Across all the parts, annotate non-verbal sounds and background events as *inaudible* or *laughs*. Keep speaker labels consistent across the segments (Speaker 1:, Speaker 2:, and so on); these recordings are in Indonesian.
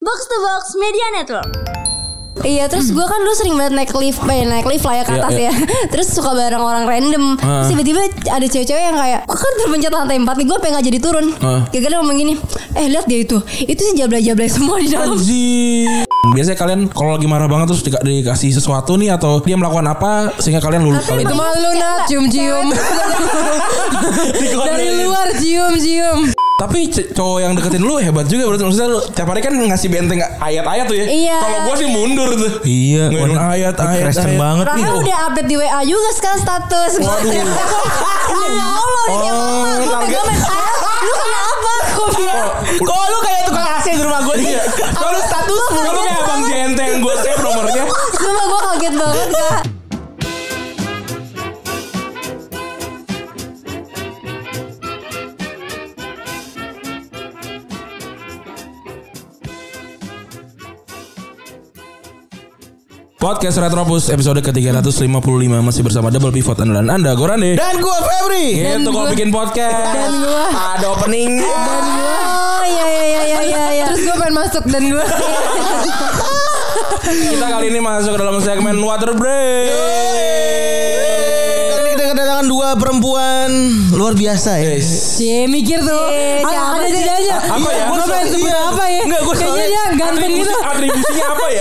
Speaker 1: Box to Box Media Network.
Speaker 2: Iya terus gua kan dulu sering banget naik lift eh, Naik lift lah ya ke
Speaker 3: Hmm. Iya,
Speaker 2: atas
Speaker 3: iya.
Speaker 2: ya *laughs* Terus suka bareng orang random Terus
Speaker 3: Ah.
Speaker 2: tiba-tiba ada cewek-cewek yang kayak Gue kan terpencet lantai 4 nih Gue pengen gak jadi turun
Speaker 3: Ah.
Speaker 2: Gagal ngomong gini Eh lihat dia itu Itu sih jablay-jablay semua di dalam *laughs*
Speaker 3: Anjing. Biasanya kalian kalau lagi marah banget terus dika- dikasih sesuatu nih atau dia melakukan apa sehingga kalian lulu kalian
Speaker 4: Itu malu nat
Speaker 3: *laughs*
Speaker 4: cium-cium
Speaker 3: Iya,
Speaker 4: Dari luar cium-cium
Speaker 3: Tapi c- cowok yang deketin lu hebat juga berarti maksudnya lu tiap hari kan ngasih benteng ayat-ayat tuh ya.
Speaker 2: Iya.
Speaker 3: Kalau gua sih mundur tuh.
Speaker 5: Iya,
Speaker 3: Ngirim
Speaker 5: waduh,
Speaker 3: ayat,
Speaker 5: ini
Speaker 3: ayat,
Speaker 5: Kristen
Speaker 3: ayat.
Speaker 5: banget nih.
Speaker 2: Rahel udah update di WA juga sekarang status *laughs*
Speaker 3: Waduh.
Speaker 2: Ya Allah ini
Speaker 3: Oh,
Speaker 2: apa? Gua
Speaker 3: target.
Speaker 2: pegang
Speaker 3: Oh,
Speaker 2: main saya. Lu kenapa? Gua bilang
Speaker 5: Kok lu kayak tukang AC di rumah gue
Speaker 3: Iya.
Speaker 5: nih? Kalau lu status lu.
Speaker 3: Kalau kayak abang jenteng gua save nomornya.
Speaker 2: Sumpah gue kaget banget kak
Speaker 3: Podcast Retropus episode ke-355 masih bersama Double Pivot andalan Anda Gorande.
Speaker 5: Dan gue Febri.
Speaker 3: Gitu kalau bikin podcast.
Speaker 4: Dan gua.
Speaker 3: Ada openingnya.
Speaker 2: Oh iya iya iya iya iya iya
Speaker 4: Terus gue pengen masuk dan gue
Speaker 3: Kita kali ini masuk ke dalam segmen Water Break.
Speaker 5: Kali ini kita kedatangan dua perempuan luar biasa ya. Iya,
Speaker 3: Guys.
Speaker 4: Cie mikir tuh
Speaker 2: Cie,
Speaker 4: Ada
Speaker 2: siapa
Speaker 4: ada
Speaker 2: sih?
Speaker 4: jedanya
Speaker 3: Apa ya?
Speaker 4: Gue pengen
Speaker 2: Iya.
Speaker 4: sebut apa ya
Speaker 3: Enggak, gue
Speaker 4: Kayaknya dia ganteng gitu
Speaker 3: Atribusinya apa ya?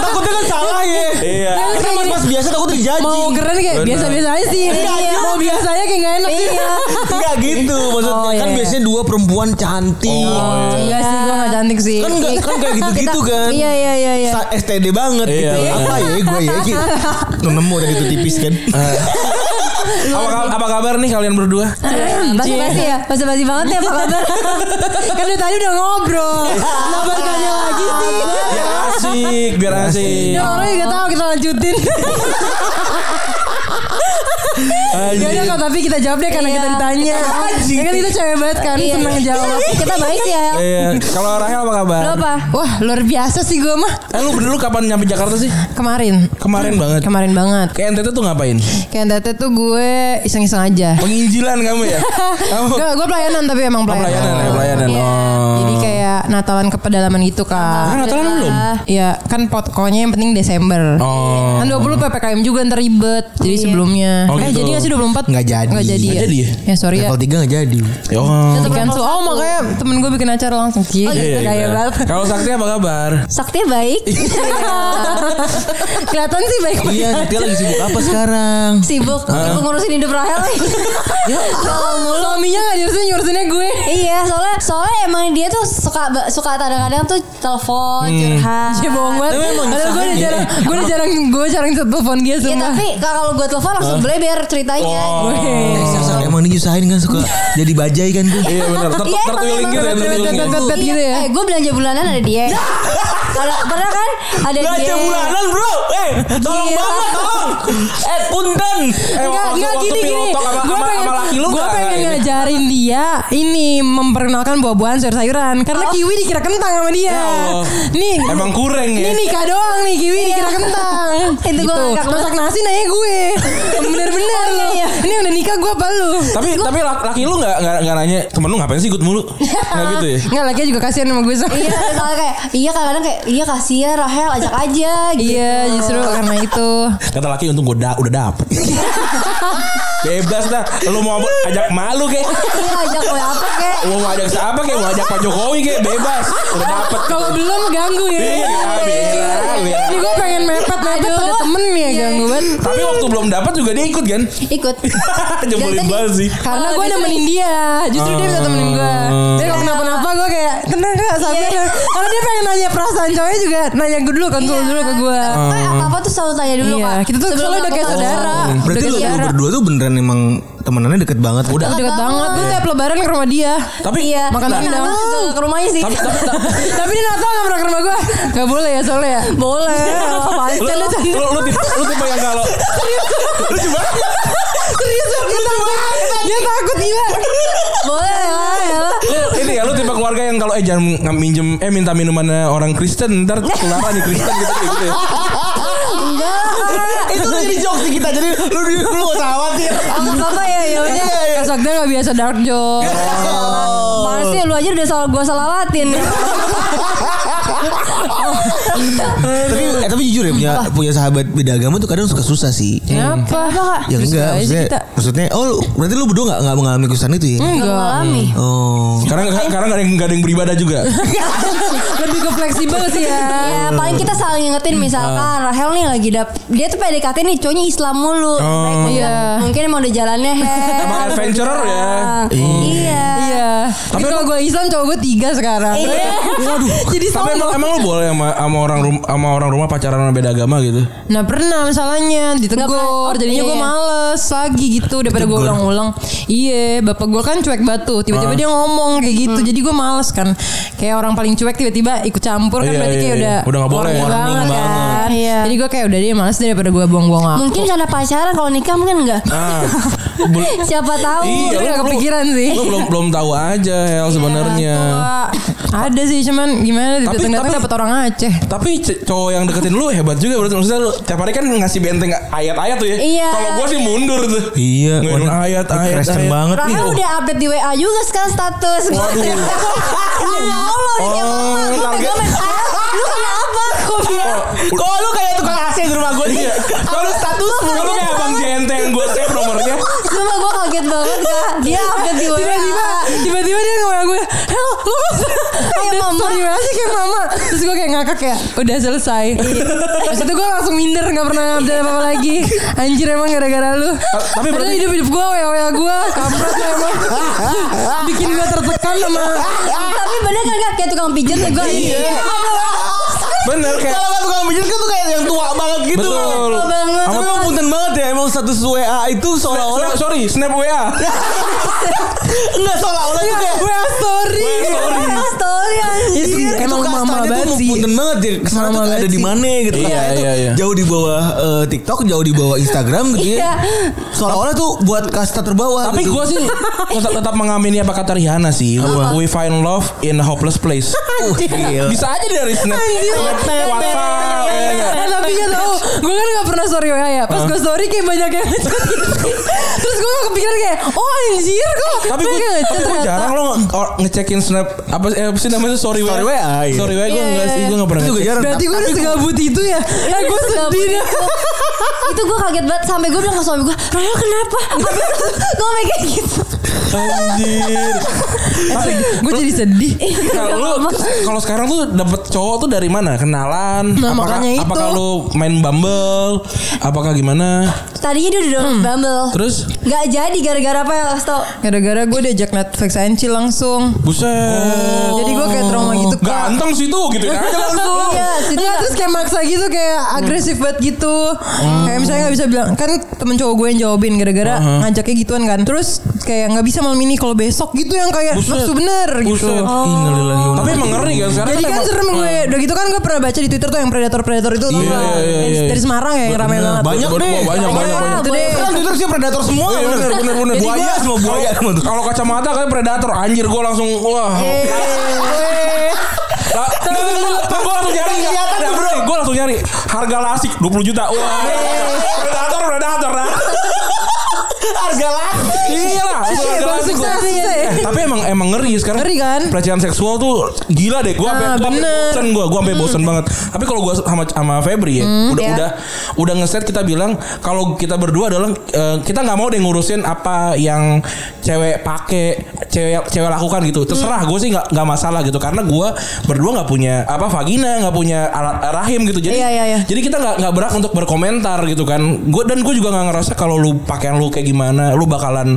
Speaker 5: Takutnya kan salah ya.
Speaker 3: Iya.
Speaker 5: Karena mas-mas biasa takutnya dijajing.
Speaker 4: Mau keren kayak
Speaker 3: Bener.
Speaker 4: biasa-biasa aja sih
Speaker 2: Iya.
Speaker 4: Mau biasanya kayak gak enak
Speaker 2: Iya
Speaker 5: Enggak gitu maksudnya
Speaker 4: Oh,
Speaker 5: kan
Speaker 4: iya. Oh,
Speaker 5: biasanya dua perempuan cantik.
Speaker 4: Enggak sih gue gak cantik sih
Speaker 5: Kan enggak kan kayak gitu-gitu kan.
Speaker 2: Iya iya iya iya *clears throat*
Speaker 5: Sa- STD banget
Speaker 3: Iya,
Speaker 5: gitu.
Speaker 3: bener.
Speaker 5: Apa ya gue ya gitu. Nemu tadi itu tipis kan.
Speaker 3: Apa, ka- apa kabar nih kalian berdua?
Speaker 2: Basi-basi ya Basi-basi banget ya apa
Speaker 4: *laughs*
Speaker 2: kabar
Speaker 4: Kan dari tadi udah ngobrol Kenapa tanya lagi sih
Speaker 3: Biar asik, biar asik.
Speaker 4: Ya orang juga tahu kita lanjutin Ya udah kalau tapi kita jawab deh karena
Speaker 2: Iya.
Speaker 4: kita ditanya Ya kan kita cewek banget kan
Speaker 2: Iya.
Speaker 4: Senang jawab
Speaker 2: Kita baik ya
Speaker 3: Iya. Kalau Rahel apa kabar?
Speaker 2: Lu apa?
Speaker 4: Wah luar biasa sih gue mah
Speaker 3: Eh lu bener lu kapan nyampe Jakarta sih?
Speaker 4: Kemarin
Speaker 3: Kemarin banget.
Speaker 4: Kemarin banget
Speaker 3: Ke NTT tuh ngapain?
Speaker 4: Kayak tete tuh gue iseng-iseng aja
Speaker 3: Penginjilan kamu ya? Kamu
Speaker 4: Gak, gue pelayanan tapi emang
Speaker 3: Oh,
Speaker 4: pelayanan, Iya.
Speaker 3: pelayanan, ya, pelayanan. Oh.
Speaker 4: Jadi kayak Natalan ke pedalaman gitu
Speaker 3: Ah,
Speaker 4: kak
Speaker 3: Natalan belum?
Speaker 4: Ya kan pokoknya yang penting Desember
Speaker 3: Oh.
Speaker 4: Kan 20 PPKM juga ntar ribet Jadi sebelumnya
Speaker 3: Oh,
Speaker 4: Eh
Speaker 3: gitu.
Speaker 4: jadi gak sih 24?
Speaker 5: Nggak jadi.
Speaker 4: Gak jadi
Speaker 3: Nggak
Speaker 4: ya?
Speaker 3: jadi ya?
Speaker 4: Ya, sorry ya
Speaker 5: Level 3 enggak jadi.
Speaker 3: Oh.
Speaker 4: Tetep cancel Oh makanya temen gue bikin acara langsung Gila
Speaker 2: Oh,
Speaker 3: Iya,
Speaker 2: gitu.
Speaker 3: iya,
Speaker 2: Gaya
Speaker 3: gimana?
Speaker 4: *laughs*
Speaker 2: banget.
Speaker 3: Kalau Sakti apa kabar?
Speaker 2: Sakti baik
Speaker 4: Iya. Kelihatan sih baik
Speaker 5: Iya, dia lagi sibuk apa sekarang?
Speaker 2: Sibuk Sibuk ngurusin hidup
Speaker 4: *laughs*
Speaker 2: Rahel
Speaker 4: Ya, Suaminya gak nyurusin nyurusinnya gue
Speaker 2: Iya soalnya Soalnya emang dia tuh Suka suka kadang-kadang tuh Telepon curhat
Speaker 4: Hmm. Dia bohong banget
Speaker 5: Tapi emang
Speaker 4: Padahal gue udah
Speaker 5: nyusahin
Speaker 4: jarang Gue udah jarang Gue jarang telepon dia
Speaker 2: Ya
Speaker 4: semua Oh.
Speaker 2: tapi kalau gue telepon langsung beleber ceritanya
Speaker 5: Eh, Sar, Sar, emang dia nyusahin kan suka jadi bajai kan gue.
Speaker 3: Iya benar. Ter-
Speaker 2: Iya,
Speaker 3: Tertwiling
Speaker 2: emang
Speaker 3: gitu ya,
Speaker 4: emang
Speaker 3: tertwiling
Speaker 4: bener-bener.
Speaker 3: gitu.
Speaker 4: Bet-bet
Speaker 2: Iya,
Speaker 4: gitu ya.
Speaker 2: Eh gue belanja bulanan ada dia. Ada pernah kan ada dia.
Speaker 5: bro.
Speaker 2: Iya.
Speaker 5: Eh, tolong. Eh, punten.
Speaker 3: Eh,
Speaker 4: Enggak,
Speaker 3: waktu-
Speaker 4: enggak
Speaker 3: waktu
Speaker 4: gini gini.
Speaker 3: pilotok sama-
Speaker 4: Gue
Speaker 3: sama-
Speaker 4: pengen
Speaker 3: sama laki lu
Speaker 4: gue
Speaker 3: nggak Iya.
Speaker 4: pengen
Speaker 3: kayak gini?
Speaker 4: ngajarin dia ini memperkenalkan buah-buahan sayur-sayuran karena kiwi dikira kentang sama dia.
Speaker 3: Oh. Ya Allah.
Speaker 4: Nih,
Speaker 3: Emang Iya. kurang ya.
Speaker 4: Ini nikah doang nih kiwi dikira
Speaker 2: *laughs*
Speaker 4: kentang. Gitu.
Speaker 2: Itu gua ngakak banget.
Speaker 4: masak nasi nanya
Speaker 3: *laughs*
Speaker 4: gue.
Speaker 3: Iya,
Speaker 4: Bener-bener lu. Ini yang udah nikah gue apa lu?
Speaker 3: Tapi tapi laki, laki lu nggak nggak nggak nanya temen lu ngapain sih ikut mulu? Nggak gitu ya?
Speaker 4: Enggak lagi juga kasihan sama gue Sar.
Speaker 3: gitu.
Speaker 2: Iya soalnya kayak iya kadang-kadang kayak iya kasihan Rahel ajak aja gitu.
Speaker 4: Iya, justru karena itu.
Speaker 3: Kata laki untung gue da- udah
Speaker 4: *laughs*
Speaker 3: dapet. Bebas dah. Lu mau ajak malu kek?
Speaker 2: Iya ajak gue apa kek.
Speaker 3: Lu mau ajak siapa kek? Mau ajak Pak Jokowi kek? Bebas. Udah dapet.
Speaker 4: Kalau belum ganggu ya.
Speaker 3: Iya, iya.
Speaker 4: Ini gue pengen mepet-mepet
Speaker 2: Aduh.
Speaker 4: ada temen nih ya ganggu banget.
Speaker 3: Tapi waktu belum dapet juga dia ikut kan? *laughs*
Speaker 2: Ikut.
Speaker 3: Jempolin
Speaker 2: Dan
Speaker 5: ya?
Speaker 2: tadi-
Speaker 3: banget sih.
Speaker 4: Karena
Speaker 2: Oh,
Speaker 4: gue
Speaker 2: gitu.
Speaker 4: nemenin dia Justru dia bisa temenin gue Jadi kalau kenapa-napa gue kayak Tenang gak sabar
Speaker 2: Iya.
Speaker 4: Karena dia pengen nanya perasaan cowoknya juga Nanya gue dulu Konsul dulu ke gue
Speaker 1: Iya.
Speaker 2: Pokoknya apa-apa tuh selalu tanya dulu
Speaker 4: Iya,
Speaker 2: kak.
Speaker 4: kita tuh
Speaker 2: Sebelum
Speaker 4: soalnya udah kayak
Speaker 2: apa-apa.
Speaker 4: saudara.
Speaker 5: Berarti
Speaker 4: Udah
Speaker 5: lu, lu
Speaker 4: deket.
Speaker 5: berdua tuh beneran emang temenannya deket banget. Udah.
Speaker 4: Deket banget Gue
Speaker 2: banget.
Speaker 4: tiap lebaran ke rumah dia
Speaker 3: Tapi
Speaker 2: Iya.
Speaker 4: Makan
Speaker 2: Tapi
Speaker 4: rendang.
Speaker 2: Natal juga ke rumahnya sih.
Speaker 3: tapi tapi
Speaker 4: Tapi dia Natal gak pernah ke rumah gue Gak boleh ya soalnya ya
Speaker 2: Boleh. Apaan
Speaker 3: lu
Speaker 2: sih?
Speaker 3: lu lu lu tipe, lu tipe yang kalau lu coba
Speaker 4: Serius dia takut Dia takut gila
Speaker 2: Boleh lah ya lah.
Speaker 3: lu ini ya lu tipe keluarga yang kalau eh jangan ngam- minjem eh minta minumannya orang Kristen ntar keluar nih Kristen gitu gitu ya.
Speaker 2: Enggak.
Speaker 5: Itu jadi jokes di kita jadi lu dulu lu gak usah khawatir.
Speaker 2: Enggak apa-apa ya, ya udah.
Speaker 4: Kasok dia gak biasa dark joke
Speaker 2: Mana sih ya, lu aja udah salah gua salawatin.
Speaker 5: tapi eh, tapi jujur ya punya punya sahabat beda agama tuh kadang suka susah sih.
Speaker 4: Kenapa?
Speaker 5: Ya
Speaker 4: Terus
Speaker 5: enggak,
Speaker 4: aja
Speaker 5: maksudnya,
Speaker 4: kita.
Speaker 5: maksudnya oh lu- berarti lu berdua gak, nggak mengalami kesusahan itu ya?
Speaker 4: Enggak
Speaker 2: *laughs* Alami.
Speaker 5: Oh.
Speaker 3: Sekarang sekarang gak ada yang gak ada yang beribadah juga.
Speaker 4: Lebih ke fleksibel sih ya
Speaker 2: Ya paling kita saling ngingetin misalkan Rahel nih lagi dap dia tuh PDKT nih cowoknya Islam mulu. Baik,
Speaker 4: iya.
Speaker 2: Mungkin emang udah jalannya Hel.
Speaker 3: Emang adventurer ya.
Speaker 2: Iya.
Speaker 4: Iya Tapi kalau gue Islam cowok gue tiga sekarang
Speaker 2: *laughs*
Speaker 4: Waduh Jadi
Speaker 3: Tapi
Speaker 4: sama
Speaker 3: emang, emang lu boleh sama, sama orang rumah sama orang rumah pacaran sama beda agama gitu.
Speaker 4: Nah pernah masalahnya ditegur
Speaker 2: Nggak pernah.
Speaker 4: Jadinya gue
Speaker 2: Iya.
Speaker 4: males lagi gitu Daripada gue ulang-ulang Iya bapak gue kan cuek batu Tiba-tiba
Speaker 3: Ah.
Speaker 4: dia ngomong kayak
Speaker 3: Hmm.
Speaker 4: gitu Jadi gue males kan Kayak orang paling cuek tiba-tiba ikut campur Kan
Speaker 3: Iya,
Speaker 4: berarti
Speaker 3: iya,
Speaker 4: kayak
Speaker 3: iya.
Speaker 4: udah
Speaker 3: Udah nggak boleh.
Speaker 4: warning
Speaker 3: Warning
Speaker 4: banget kan
Speaker 2: Iya.
Speaker 4: Jadi gue kayak udah deh males deh daripada gue buang-buang waktu
Speaker 2: Mungkin karena pacaran kalau nikah mungkin enggak.
Speaker 3: Ah. bel-
Speaker 2: Siapa tahu.
Speaker 3: Iya,
Speaker 4: Gue
Speaker 3: lu-
Speaker 4: gak
Speaker 3: lu-
Speaker 4: kepikiran sih
Speaker 3: Lu belum belum tahu aja Hel sebenarnya.
Speaker 4: Wah, Ada sih cuman gimana
Speaker 3: tapi-
Speaker 4: datang-datang dapat orang Aceh
Speaker 3: Tapi c- cowok yang deketin lu hebat juga berarti maksudnya lu tiap hari kan ngasih benteng ayat-ayat tuh ya.
Speaker 2: Iya.
Speaker 3: Kalau gua sih mundur tuh.
Speaker 5: Iya,
Speaker 3: Ngirim
Speaker 5: waduh,
Speaker 3: ayat ayat.
Speaker 5: Kristen
Speaker 3: ayat.
Speaker 5: banget nih.
Speaker 2: Rahel udah update di WA juga sekarang status.
Speaker 3: Waduh.
Speaker 2: *laughs* Ya
Speaker 5: Oh,
Speaker 2: Allah, ini dia mama. Gua
Speaker 3: target.
Speaker 2: pegang main sayap. Lu kenapa? Gua bilang.
Speaker 5: Kok lu kayak tukang AC di rumah gue
Speaker 3: Iya.
Speaker 5: nih? Kalau status
Speaker 3: Lu lu kayak abang Jente yang gua save nomornya.
Speaker 2: Sumpah gue kaget banget kak. Dia update di WA.
Speaker 4: tiba-tiba tiba-tiba dia ngomong gue hel lu kayak
Speaker 2: mama.
Speaker 4: mama terima kasih kayak mama terus gue kayak ngakak ya udah selesai
Speaker 2: Iya.
Speaker 4: terus itu gue langsung minder nggak pernah update apa apa lagi anjir emang gara-gara lu
Speaker 3: tapi
Speaker 4: tapi
Speaker 3: berarti-
Speaker 4: hidup hidup gue wa wa gue kampret lu emang bikin gue tertekan sama
Speaker 2: Tapi bener kan kak kayak tukang pijat ya gue. Iya.
Speaker 3: Bener kayak
Speaker 5: Kalau nggak tukang pijat kan tuh kayak yang tua banget gitu.
Speaker 3: Betul.
Speaker 2: Betul banget.
Speaker 5: Tapi
Speaker 3: Sama-
Speaker 5: emang punten banget ya emang status WA itu seolah-olah
Speaker 3: Sorry, sorry, snap WA.
Speaker 5: enggak seolah-olah tuh kayak
Speaker 4: wa story
Speaker 2: Story anjir.
Speaker 4: itu Iya,
Speaker 5: Iya,
Speaker 4: emang
Speaker 5: kastanya
Speaker 4: mama
Speaker 5: tuh
Speaker 4: banget sih
Speaker 5: Punten banget ya. Kesana
Speaker 4: Mama
Speaker 5: tuh
Speaker 4: banget
Speaker 5: ada di
Speaker 4: sih.
Speaker 5: mana gitu.
Speaker 3: Iya,
Speaker 5: Kastanya tuh
Speaker 3: iya, iya.
Speaker 5: Jauh di bawah eh, TikTok, jauh di bawah Instagram gitu
Speaker 2: Iya.
Speaker 5: ya. Seolah-olah tuh buat kasta terbawah
Speaker 3: Tapi
Speaker 5: gitu.
Speaker 3: gue sih tetap, tetap mengamini apa kata Rihanna sih. We find love in a hopeless place. *laughs* Iya.
Speaker 5: Uh, gila.
Speaker 3: Bisa aja dari snap. WhatsApp. ya nggak?
Speaker 4: Eh, tapi gak tau Gue kan gak pernah story WA ya Pas gue story kayak banyak yang ngecat gitu Terus gue kepikiran kayak Oh anjir kok
Speaker 3: Tapi gue
Speaker 4: banyak yang ngechat ternyata.
Speaker 3: jarang lo nge- or- ngecekin snap apa eh, apa sih namanya sorry
Speaker 5: Story
Speaker 3: WA.
Speaker 5: WA, iya.
Speaker 3: Sorry WA gue
Speaker 4: Iya,
Speaker 3: enggak
Speaker 4: iya,
Speaker 3: sih
Speaker 4: iya.
Speaker 3: gue enggak pernah.
Speaker 5: Itu juga
Speaker 3: ngecek.
Speaker 5: jarang.
Speaker 4: Berarti gue udah segabut itu ya Eh gue sedih dah
Speaker 2: Itu gue kaget banget sampai gue bilang ke suami gue, Rahel kenapa? *laughs* Gue kayak gitu.
Speaker 3: Anjir.
Speaker 4: Gue jadi sedih
Speaker 3: Kalau lu kalau sekarang tuh dapet cowok tuh dari mana? Kenalan?
Speaker 4: Nah,
Speaker 3: apakah
Speaker 4: makanya itu.
Speaker 3: apakah lu main Bumble? Apakah gimana?
Speaker 2: Tadinya dia udah download Bumble.
Speaker 3: Terus
Speaker 2: Gak jadi gara-gara apa ya tau?
Speaker 4: Gara-gara gue diajak Netflix and chill langsung
Speaker 3: buset.
Speaker 4: Jadi gue kayak trauma gitu Kak.
Speaker 3: Ganteng sih tuh gitu ya.
Speaker 4: *laughs* langsung
Speaker 2: Iya, situ
Speaker 4: Enggak,
Speaker 2: nggak-
Speaker 4: terus kayak maksa gitu kayak agresif banget gitu
Speaker 3: Hmm.
Speaker 4: kayak misalnya nggak bisa bilang kan temen cowok gue yang jawabin gara-gara ngajaknya gituan kan terus kayak nggak bisa malam ini kalau besok gitu yang kayak
Speaker 3: Buset.
Speaker 4: nafsu bener gitu
Speaker 3: Buset.
Speaker 5: Innalillahi wa inna
Speaker 3: Tapi
Speaker 5: ilaihi
Speaker 3: emang ngeri kan sekarang
Speaker 4: jadi
Speaker 3: kan
Speaker 4: kan
Speaker 3: emang-
Speaker 4: serem gue Udah gitu kan gue pernah baca di Twitter tuh Yang predator-predator itu tau
Speaker 3: Iya,
Speaker 4: nggak?
Speaker 3: iya, iya, iya.
Speaker 4: Dari Semarang ya yang ramai
Speaker 5: Bener,
Speaker 4: banget
Speaker 3: Banyak,
Speaker 5: banyak deh.
Speaker 3: banyak, banyak,
Speaker 4: Nah,
Speaker 3: banyak.
Speaker 4: itu deh.
Speaker 5: Kan Twitter sih predator semua.
Speaker 3: Iya, bener, bener, bener.
Speaker 5: Jadi Buaya
Speaker 3: gua-
Speaker 5: semua buaya semua tuh.
Speaker 3: Kalau kacamata kayak predator anjir gue langsung wah.
Speaker 4: iya, Eh,
Speaker 3: Gue Nah, langsung nyari
Speaker 5: Kelihatan tuh,
Speaker 3: bro Gue langsung nyari Harga lasik 20 juta Wah Predator Predator nah.
Speaker 5: Harga lah.
Speaker 3: Iya lah
Speaker 4: Iya,
Speaker 3: harga
Speaker 4: bang,
Speaker 3: lasik
Speaker 4: sukses,
Speaker 3: gua.
Speaker 4: sukses.
Speaker 3: Eh, Tapi emang emang ngeri sekarang
Speaker 4: Ngeri kan?
Speaker 3: Pelecehan seksual tuh Gila deh Gue
Speaker 4: Nah,
Speaker 3: sampe
Speaker 4: bener.
Speaker 3: bosen gue Gue sampe bosen banget Tapi kalau gue sama, sama Febri ya
Speaker 4: Mm,
Speaker 3: Udah udah Udah ngeset kita bilang Kalau kita berdua adalah eh, Kita nggak mau deh ngurusin Apa yang Cewek pake Cewek cewek lakukan gitu Terserah gue sih nggak nggak masalah gitu Karena gue Berdua nggak punya Apa vagina nggak punya alat rahim gitu Jadi
Speaker 4: Iya, iya, iya.
Speaker 3: jadi kita nggak nggak berhak untuk berkomentar gitu kan. Gue dan gue juga nggak ngerasa kalau lu pakaian lu kayak gimana, lu bakalan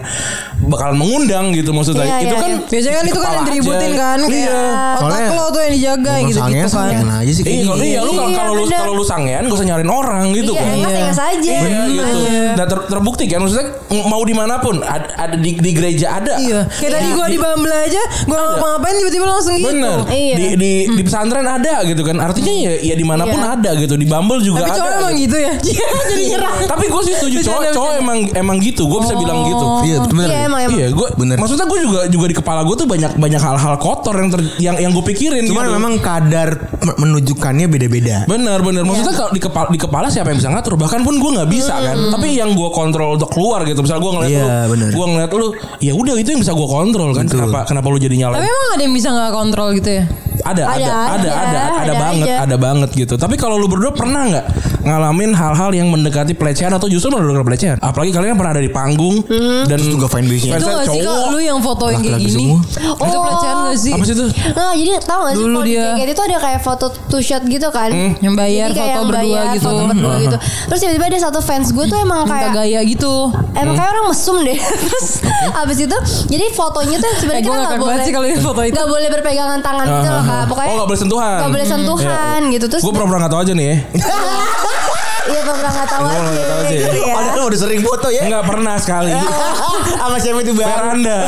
Speaker 3: bakalan mengundang gitu maksudnya.
Speaker 2: Iya,
Speaker 3: itu
Speaker 2: iya,
Speaker 3: kan
Speaker 2: iya.
Speaker 4: Biasanya kan itu kan
Speaker 3: kepala
Speaker 4: yang diributin
Speaker 3: aja.
Speaker 4: kan Kayak
Speaker 3: Iya.
Speaker 4: Otak
Speaker 5: Soalnya-
Speaker 4: lo tuh yang dijaga gitu-gitu kan
Speaker 5: sangean aja sih
Speaker 3: gitu, Iya, kalau- iya, lu kalau
Speaker 2: Iya,
Speaker 3: kalau lu
Speaker 2: bener.
Speaker 3: kalau lu sangean gak usah nyariin orang gitu
Speaker 2: Iya,
Speaker 3: kan.
Speaker 2: enak enak saja.
Speaker 3: Iya, gitu.
Speaker 4: Iya.
Speaker 3: Dan ter- terbukti kan maksudnya mau dimanapun ada, ada di, di gereja ada.
Speaker 4: Iya Kayak tadi
Speaker 3: Di-
Speaker 4: gue di
Speaker 3: di-
Speaker 4: Bumble aja Gue ngapa-ngapain tiba-tiba langsung gitu
Speaker 3: Iya. Bener.
Speaker 2: Iya.
Speaker 3: Di di, di pesantren ada gitu kan. Artinya ya, ya dimanapun
Speaker 2: Iya.
Speaker 3: ada gitu. Di Bumble juga
Speaker 4: Tapi
Speaker 3: ada.
Speaker 4: cowok emang
Speaker 3: *laughs* gitu. Iya.
Speaker 4: gitu ya Jadi nyerah
Speaker 3: Tapi gue sih setuju
Speaker 4: Bercanda,
Speaker 3: cowok cowok
Speaker 4: bercanda.
Speaker 3: emang emang gitu. Gue bisa bilang gitu.
Speaker 5: Iya, Iya, bener.
Speaker 4: Iya, emang, emang.
Speaker 3: Iya, gue
Speaker 5: Bener.
Speaker 3: Maksudnya gue juga juga di kepala gue tuh banyak banyak hal-hal kotor yang ter, yang yang gue pikirin.
Speaker 5: Cuman
Speaker 3: gitu.
Speaker 5: memang kadar me- menunjukkannya beda-beda.
Speaker 3: Bener bener Maksudnya kalau di kepala, di kepala siapa yang bisa ngatur Bahkan pun gue gak bisa kan Tapi yang gue kontrol untuk keluar gitu Misal gue ngeliat
Speaker 5: Iya,
Speaker 3: lu
Speaker 5: bener.
Speaker 3: Gue ngeliat lu Ya udah itu yang bisa gue kontrol kan
Speaker 5: Betul.
Speaker 3: Kenapa kenapa lu jadi nyalain
Speaker 4: Tapi emang ada yang bisa nggak kontrol gitu ya?
Speaker 3: ada, ada,
Speaker 1: Ada
Speaker 3: ada,
Speaker 1: aja,
Speaker 3: ada, ada,
Speaker 1: ada
Speaker 3: banget,
Speaker 1: aja.
Speaker 3: ada banget gitu. Tapi kalau lu berdua pernah nggak ngalamin hal-hal yang mendekati pelecehan atau justru mendekati pelecehan? Apalagi kalian pernah ada di panggung dan
Speaker 5: Terus juga fanbase-nya.
Speaker 4: Itu
Speaker 3: fansnya
Speaker 4: nggak sih
Speaker 3: cowok.
Speaker 4: kak lu yang fotoin kayak
Speaker 5: Laki-laki
Speaker 4: gini?
Speaker 5: semua.
Speaker 4: Itu pelecehan nggak sih?
Speaker 3: Apa sih itu?
Speaker 1: Nah, jadi tau gak sih
Speaker 4: Dulu
Speaker 1: kalau di
Speaker 4: dia- Hmm,
Speaker 1: JKT itu ada kayak foto two shot gitu kan
Speaker 4: Yang bayar
Speaker 1: Jadi kayak
Speaker 4: foto
Speaker 1: yang
Speaker 4: berdua
Speaker 1: bayar
Speaker 4: gitu.
Speaker 1: foto berdua gitu Terus tiba-tiba ada satu fans gue tuh emang
Speaker 4: Minta
Speaker 1: kayak
Speaker 4: gaya gitu.
Speaker 1: Emang kayak orang mesum deh *laughs* Terus abis itu Jadi fotonya tuh
Speaker 4: Hmm. Eh
Speaker 1: sebenarnya
Speaker 4: gue
Speaker 1: kita
Speaker 4: ngakak
Speaker 1: gak
Speaker 4: banget
Speaker 1: boleh
Speaker 4: sih kalau yang foto itu.
Speaker 1: Gak boleh berpegangan tangan gitu loh kak Pokoknya
Speaker 3: Oh nggak boleh sentuhan.
Speaker 1: Gak boleh sentuhan gitu Terus
Speaker 3: Gue pernah nggak tahu aja nih. ya.
Speaker 1: *laughs* Iya pernah gak tau
Speaker 3: Gua nggak tahu
Speaker 1: aja
Speaker 3: sih.
Speaker 1: Iya.
Speaker 5: Padahal udah sering foto ya.
Speaker 3: Nggak pernah sekali.
Speaker 5: *laughs* Sama siapa itu baru.
Speaker 3: Beranda.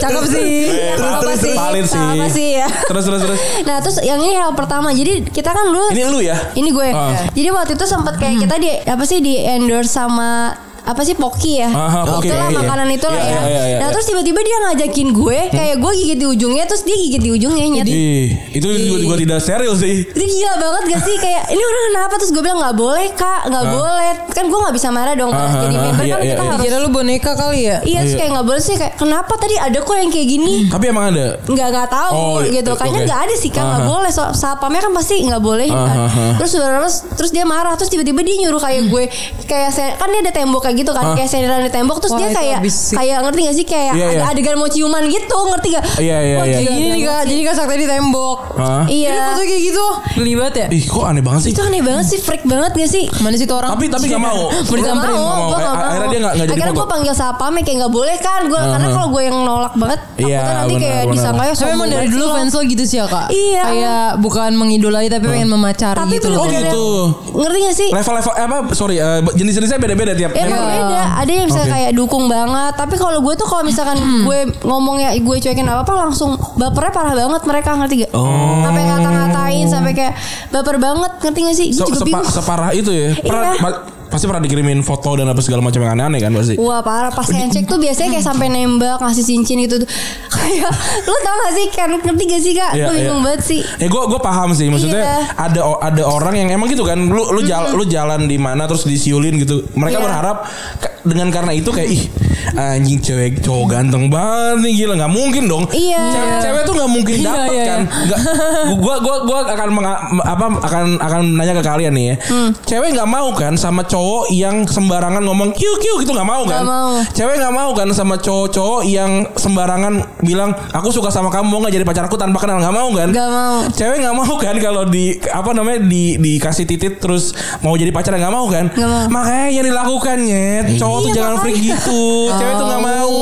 Speaker 4: Cakep sih.
Speaker 3: Eh,
Speaker 5: Terus,
Speaker 4: Apa
Speaker 5: terus,
Speaker 4: sih?
Speaker 5: terus.
Speaker 3: Valid Iya, sih.
Speaker 1: Apa sih ya
Speaker 3: Terus terus terus.
Speaker 1: Nah terus yang ini hal pertama Jadi kita kan dulu
Speaker 3: Ini lu ya?
Speaker 1: Ini gue.
Speaker 3: Ah. Hmm.
Speaker 1: Jadi waktu itu sempat kayak kita di apa sih di endorse sama apa sih Poki ya?
Speaker 3: Aha, Pocky,
Speaker 1: itulah
Speaker 3: iya, iya.
Speaker 1: makanan itulah ya.
Speaker 3: Iya, iya, iya, Hmm.
Speaker 1: nah
Speaker 3: iya.
Speaker 1: terus tiba-tiba dia ngajakin gue kayak gue gigit di ujungnya terus dia gigit di ujungnya nyet.
Speaker 3: Ih, itu juga, juga tidak steril sih.
Speaker 1: Itu gila banget gak sih kayak ini orang kenapa terus gue bilang nggak boleh kak nggak boleh kan gue nggak bisa marah dong
Speaker 3: Ah,
Speaker 1: Kak. jadi
Speaker 3: ah,
Speaker 1: member kan
Speaker 3: iya, iya,
Speaker 1: kita
Speaker 3: iya.
Speaker 1: harus
Speaker 4: Dikira lu boneka kali ya?
Speaker 1: iya terus
Speaker 3: Iya.
Speaker 1: kayak nggak boleh sih kayak kenapa tadi ada kok yang kayak gini
Speaker 3: Tapi emang ada.
Speaker 1: nggak nggak tahu
Speaker 3: Oh, i-
Speaker 1: gitu
Speaker 3: i-
Speaker 1: kayaknya
Speaker 3: oke.
Speaker 1: nggak ada sih kan nggak
Speaker 3: Aha.
Speaker 1: boleh so, satpamnya kan pasti nggak boleh kan.
Speaker 3: Aha.
Speaker 1: terus saudara terus terus dia marah terus tiba-tiba dia nyuruh kayak gue kayak sen- kan dia ada tembok kayak gitu kan kayak senderan di tembok terus
Speaker 4: Wah,
Speaker 1: dia
Speaker 4: itu
Speaker 1: kayak
Speaker 4: abis sih.
Speaker 1: kayak ngerti gak sih kayak
Speaker 3: Iya,
Speaker 1: ada
Speaker 3: iya.
Speaker 1: adegan mau ciuman gitu ngerti gak
Speaker 3: Iya iya
Speaker 4: Wah,
Speaker 3: iya.
Speaker 4: kayak gini nih kak, jadi kak sakti di tembok.
Speaker 3: Hah?
Speaker 1: iya
Speaker 4: Ini foto kayak gitu, geli banget ya?
Speaker 3: Ih, kok aneh banget sih.
Speaker 1: itu aneh banget sih freak banget gak sih
Speaker 4: Mana sih tuh orang?
Speaker 3: Tapi tapi nggak mau.
Speaker 4: Mau
Speaker 1: Gak
Speaker 4: disamperin?
Speaker 3: Nggak mau.
Speaker 1: mau, gue gak mau.
Speaker 3: Akhirnya dia nggak- nggak jadi
Speaker 1: Akhirnya gue
Speaker 3: mogok.
Speaker 1: panggil satpamnya kayak gak boleh kan, gue karena kalau gue yang nolak banget,
Speaker 3: Iya,
Speaker 1: takutnya nanti
Speaker 3: benar,
Speaker 1: kayak
Speaker 3: benar.
Speaker 1: disangka ya.
Speaker 4: Tapi emang
Speaker 1: sombong
Speaker 4: dari
Speaker 1: banget
Speaker 4: dulu
Speaker 1: sih lo.
Speaker 4: fans lo gitu sih ya kak?
Speaker 1: Iya.
Speaker 4: Kayak bukan mengidolai tapi pengen memacari
Speaker 1: Tapi
Speaker 4: gitu
Speaker 3: Ah. Oh
Speaker 4: loh.
Speaker 1: bener-bener
Speaker 3: gitu.
Speaker 1: Ngerti gak sih?
Speaker 3: Level-level eh, apa? Sorry, eh, jenis-jenisnya beda-beda tiap.
Speaker 1: Ya
Speaker 3: member.
Speaker 1: beda Ada yang bisa
Speaker 3: Iya. Oke. Hmm.
Speaker 1: kayak dukung banget Tapi kalau gue tuh kalau misalkan gue ngomongnya gue cuekin apa-apa Langsung bapernya parah banget mereka ngerti gak?
Speaker 3: Oh.
Speaker 1: Sampai ngata-ngatain Sampai kayak baper banget ngerti gak sih? Gue
Speaker 3: Se-
Speaker 1: juga
Speaker 3: sepa-
Speaker 1: bingung
Speaker 3: separah itu ya. Pernah-
Speaker 1: Iya.
Speaker 3: pa- pasti pernah dikirimin foto dan apa segala macam yang aneh-aneh kan pasti.
Speaker 1: Wah parah pas ngecek tuh biasanya kayak sampai nembak ngasih cincin gitu *laughs* tuh. Kayak lu tau gak sih kan ngerti gak sih kak?
Speaker 3: Iya,
Speaker 1: Gue bingung
Speaker 3: iya.
Speaker 1: banget sih.
Speaker 3: Eh gue gue paham sih maksudnya
Speaker 1: Iya.
Speaker 3: ada o- ada orang yang emang gitu kan lu lu jalan lu jalan di mana terus disiulin gitu. Mereka
Speaker 1: Iya.
Speaker 3: berharap ke- dengan karena itu kayak ih anjing cewek cowok ganteng banget nih gila nggak mungkin dong.
Speaker 1: Iya.
Speaker 3: Cewek, cewek tuh nggak mungkin
Speaker 4: Iya,
Speaker 3: dapet
Speaker 4: iya,
Speaker 3: kan.
Speaker 4: iya.
Speaker 3: Nggak- gua gua gua akan menga- apa akan akan nanya ke kalian nih ya.
Speaker 1: Hmm.
Speaker 3: Cewek nggak mau kan sama cowok yang sembarangan ngomong kiu kiu gitu nggak mau kan.
Speaker 1: Nggak mau.
Speaker 3: Cewek nggak mau kan sama cowok-cowok yang sembarangan bilang aku suka sama kamu mau nggak jadi pacar aku tanpa kenal nggak mau kan.
Speaker 1: Nggak mau.
Speaker 3: Cewek nggak mau kan kalau di apa namanya di dikasih titit terus mau jadi pacar nggak mau kan?
Speaker 1: Nggak mau.
Speaker 3: Makanya yang dilakukan Nyet. Cowok tuh
Speaker 1: Iya,
Speaker 3: jangan
Speaker 1: makanya. Oh.
Speaker 3: freak gitu. Cewek tuh nggak mau.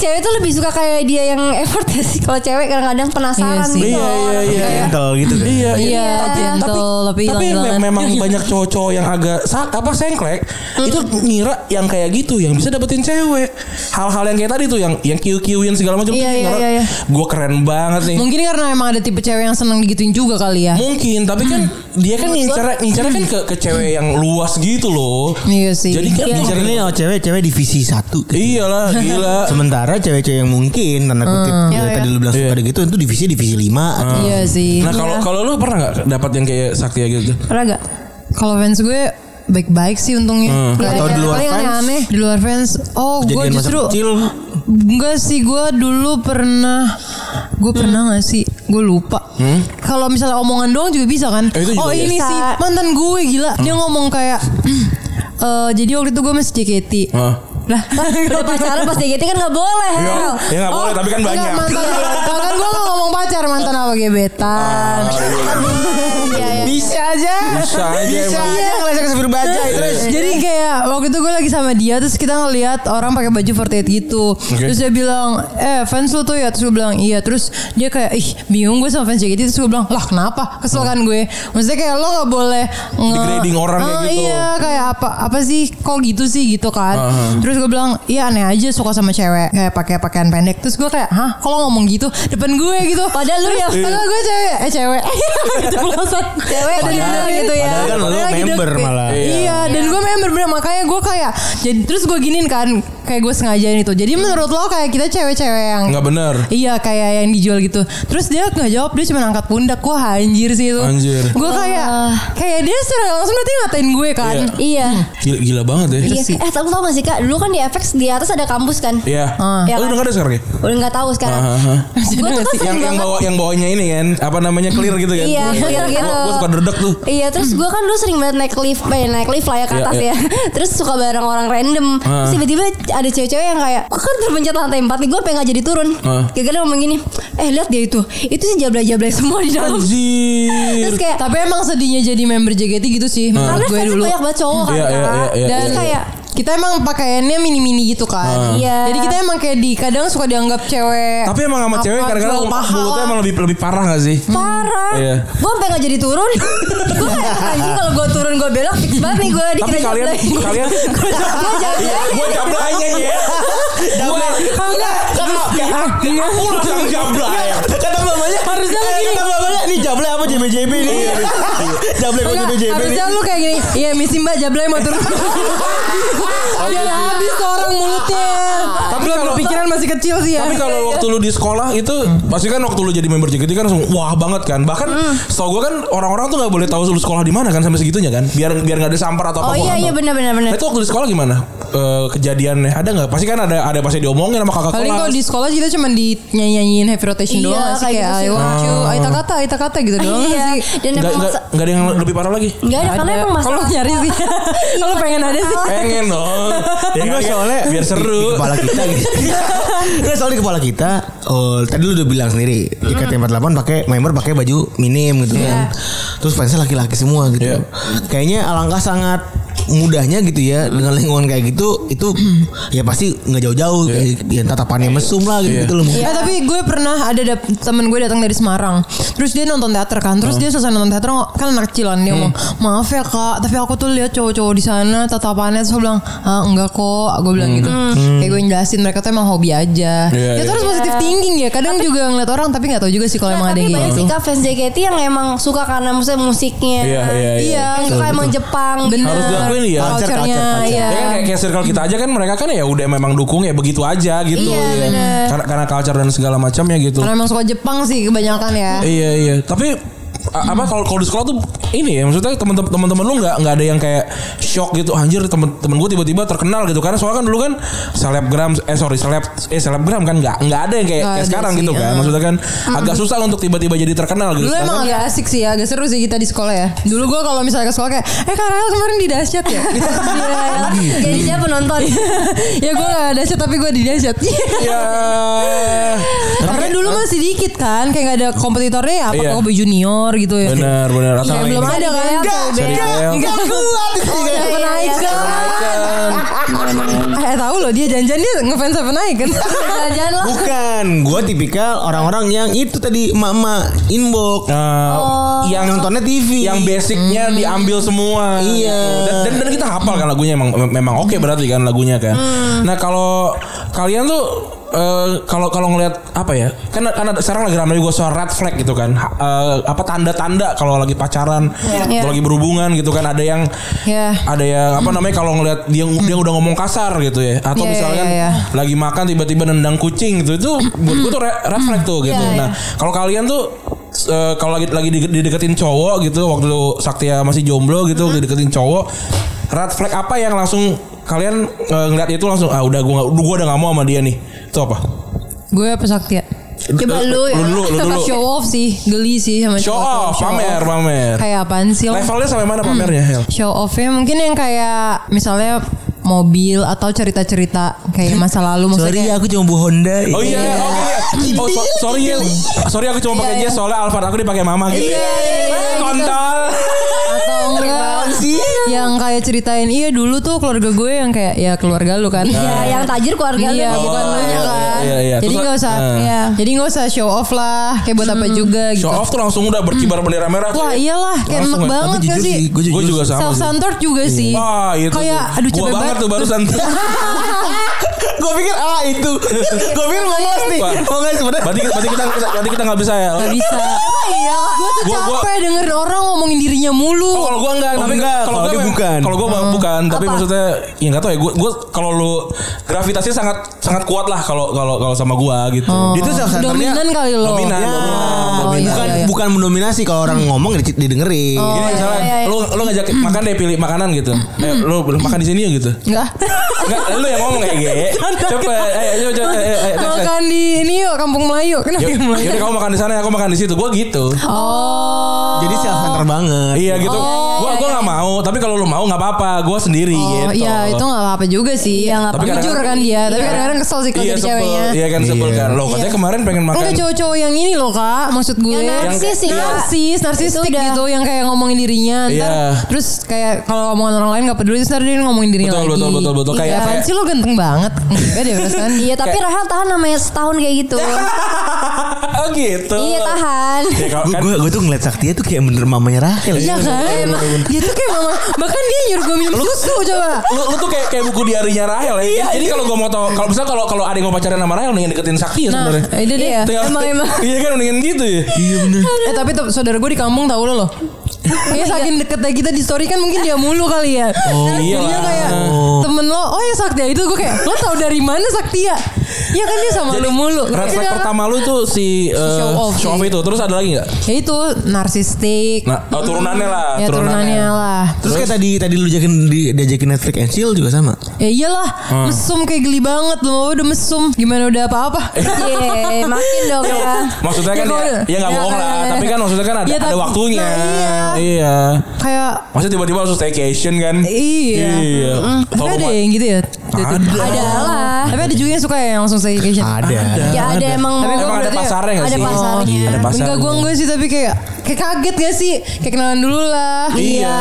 Speaker 1: Cewek tuh lebih suka kayak dia yang effort ya sih. Kalau cewek kadang-kadang penasaran
Speaker 4: Iya sih.
Speaker 1: gitu.
Speaker 3: Iya iya iya.
Speaker 5: Gentle gitu kan.
Speaker 3: Iya iya.
Speaker 4: Iya, gentle, tapi
Speaker 3: Tapi me-
Speaker 4: hilang-hilangan.
Speaker 3: memang banyak cowok-cowok yang agak sa- apa sengklek
Speaker 1: Mm.
Speaker 3: itu ngira yang kayak gitu yang bisa dapetin cewek. Hal-hal yang kayak tadi tuh yang yang kiu-kiuin segala macam.
Speaker 1: Iya, iya, iya, iya.
Speaker 3: Gue keren banget nih.
Speaker 4: Mungkin karena emang ada tipe cewek yang seneng digituin juga kali ya.
Speaker 3: Mungkin, tapi kan
Speaker 1: Mm.
Speaker 3: dia kan ngincar ngincar kan ke, ke cewek yang luas gitu loh.
Speaker 4: Iya sih.
Speaker 3: Jadi kan
Speaker 5: Ini
Speaker 3: ngincar
Speaker 5: Ini oh, cewek-cewek divisi satu. kan.
Speaker 3: Iyalah,
Speaker 5: *laughs*
Speaker 3: gila.
Speaker 5: Sementara cewek-cewek yang mungkin tanda kutip
Speaker 4: Hmm.
Speaker 5: ya, tadi lu bilang
Speaker 3: Iya.
Speaker 5: suka ada gitu itu divisi divisi lima atau
Speaker 4: Iya sih.
Speaker 3: Nah, kalau kalau lu pernah nggak dapat yang kayak Saktia gitu?
Speaker 1: Pernah gak?
Speaker 4: Kalau fans gue baik-baik sih untungnya.
Speaker 3: Hmm.
Speaker 4: Nggak
Speaker 5: Atau
Speaker 4: ada
Speaker 5: di luar
Speaker 4: yang
Speaker 5: fans?
Speaker 4: aneh-aneh. Di luar fans. Oh, gue
Speaker 5: kejadian masa
Speaker 4: justru
Speaker 5: kecil.
Speaker 4: Enggak sih gue dulu pernah Gue
Speaker 1: Hmm.
Speaker 4: pernah gak sih Gue lupa Kalau misalnya omongan doang juga bisa kan
Speaker 3: Hmm? Eh, itu juga
Speaker 4: Oh
Speaker 3: bisa. Hmm.
Speaker 4: ini sih mantan gue gila Dia ngomong kayak *clears throat* eh, Jadi waktu itu gue masih JKT
Speaker 3: Hah?
Speaker 4: Lah
Speaker 1: Udah pacaran pas DGT kan gak boleh. Oh.
Speaker 3: Ya,
Speaker 1: Hel.
Speaker 3: ya nggak boleh, tapi kan banyak.
Speaker 4: Enggak, Eh, mantan,
Speaker 3: *laughs*
Speaker 4: Kalau kan gue gak ngomong pacar Mantan apa gebetan Eh,
Speaker 1: Iya iya.
Speaker 4: Bisa aja
Speaker 3: Ah. Bisa aja
Speaker 5: Bisa
Speaker 3: emang.
Speaker 5: aja ngelesek ke supir baca terus.
Speaker 4: Jadi kayak waktu itu gue lagi sama dia terus kita ngelihat orang pakai baju 48 gitu. Terus dia bilang, "Eh, fans lu tuh ya?" Terus gue bilang, "Iya." Terus dia kayak, "Ih, bingung gue sama fans JKT." Terus gue bilang, "Lah, kenapa?" Kesel kan gue. Maksudnya kayak lo gak boleh nge-
Speaker 3: Degrading orang kayak
Speaker 4: Ah,
Speaker 3: gitu.
Speaker 4: Iya, kayak apa apa sih kok gitu sih gitu kan. Terus gue bilang, "Iya, aneh aja suka sama cewek kayak pakai pakaian pendek." Terus gue kayak, "Hah, kalau ngomong *laughs* gitu depan gue gitu." Padahal lu ya, padahal gue cewek, eh cewek. Kejeblosan.
Speaker 1: cewek
Speaker 4: Ada
Speaker 1: bener
Speaker 4: bener
Speaker 1: gitu
Speaker 4: gitu ya.
Speaker 1: ya.
Speaker 5: Padahal kan lu
Speaker 4: Padahal lagi
Speaker 5: member
Speaker 4: deket.
Speaker 5: malah.
Speaker 4: Iya, dan gue member bener makanya gue kayak jadi terus gue giniin kan kayak gue sengajain itu. Jadi menurut lo kayak kita cewek-cewek yang
Speaker 3: Enggak bener.
Speaker 4: Iya kayak yang dijual gitu Terus dia nggak jawab Dia cuma angkat pundak Gue anjir sih itu
Speaker 3: Anjir.
Speaker 4: Gue kayak Kayak dia secara langsung berarti ngatain gue kan
Speaker 3: Iya.
Speaker 1: Iya.
Speaker 3: Gila, gila banget ya.
Speaker 1: Iya. Eh, tau tau gak sih kak? Dulu kan di FX di atas ada kampus kan?
Speaker 3: Iya.
Speaker 1: Iya
Speaker 3: Oh,
Speaker 1: kan?
Speaker 3: udah nggak ada sekarang ya?
Speaker 1: Udah nggak tahu sekarang.
Speaker 3: Aha.
Speaker 1: Gue tuh kan
Speaker 3: Yang
Speaker 1: sering
Speaker 3: yang
Speaker 1: banget.
Speaker 3: bawa yang bawanya ini kan, apa namanya clear gitu kan?
Speaker 1: Iya, clear
Speaker 3: Gua-
Speaker 1: gitu.
Speaker 3: Gua suka dedek tuh. Hmm.
Speaker 1: Iya terus gue kan dulu sering banget naik lift eh, Naik lift lah ya ke
Speaker 3: Iya,
Speaker 1: atas
Speaker 3: iya.
Speaker 1: ya *laughs* Terus suka bareng orang random Terus
Speaker 3: Ah.
Speaker 1: tiba-tiba ada cewek-cewek yang kayak Gue kan terpencet lantai 4 nih Gue pengen gak jadi turun
Speaker 3: Ah.
Speaker 1: Gara-gara ngomong gini Eh lihat dia itu Itu sih jablay-jablay semua di dalam
Speaker 3: Anjir.
Speaker 1: Terus kayak
Speaker 4: Tapi emang sedihnya jadi member JKT gitu sih
Speaker 1: Karena
Speaker 4: Menurut gue
Speaker 1: fansnya
Speaker 4: dulu
Speaker 1: banyak banget cowok kan
Speaker 3: Nah, Iya, iya,
Speaker 1: Kak.
Speaker 3: iya, iya,
Speaker 1: Dan
Speaker 3: iya.
Speaker 1: kayak
Speaker 4: Kita emang pakaiannya mini-mini gitu kan
Speaker 1: Iya.
Speaker 4: Jadi kita emang kayak di Kadang suka dianggap cewek
Speaker 3: Tapi emang sama
Speaker 4: apa,
Speaker 3: cewek kadang-kadang
Speaker 4: jual paha
Speaker 3: mulutnya
Speaker 4: lah.
Speaker 3: emang lebih lebih parah gak sih?
Speaker 1: parah
Speaker 3: Iya.
Speaker 1: Gue sampai gak jadi turun *laughs* Gue kayak anjing kalau gue turun gue belok Fix banget nih gue
Speaker 3: Tapi
Speaker 1: dikira
Speaker 3: kalian
Speaker 1: jablay
Speaker 3: kalian
Speaker 4: Oh,
Speaker 1: Gue jablay
Speaker 3: gua jablaynya ya. Gua enggak. Aku langsung jablay.
Speaker 5: Kata mamanya
Speaker 4: Iya. Harusnya lagi
Speaker 5: Kata
Speaker 4: nih.
Speaker 5: mamanya nih jable apa JBJB nih. Jable apa
Speaker 4: Enggak,
Speaker 5: JBJB nih.
Speaker 4: harusnya lu kayak gini Iya misi mbak jablay mau turun Biar habis orang mulutnya
Speaker 3: Tapi
Speaker 4: Belum
Speaker 3: kalau-
Speaker 4: berpikiran masih kecil sih ya
Speaker 3: Tapi
Speaker 1: *laughs*
Speaker 3: kalau waktu lu di sekolah itu
Speaker 5: Hmm.
Speaker 3: pasti kan waktu lu jadi member JKT kan langsung wah banget kan. Bahkan
Speaker 1: Hmm.
Speaker 3: setahu gue kan orang-orang tuh nggak boleh tahu lu sekolah di mana kan sampai segitunya kan. Biar biar nggak ada sampar atau apa.
Speaker 1: Oh iya iya benar-benar benar.
Speaker 3: Nah, itu waktu di sekolah gimana? Eh, kejadiannya ada nggak? Pasti kan ada ada pasti diomongin sama kakak
Speaker 4: Paling kalau
Speaker 3: kelas.
Speaker 4: di sekolah kita cuma di nyanyiin heavy rotation
Speaker 1: Iya,
Speaker 4: doang nggak sih
Speaker 1: kayak
Speaker 4: kayak
Speaker 1: gitu sih.
Speaker 4: I want you, Aita kata, Aita kata gitu doang nggak
Speaker 1: Iya Dan
Speaker 4: sih.
Speaker 3: Nggak
Speaker 1: emang
Speaker 3: nggak
Speaker 1: masa-
Speaker 3: nggak ada yang lebih parah
Speaker 1: *laughs*
Speaker 3: lagi.
Speaker 1: Nggak ada Eh, karena emang
Speaker 4: Kalau
Speaker 1: masalah Iya,
Speaker 4: nyari
Speaker 1: *laughs*
Speaker 4: sih, kalau pengen ada sih.
Speaker 3: Pengen dong. Ya,
Speaker 5: *laughs* Enggak
Speaker 3: kan?
Speaker 5: Iya, soalnya
Speaker 3: biar
Speaker 5: di, di
Speaker 3: seru.
Speaker 5: kepala kita gitu. *laughs* Enggak soalnya di kepala kita oh, tadi lu udah bilang sendiri JKT48 pakai member pakai baju minim gitu
Speaker 4: Iya.
Speaker 5: kan. Terus fansnya laki-laki semua gitu.
Speaker 3: Iya.
Speaker 5: Kayaknya alangkah sangat mudahnya gitu ya dengan lingkungan kayak gitu itu ya pasti nggak jauh-jauh kayak ya, tatapannya mesum lah gitu,
Speaker 3: Iya.
Speaker 5: gitu loh mungkin.
Speaker 4: Eh tapi gue pernah ada dap- temen gue datang dari Semarang Terus dia nonton teater kan
Speaker 3: Hmm.
Speaker 4: Terus dia selesai nonton teater ngo- Kan anak kecilan dia ngomong Maaf ya kak Tapi aku tuh lihat cowok-cowok di sana Tatapannya Terus gue bilang ah, Enggak kok Gue bilang gitu
Speaker 1: Hmm.
Speaker 4: Kayak gue jelasin Mereka tuh emang hobi aja
Speaker 3: Hmm. Iya,
Speaker 4: Ya
Speaker 3: iya.
Speaker 4: terus positif thinking ya Kadang juga ngeliat orang Tapi gak tahu juga sih Kalau emang ada
Speaker 1: Iya, tapi
Speaker 4: yang kayak
Speaker 1: banyak
Speaker 4: gitu
Speaker 1: sih kak fans JKT yang emang suka karena musik musiknya.
Speaker 3: Iya, iya, iya.
Speaker 1: Yang suka emang Jepang.
Speaker 2: gitu.
Speaker 4: Bener.
Speaker 3: Harus diakuin ya.
Speaker 4: Culture-nya,
Speaker 5: Culture, culture.
Speaker 4: iya.
Speaker 3: Ya kan kayak, kayak circle kita aja kan mereka kan ya udah memang dukung ya begitu aja gitu.
Speaker 1: Iya,
Speaker 3: ya.
Speaker 1: bener.
Speaker 3: Karena karena culture dan segala macamnya gitu.
Speaker 4: Karena emang suka Jepang sih kebanyakan ya.
Speaker 3: Iya iya. Tapi a- apa kalau kalau di sekolah tuh ini ya maksudnya teman-teman teman-teman lu nggak nggak ada yang kayak shock gitu anjir temen-temen gue tiba-tiba terkenal gitu karena soalnya kan dulu kan selebgram eh sorry seleb eh selebgram kan nggak nggak ada yang kayak,
Speaker 4: Nggak
Speaker 3: kayak
Speaker 4: ada
Speaker 3: sekarang
Speaker 4: sih,
Speaker 3: gitu kan
Speaker 4: eh.
Speaker 3: maksudnya kan agak susah untuk tiba-tiba jadi terkenal gitu
Speaker 4: Dulu emang
Speaker 3: Sekarang-
Speaker 4: agak asik sih ya, agak seru sih kita di sekolah ya. Dulu gua kalau misalnya ke sekolah kayak, eh Karel kemarin di dahsyat ya. Gitu. Iya.
Speaker 1: Jadi dia penonton.
Speaker 4: *laughs* ya gua gak dahsyat tapi gua di dahsyat. *laughs*
Speaker 3: ya
Speaker 4: Karena dulu masih dikit kan, kayak gak ada kompetitornya ya, apa
Speaker 3: Iya.
Speaker 4: kok junior gitu ya.
Speaker 3: benar benar atau
Speaker 4: Kayak
Speaker 3: ini.
Speaker 4: belum ada kan?
Speaker 1: Enggak,
Speaker 3: Sorry, Bel.
Speaker 4: enggak *laughs* kuat Seven
Speaker 1: iya,
Speaker 4: Icon. Eh tahu loh dia janjian dia ngefans Seven kan. Icon.
Speaker 1: Jajan lah.
Speaker 5: Bukan, gua tipikal orang-orang yang itu tadi emak-emak inbox
Speaker 3: Eh,
Speaker 4: Oh.
Speaker 3: yang
Speaker 5: nontonnya TV.
Speaker 3: yang basicnya diambil semua. gitu.
Speaker 5: Iya.
Speaker 3: Dan, dan, dan kita hafal kan lagunya emang mem- memang oke berarti kan lagunya kan. Nah kalau kalian tuh eh, kalau kalau ngelihat apa ya kan kan ada, sekarang lagi ramai gue soal red flag gitu kan Ha- eh, apa tanda-tanda kalau lagi pacaran atau lagi berhubungan gitu kan ada yang
Speaker 4: Iya.
Speaker 3: ada yang apa namanya kalau ngelihat dia dia udah ngomong kasar gitu ya atau
Speaker 4: Iya,
Speaker 3: misalkan
Speaker 4: iya, iya.
Speaker 3: lagi makan tiba-tiba nendang kucing gitu itu buat gue tuh re- red flag tuh gitu.
Speaker 4: Iya,
Speaker 3: Nah kalau kalian tuh eh, kalau lagi lagi dide- dideketin cowok gitu waktu Saktia masih jomblo gitu dideketin cowok red flag apa yang langsung kalian eh, ngeliat itu langsung ah udah gue gue udah gak mau sama dia nih itu apa?
Speaker 4: gue apa Sakti ya?
Speaker 1: Coba
Speaker 3: Eh,
Speaker 1: lu ya.
Speaker 3: lu dulu lu dulu
Speaker 4: Show off sih, geli sih sama
Speaker 3: show
Speaker 4: cowok-cowok
Speaker 3: off
Speaker 4: show
Speaker 3: pamer Nah, pamer
Speaker 4: Kayak apaan sih lo?
Speaker 3: levelnya sampai mana pamernya Hel?
Speaker 4: show offnya mungkin yang kayak misalnya mobil atau cerita-cerita kayak masa lalu
Speaker 5: Sorry
Speaker 4: maksudnya.
Speaker 5: aku cuma bu Honda.
Speaker 4: Hmm.
Speaker 3: Oh iya, oke. Oh, so- sorry ya. Sorry aku cuma pakai jas soalnya Alphard aku dipakai mama gitu.
Speaker 4: Iya, iya, iya,
Speaker 3: Kontol.
Speaker 4: Atau enggak
Speaker 5: apaan sih?
Speaker 4: Yang kayak ceritain iya dulu tuh keluarga gue yang kayak ya keluarga lu kan.
Speaker 2: Ya, yang tajir keluarga
Speaker 4: Iya,
Speaker 2: lu.
Speaker 4: bukan
Speaker 3: Oh,
Speaker 4: lu
Speaker 3: iya,
Speaker 4: nya kan.
Speaker 3: iya, iya.
Speaker 4: Jadi
Speaker 3: Terus,
Speaker 4: nggak usah,
Speaker 3: eh.
Speaker 4: iya. jadi nggak usah show off lah. Kayak buat apa juga gitu.
Speaker 3: Show off tuh langsung udah berkibar bendera merah. tuh
Speaker 4: Wah iya
Speaker 3: ya.
Speaker 4: iyalah, kayak
Speaker 5: Langsung
Speaker 4: enak
Speaker 5: ya.
Speaker 4: banget
Speaker 5: Tapi
Speaker 4: gak
Speaker 5: jujur
Speaker 4: sih?
Speaker 5: sih, gue jujur.
Speaker 3: Gue juga sama.
Speaker 4: Self
Speaker 3: sih. Iya.
Speaker 4: centered juga sih.
Speaker 3: Wah itu
Speaker 4: kayak
Speaker 3: tuh.
Speaker 4: aduh
Speaker 3: Gua
Speaker 4: capek
Speaker 3: banget
Speaker 4: banget.
Speaker 3: tuh barusan
Speaker 5: Gue pikir ah itu. Gue pikir mau ngeles nih.
Speaker 3: Wah.
Speaker 5: Mau ngeles sebenarnya.
Speaker 3: Berarti berarti kita berarti kita nggak bisa ya.
Speaker 4: Gak bisa.
Speaker 2: Iya.
Speaker 4: Gue tuh
Speaker 3: Gua- gua-
Speaker 4: capek dengerin orang ngomongin dirinya
Speaker 3: Oh,
Speaker 4: mulu.
Speaker 3: kalau gua enggak,
Speaker 5: Oh,
Speaker 3: tapi
Speaker 5: enggak,
Speaker 3: kalau
Speaker 5: kalau
Speaker 3: gua
Speaker 5: dia
Speaker 3: memang-
Speaker 5: bukan.
Speaker 3: Kalau gua memang bukan, tapi maksudnya ya enggak tahu ya gua gua kalau lu gravitasinya sangat sangat kuat lah kalau kalau kalau sama gua gitu.
Speaker 5: Dia tuh self centernya
Speaker 4: Dominan kali lo.
Speaker 3: Dominan.
Speaker 5: Ya,
Speaker 3: dominan,
Speaker 4: iya,
Speaker 5: bukan
Speaker 3: ya.
Speaker 4: iya.
Speaker 5: bukan mendominasi kalau orang ngomong ya di- didengerin.
Speaker 3: Gini misalnya lu lu ngajak makan deh pilih makanan gitu. Eh lu belum makan di sini ya gitu.
Speaker 4: Enggak.
Speaker 3: Enggak, lu yang ngomong ya, Ge. Eh, Coba ayo ayo coba ayo, ayo, ayo, ayo.
Speaker 4: Makan di ini yuk Kampung Melayu. Kenapa
Speaker 3: eh, Yuk,
Speaker 4: Kampung Melayu?
Speaker 3: Ya, Yaudah kamu makan di sana, aku makan di situ. Gua gitu.
Speaker 4: Oh.
Speaker 5: Jadi self center banget.
Speaker 3: Iya gitu. gua gua nggak mau, tapi kalau lu mau nggak apa-apa, gua sendiri
Speaker 4: iya. Oh
Speaker 3: gitu.
Speaker 4: iya itu gak apa-apa juga sih
Speaker 2: Iya, nggak
Speaker 4: Tapi
Speaker 3: apa-apa.
Speaker 4: Jujur kan dia Tapi kadang-kadang kesel sih kalau
Speaker 3: Iya
Speaker 4: jadi
Speaker 3: sebel.
Speaker 4: ceweknya
Speaker 3: Iya kan sebel
Speaker 5: Iya.
Speaker 3: kan. Lo katanya kemarin pengen makan.
Speaker 4: Enggak cowok-cowok yang ini loh kak Maksud gue
Speaker 2: Yang narsis sih, Kak.
Speaker 4: Narsis Narsistik
Speaker 2: Itu udah.
Speaker 4: gitu Yang kayak ngomongin dirinya ntar
Speaker 3: Iya.
Speaker 4: Terus kayak kalau omongan orang lain gak peduli Terus ntar dia ngomongin dirinya
Speaker 3: Betul,
Speaker 4: lagi
Speaker 3: betul, betul, betul.
Speaker 4: Iya,
Speaker 3: Kayak-
Speaker 4: apaan
Speaker 3: kayak-
Speaker 4: sih lo ganteng banget Enggak deh perasaan
Speaker 2: *laughs* Iya, tapi Rahel tahan namanya setahun kayak
Speaker 3: *laughs*
Speaker 2: gitu.
Speaker 3: *laughs* oh gitu.
Speaker 2: Iya, tahan.
Speaker 3: Ya, kalau kan
Speaker 5: Gue gue tuh ngeliat Saktia tuh kayak bener mamanya Rahel.
Speaker 4: Iya kan Dia tuh kayak mama Bahkan dia nyuruh gue minum susu coba
Speaker 3: lu, lu tuh kayak kayak buku diarinya Rahel ya.
Speaker 4: Iya,
Speaker 3: Jadi kalau gua mau tau kalau misalnya kalau kalau ada yang mau pacaran sama Rahel mendingan deketin Sakti ya
Speaker 4: Nah
Speaker 3: sebenarnya.
Speaker 4: itu dia
Speaker 3: Tinggal-
Speaker 4: Emang emang
Speaker 3: Iya kan mendingan gitu ya.
Speaker 5: Iya bener.
Speaker 4: Eh tapi tuh, saudara gue di kampung tahu lo loh.
Speaker 2: Iya.
Speaker 4: Kayak saking deketnya kita di story kan mungkin dia mulu kali ya.
Speaker 3: Oh, iya
Speaker 4: Jadinya
Speaker 3: lah.
Speaker 4: kayak temen lo, oh ya Saktia itu gue kayak lo tau dari mana Saktia? Ya kan dia sama lo mulu. Iya.
Speaker 3: Red flag
Speaker 4: Kayak,
Speaker 3: pertama lu tuh si eh,
Speaker 4: Show off
Speaker 3: show off
Speaker 4: sih.
Speaker 3: itu. Terus ada lagi nggak?
Speaker 4: Ya itu narsistik.
Speaker 3: Nah, oh, turunannya lah,
Speaker 4: Ya turunannya lah.
Speaker 5: Terus kayak tadi tadi lu jakin di, diajakin Netflix and chill juga sama.
Speaker 4: Ya iyalah,
Speaker 3: Hmm.
Speaker 4: mesum kayak geli banget lo udah mesum. Gimana udah apa-apa?
Speaker 2: Iya, makin dong ya.
Speaker 3: Maksudnya
Speaker 4: Ya,
Speaker 3: kan ya,
Speaker 4: kalau-
Speaker 3: ya nggak
Speaker 4: ya,
Speaker 3: bohong lah,
Speaker 4: ya, ya.
Speaker 3: tapi kan maksudnya kan ada,
Speaker 4: Ya,
Speaker 3: ada
Speaker 4: tapi-
Speaker 3: waktunya.
Speaker 4: Nah,
Speaker 3: iya.
Speaker 4: Kayak
Speaker 3: Maksudnya tiba-tiba langsung staycation kan?
Speaker 4: iya.
Speaker 3: Iya.
Speaker 4: Mm, Tapi
Speaker 3: Tolong,
Speaker 4: ada
Speaker 3: Mat.
Speaker 4: yang gitu ya.
Speaker 2: Ada lah.
Speaker 4: Tapi ada juga yang suka ya langsung staycation.
Speaker 5: Ada.
Speaker 2: Ya ada emang
Speaker 4: Tapi gua
Speaker 3: Emang ada
Speaker 4: berarti-
Speaker 3: pasarnya nggak
Speaker 2: ada
Speaker 3: sih?
Speaker 2: pasarnya.
Speaker 3: Iya. Ada pasarnya.
Speaker 4: Enggak gue enggak sih tapi kayak kayak kaget gak sih? Kayak kenalan dulu lah.
Speaker 3: Iya.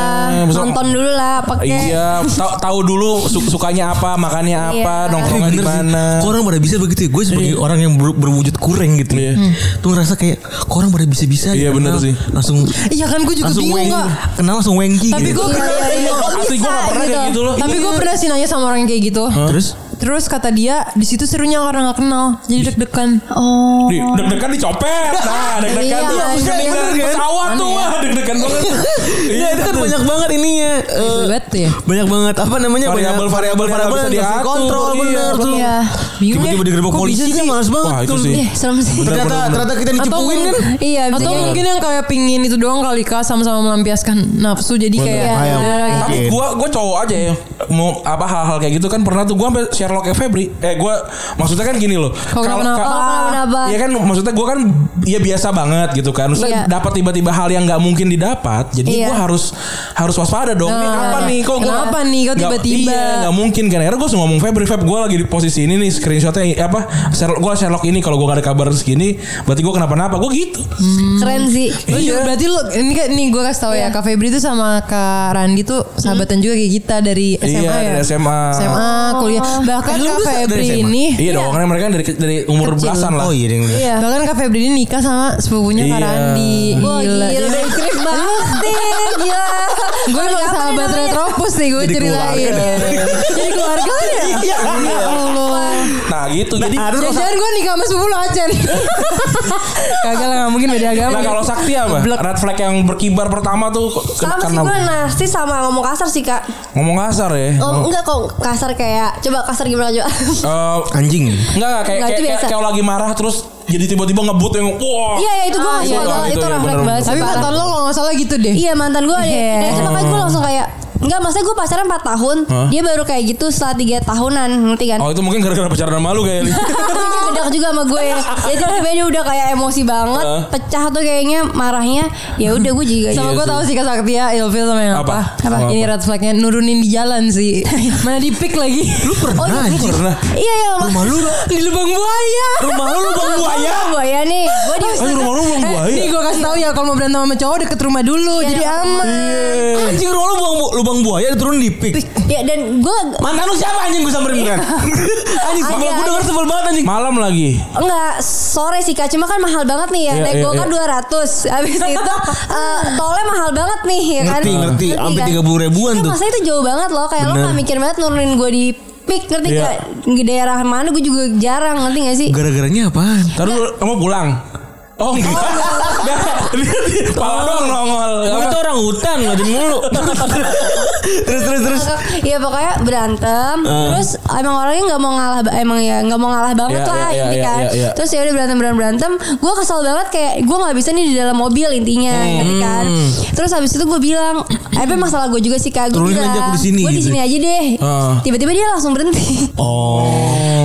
Speaker 3: Besok-
Speaker 2: Nonton dulu lah pakai.
Speaker 3: Iya, tahu tahu dulu su- sukanya apa, makannya apa,
Speaker 2: Iya.
Speaker 3: nongkrongnya di mana.
Speaker 5: Kok orang pada bisa begitu ya? Gue sebagai orang yang ber- berwujud kurang gitu ya.
Speaker 3: Iya.
Speaker 5: Tuh ngerasa kayak kok orang pada bisa-bisa
Speaker 3: Iya,
Speaker 5: gitu,
Speaker 3: bener
Speaker 5: kenal,
Speaker 3: sih.
Speaker 5: Langsung
Speaker 4: Iya kan gue juga
Speaker 5: langsung
Speaker 4: bingung
Speaker 5: wengki.
Speaker 4: kak.
Speaker 5: Kenal langsung wengki
Speaker 4: Tapi
Speaker 5: gitu.
Speaker 4: gue pernah
Speaker 3: Iya, Asli gue gak pernah kayak gitu loh.
Speaker 4: Tapi gue pernah sih nanya sama orang yang kayak gitu.
Speaker 5: Terus
Speaker 4: Iya. Terus kata dia di situ serunya orang nggak kenal, jadi deg-degan.
Speaker 2: Oh.
Speaker 3: Di- deg-degan dicopet. Nah, deg-degan
Speaker 2: Iya,
Speaker 3: tuh
Speaker 2: iya,
Speaker 3: meninggal
Speaker 5: iya.
Speaker 3: pesawat tuh. Wah, deg-degan banget.
Speaker 5: Iya itu kan banyak banget ininya eh,
Speaker 4: Ribet ya.
Speaker 5: Banyak banget apa namanya
Speaker 3: Variabel- variabel yang bisa
Speaker 5: variabel yang bisa
Speaker 3: diatur,
Speaker 5: dikontrol
Speaker 3: iya.
Speaker 5: bener tuh
Speaker 2: Iya.
Speaker 4: Bingung
Speaker 5: Tiba-tiba
Speaker 4: ya.
Speaker 5: digerebek
Speaker 4: Kok
Speaker 5: polisi
Speaker 4: bisa
Speaker 5: kan
Speaker 4: sih? Iya,
Speaker 5: males banget
Speaker 3: Wah, itu
Speaker 5: tuh.
Speaker 3: sih.
Speaker 4: gitu.
Speaker 2: Eh, serem sih.
Speaker 5: Ternyata
Speaker 3: bener, bener.
Speaker 5: ternyata kita dicepuin *laughs* kan
Speaker 2: Iya, bisa
Speaker 4: Atau
Speaker 2: jadi.
Speaker 4: mungkin yang kayak pingin itu doang kali kak sama-sama melampiaskan nafsu jadi kayak
Speaker 5: Ah, ya,
Speaker 4: Iya.
Speaker 5: mungkin.
Speaker 3: Tapi gue gue cowok aja ya mau apa hal-hal kayak gitu kan pernah tuh gue sampai Sherlock eh, Febri eh gue maksudnya kan gini loh
Speaker 4: kenapa napa?
Speaker 3: ka-
Speaker 2: Oh, kenapa napa?
Speaker 3: Iya kan maksudnya gue kan ya biasa banget gitu kan.
Speaker 2: Iya.
Speaker 3: Maksudnya dapat tiba-tiba hal yang nggak mungkin didapat. Jadi
Speaker 2: Iya.
Speaker 3: gue harus harus waspada dong. Ini
Speaker 4: Nah,
Speaker 3: apa nih kok gua-
Speaker 4: kenapa nih kok
Speaker 3: Nggak-
Speaker 4: tiba-tiba?
Speaker 3: Iya nggak mungkin kan. Akhirnya gue ngomong Febri Feb gue lagi di posisi ini nih screenshotnya apa Sherlock gue Sherlock ini kalau gue gak ada kabar segini berarti gue kenapa-napa gue gitu.
Speaker 4: Hmm.
Speaker 2: Keren sih.
Speaker 4: Lu juga- berarti lu ini kayak nih gue kasih tau ya Kak Febri tuh sama Kak Randi tuh sahabatan juga kayak kita dari SMA
Speaker 3: iya
Speaker 4: ya.
Speaker 3: dari SMA.
Speaker 4: SMA, kuliah. Bahkan
Speaker 5: Eh, lu
Speaker 4: Kak
Speaker 5: bisa dari
Speaker 4: Febri
Speaker 5: SMA?
Speaker 4: ya, ini
Speaker 3: Iya dong karena mereka kan dari dari umur
Speaker 4: Kecil.
Speaker 3: belasan lah.
Speaker 5: Oh iya deh
Speaker 2: Iya.
Speaker 4: Bahkan Kak Febri ini nikah sama sepupunya Kak
Speaker 3: Iya.
Speaker 4: Randi.
Speaker 2: Wah gila,
Speaker 4: Gila.
Speaker 2: Keren banget deh, gila.
Speaker 4: Gue emang
Speaker 2: Apa
Speaker 4: sahabat
Speaker 2: namanya?
Speaker 4: retropus nih gue
Speaker 5: Jadi
Speaker 4: ceritain.
Speaker 5: keluarga
Speaker 4: Jadi keluarga ya.
Speaker 5: Iya.
Speaker 4: Ya Allah.
Speaker 3: Nah gitu jadi.
Speaker 5: Nah, terus
Speaker 4: Jangan-jangan gue nikah sama sepupu lo
Speaker 3: *laughs*
Speaker 4: Acen. Kagak lah gak mungkin beda agama.
Speaker 3: Nah kalau Sakti apa? Red flag yang berkibar pertama tuh ke-
Speaker 2: Sama sih
Speaker 3: karena
Speaker 2: gue narsis sama ngomong kasar sih kak.
Speaker 3: ngomong kasar ya.
Speaker 2: Oh,
Speaker 1: um.
Speaker 2: enggak kok kasar kayak coba kasar gimana coba. *laughs*
Speaker 3: Eh,
Speaker 5: anjing.
Speaker 3: Enggak enggak kayak
Speaker 2: Nah,
Speaker 3: kayak,
Speaker 2: itu
Speaker 3: kayak,
Speaker 2: biasa.
Speaker 3: kayak lagi marah terus jadi tiba-tiba ngebut yang wah.
Speaker 2: Iya ya itu gue
Speaker 4: Ah,
Speaker 2: nggak
Speaker 4: iya,
Speaker 2: suka
Speaker 3: itu,
Speaker 2: banget.
Speaker 3: itu,
Speaker 2: itu
Speaker 3: iya,
Speaker 2: orang
Speaker 3: bener,
Speaker 2: banget.
Speaker 3: bener.
Speaker 4: Tapi
Speaker 2: Tapi
Speaker 3: Iya
Speaker 4: mantan lo kalau gak salah gitu deh.
Speaker 2: Iya mantan gue ada.
Speaker 4: Iya.
Speaker 2: Yeah. makanya gue langsung kayak
Speaker 1: Enggak, maksudnya gue pacaran 4 tahun.
Speaker 3: Hah?
Speaker 1: Dia baru kayak gitu setelah 3 tahunan, ngerti kan?
Speaker 3: Oh itu mungkin gara-gara pacaran sama lu gitu. kayaknya.
Speaker 1: Dia bedak juga sama gue. Ya tiba-tiba dia udah kayak emosi banget,
Speaker 3: Heeh.
Speaker 1: pecah tuh kayaknya marahnya. Ya udah gue juga.
Speaker 4: Sama
Speaker 3: Iya
Speaker 4: gue
Speaker 3: sih.
Speaker 4: tahu sih Kak Saktia ilfil sama yang
Speaker 3: Apa?
Speaker 4: apa?
Speaker 3: Apa?
Speaker 4: Ini red flagnya nurunin di jalan sih.
Speaker 3: *laughs*
Speaker 4: Mana di pick lagi? Oh,
Speaker 5: Lu pernah
Speaker 3: Lu
Speaker 5: anjir?
Speaker 3: pernah.
Speaker 1: Iya ya,
Speaker 5: Rumah lu lu-
Speaker 4: di lubang iya. buaya.
Speaker 3: Rumah
Speaker 4: *laughs*
Speaker 3: lu lubang buaya.
Speaker 1: buaya nih. Gue di
Speaker 3: Ayo rumah lu lubang
Speaker 4: Eh,
Speaker 3: buaya.
Speaker 4: Nih gue kasih tahu ya kalau mau berantem sama cowok deket rumah dulu jadi aman.
Speaker 3: Iya.
Speaker 5: Anjing rumah lu lubang, lubang buaya turun di pik.
Speaker 1: ya dan gue
Speaker 5: Mantan lu siapa anjing gue samperin kan? *laughs* anjing
Speaker 1: Ada,
Speaker 5: kalau gue
Speaker 1: ada.
Speaker 5: denger sebel banget anjing.
Speaker 3: Malam lagi.
Speaker 1: Enggak, sore sih Kak. Cuma kan mahal banget nih ya.
Speaker 3: Iya,
Speaker 1: Naik
Speaker 3: iya,
Speaker 1: gue kan 200. Habis itu eh, tolnya mahal banget nih ya kan.
Speaker 5: Ngerti, ngerti.
Speaker 1: kan?
Speaker 5: Sampai 30 ribuan
Speaker 1: Iya,
Speaker 5: tuh.
Speaker 1: Maksudnya itu jauh banget loh. Kayak lo
Speaker 5: Bener.
Speaker 1: gak mikir banget nurunin gue di pik. Ngerti
Speaker 3: Iya.
Speaker 1: gak? Di daerah mana gue juga jarang. Ngerti gak sih?
Speaker 5: Gara-garanya apaan?
Speaker 3: Taruh dulu, kamu pulang. Oh *laughs* enggak. Pala doang nongol.
Speaker 5: Kamu
Speaker 3: Apa?
Speaker 5: itu orang hutan ngajin mulu. *laughs* terus terus terus.
Speaker 1: *laughs* Iya pokoknya berantem
Speaker 5: Eh.
Speaker 1: Terus emang orangnya gak mau ngalah ba- Emang ya gak mau ngalah banget
Speaker 3: Iya,
Speaker 1: lah
Speaker 3: iya,
Speaker 1: ini
Speaker 3: iya,
Speaker 1: kan
Speaker 3: iya, iya.
Speaker 1: Terus ya udah berantem berantem berantem Gue kesel banget kayak Gue gak bisa nih di dalam mobil intinya ngerti kan Terus habis itu gue bilang Apa masalah gue juga sih kak Gue
Speaker 5: Turunin aja aku di sini,
Speaker 1: Gue di
Speaker 5: gitu."
Speaker 1: sini aja deh
Speaker 3: Ah.
Speaker 1: Tiba-tiba dia langsung berhenti *laughs*
Speaker 5: Oh,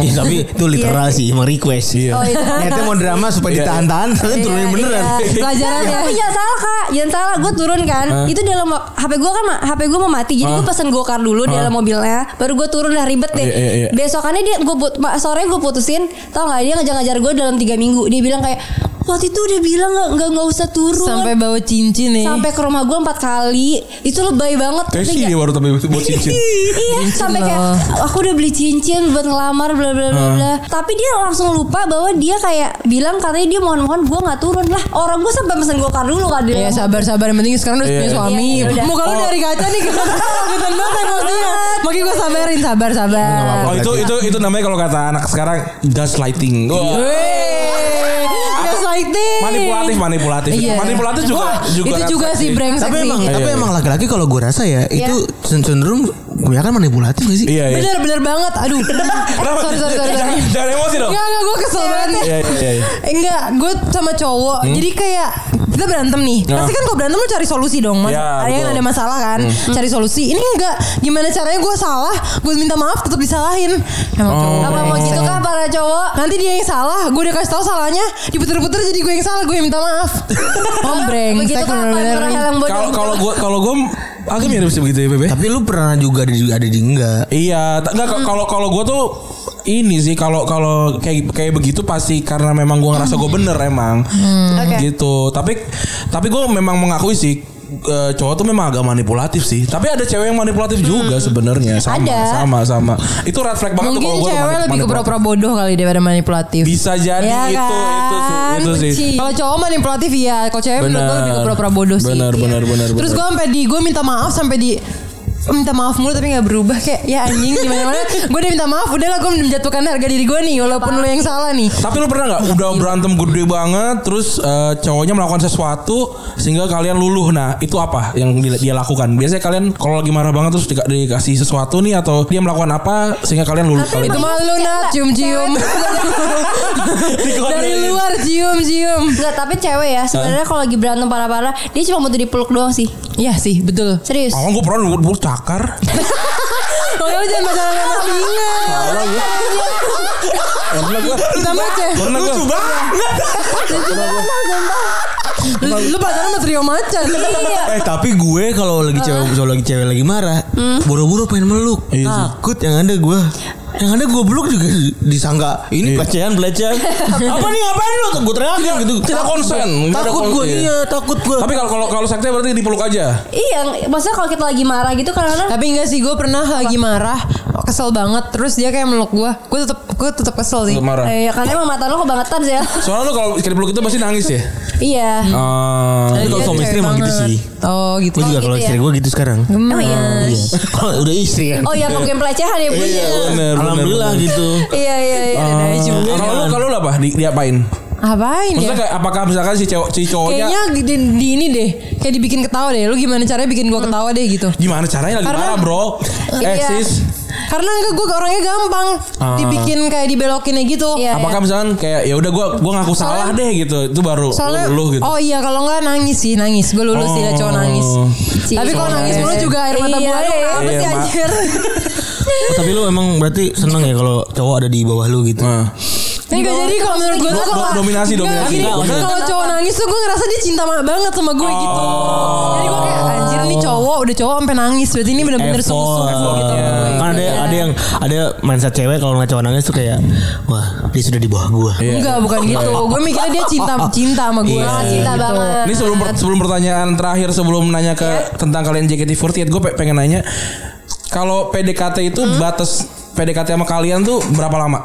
Speaker 5: Ih, tapi itu literal sih, emang request. Iya.
Speaker 1: Oh, iya.
Speaker 5: Niatnya mau drama supaya
Speaker 3: Iya.
Speaker 5: ditahan-tahan, ternyata turunin
Speaker 1: Iya,
Speaker 5: beneran.
Speaker 1: iya.
Speaker 4: Pelajaran
Speaker 3: *laughs*
Speaker 4: ya.
Speaker 1: Tapi jangan salah kak Jangan salah Gue turun kan Itu dalam HP gue kan ma- HP gue mau mati Jadi gue pesen gokar dulu dalam mobilnya Baru gue turun dah ribet deh
Speaker 3: Iya, iya, iya.
Speaker 1: Besokannya dia gue Sore gue putusin Tau gak dia ngejar-ngejar gue dalam 3 minggu Dia bilang kayak Waktu itu dia bilang gak, nggak nggak usah turun
Speaker 4: Sampai bawa cincin nih.
Speaker 1: Sampai ke rumah gue empat kali Itu lebay banget Ngerti
Speaker 3: Tesi
Speaker 1: nggak?
Speaker 3: dia baru tapi buat cincin.
Speaker 1: Iya sampai kayak aku udah beli cincin buat ngelamar bla bla bla bla. Tapi dia langsung lupa bahwa dia kayak bilang katanya dia mohon-mohon gue nggak turun lah. Orang gue sampai pesen gokar dulu kan dia.
Speaker 4: Ya sabar-sabar yang penting sekarang udah
Speaker 3: Iya. Oh.
Speaker 4: punya suami.
Speaker 1: Iya, udah.
Speaker 4: Muka lu dari kaca nih kelihatan banget maksudnya. Makanya gue sabarin sabar-sabar.
Speaker 3: Oh itu itu itu namanya kalau kata anak sekarang gaslighting. Wah.
Speaker 4: Iya. Weh, gaslighting.
Speaker 3: Manipulatif, manipulatif.
Speaker 4: Iya.
Speaker 3: Manipulatif juga
Speaker 4: Wah,
Speaker 3: juga
Speaker 4: itu
Speaker 3: kan
Speaker 4: juga sih
Speaker 3: pasti.
Speaker 4: brengsek
Speaker 5: Tapi
Speaker 4: sih.
Speaker 5: emang tapi
Speaker 3: Iya, iya.
Speaker 5: emang laki-laki kalau gue rasa ya
Speaker 1: Iya.
Speaker 5: itu cenderung kebanyakan manipulatif gak sih?
Speaker 3: Iya, iya.
Speaker 4: Bener bener banget.
Speaker 3: *laughs*
Speaker 4: Aduh. sorry sorry sorry. Iya, sorry.
Speaker 3: Jangan- Jangan emosi dong.
Speaker 4: Enggak enggak gue kesel banget nih.
Speaker 3: Iya, iya, iya.
Speaker 4: Enggak, gue sama cowok. Jadi kayak kita berantem nih.
Speaker 3: Hmm? Nah.
Speaker 4: Pasti kan kalau berantem lu cari solusi dong, Mas.
Speaker 3: Ya,
Speaker 4: ada yang
Speaker 3: betul. Hmm.
Speaker 4: ada masalah kan, cari solusi. Ini enggak gimana caranya gue salah, gue minta maaf tetap disalahin. Emang
Speaker 3: Oh.
Speaker 4: cowok.
Speaker 1: Apa mau gitu kah para cowok?
Speaker 4: Nanti dia yang salah, gue udah kasih tahu salahnya, diputer-puter jadi gue yang salah, gue yang minta
Speaker 1: *laughs*
Speaker 4: maaf. Om
Speaker 1: Begitu
Speaker 4: brengsek
Speaker 1: kan
Speaker 4: bener-bener
Speaker 1: orang
Speaker 4: nih.
Speaker 1: yang bodoh.
Speaker 3: Kalau kalau gua kalau gua agak mirip sih begitu ya Bebe.
Speaker 5: Tapi lu pernah juga ada juga ada di enggak?
Speaker 3: Iya, t- enggak kalau kalau gue tuh ini sih kalau kalau kayak kayak begitu pasti karena memang gue ngerasa gue bener emang
Speaker 4: Hmm.
Speaker 1: Oke.
Speaker 3: gitu. Tapi tapi gue memang mengakui sih eh, cowok tuh memang agak manipulatif sih. Tapi ada cewek yang manipulatif juga sebenarnya sama
Speaker 1: Ada.
Speaker 3: sama sama. Itu red flag banget tuh
Speaker 4: Mungkin
Speaker 3: kalau gua
Speaker 4: cewek
Speaker 3: tuh manip-
Speaker 4: lebih ke
Speaker 3: manipulatif.
Speaker 4: pura-pura bodoh kali daripada manipulatif.
Speaker 3: Bisa jadi
Speaker 4: Ya
Speaker 3: itu, itu sih
Speaker 4: kan?
Speaker 3: itu sih.
Speaker 1: Benci.
Speaker 4: Kalau cowok manipulatif ya, kalau cewek menurut gue lebih ke pura-pura bodoh sih.
Speaker 3: Benar
Speaker 4: Iya.
Speaker 3: benar benar.
Speaker 4: Terus gue
Speaker 3: benar.
Speaker 4: sampai di gue minta maaf sampai di minta maaf mulu tapi nggak berubah kayak ya anjing gimana
Speaker 3: *laughs*
Speaker 4: mana gue udah minta maaf udah lah gue menjatuhkan harga diri gue nih walaupun lo yang salah nih
Speaker 3: Tapi lu pernah nggak udah berantem gede banget terus eh, cowoknya melakukan sesuatu sehingga kalian luluh. Nah, itu apa yang di- dia lakukan? Biasanya kalian kalau lagi marah banget terus dika- dikasih sesuatu nih atau dia melakukan apa sehingga kalian luluh kali
Speaker 4: itu mah lu nah cium cium *laughs* dari luar cium cium
Speaker 1: Enggak, tapi cewek ya sebenarnya kalau lagi berantem parah-parah dia cuma butuh dipeluk doang sih.
Speaker 4: ya sih betul
Speaker 1: Serius.
Speaker 3: Oh, gue pernah dulu cakar.
Speaker 4: kalau lu jangan pacaran sama singa
Speaker 3: Pernah gue. Pernah gue.
Speaker 4: kita
Speaker 3: *laughs*
Speaker 4: baca
Speaker 3: Pernah gue.
Speaker 4: lu, lu pacaran sama trio macan
Speaker 5: Eh tapi gue kalau lagi cewek kalau lagi cewek lagi marah,
Speaker 1: Hmm.
Speaker 5: buru-buru pengen meluk.
Speaker 3: Iya
Speaker 1: Ah.
Speaker 3: sih.
Speaker 5: Takut yang ada Iya. gue. Yang ada gue peluk juga disangka ini pelecehan
Speaker 1: *laughs*
Speaker 5: pelecehan. apa nih ngapain lu? Gue teriakin gitu.
Speaker 3: Tidak konsen. Nggak ada
Speaker 5: Takut gue
Speaker 3: konsen.
Speaker 5: iya takut gue.
Speaker 3: Tapi kalau kalau kalau sakti berarti dipeluk aja.
Speaker 1: Iya, maksudnya kalau kita lagi marah gitu kadang-kadang
Speaker 4: Tapi enggak sih gue pernah lagi marah Kesel banget Terus dia kayak meluk gue Gue tetep gue tetep kesel sih
Speaker 3: Tetep marah.
Speaker 1: Eh, ya, karena emang mata lo kebangetan
Speaker 4: *laughs*
Speaker 1: sih ya.
Speaker 3: Soalnya lu kalau dipeluk itu pasti nangis ya.
Speaker 1: iya.
Speaker 3: Ah.
Speaker 4: Iya.
Speaker 5: Tapi kalau suami istri emang gitu sih.
Speaker 4: Oh gitu ya?
Speaker 5: Gue juga
Speaker 1: gitu
Speaker 5: kalau
Speaker 1: ya?
Speaker 5: istri gue gitu sekarang.
Speaker 4: Oh,
Speaker 1: Emang iya.
Speaker 5: Iya. Kalau udah istri kan.
Speaker 1: Oh ya mungkin pelecehan ya Bu.
Speaker 3: Iya, benar, benar,
Speaker 5: Alhamdulillah
Speaker 3: benar.
Speaker 5: gitu.
Speaker 1: Iya iya iya.
Speaker 4: Ada juga.
Speaker 3: Kalau lu kalau lu apa? Di, diapain?
Speaker 4: Apain ya
Speaker 3: Maksudnya kayak apakah misalkan si cewek si cowoknya
Speaker 4: Kayaknya di, di- di ini deh Kayak dibikin ketawa deh Lu gimana caranya bikin gue ketawa deh gitu
Speaker 3: Gimana caranya lagi
Speaker 4: Karena-
Speaker 3: marah bro? Eh
Speaker 1: Iya.
Speaker 3: sis
Speaker 4: Karena enggak gue orangnya gampang
Speaker 3: Ah.
Speaker 4: dibikin kayak dibelokinnya gitu.
Speaker 1: Iya.
Speaker 3: Apakah misalkan kayak ya udah gue gua ngaku salah
Speaker 4: Soalnya-
Speaker 3: deh gitu. Itu baru
Speaker 4: Soalnya
Speaker 3: lu gitu.
Speaker 4: Oh iya kalau enggak nangis sih nangis Gue lulus sih
Speaker 3: Oh.
Speaker 4: ada cowok nangis Tapi kalau nangis mulu juga air mata
Speaker 1: Iya,
Speaker 4: gue Aduh
Speaker 1: iya.
Speaker 4: kenapa
Speaker 3: Iya,
Speaker 4: sih
Speaker 3: Ma.
Speaker 4: anjir
Speaker 5: Oh, tapi lu emang berarti seneng ya kalau cowok ada di bawah lu gitu.
Speaker 3: Nah.
Speaker 4: Enggak jadi kalau menurut gue tuh
Speaker 3: Do-
Speaker 4: kalau
Speaker 3: do- dominasi,
Speaker 4: Enggak,
Speaker 3: dominasi. Oh.
Speaker 4: gini,
Speaker 3: Maksudnya-
Speaker 4: Kalau cowok nangis tuh gue ngerasa dia cinta ma- banget sama gue gitu Jadi
Speaker 3: Oh.
Speaker 4: gue kayak anjir nih cowok udah cowok sampai nangis Berarti ini bener-bener sungguh
Speaker 5: Effort.
Speaker 4: gitu sama gue.
Speaker 5: Kan ada ada yang ada mindset cewek kalau ngeliat cowok nangis tuh kayak wah dia sudah di bawah gua.
Speaker 3: Iya.
Speaker 4: Enggak bukan gitu Gue mikirnya dia cinta cinta sama gitu. gue
Speaker 5: Iya,
Speaker 1: Cinta banget.
Speaker 3: Ini sebelum per- sebelum pertanyaan terakhir sebelum nanya ke tentang kalian JKT48, gue pengen nanya kalau PDKT itu batas PDKT sama kalian tuh berapa lama?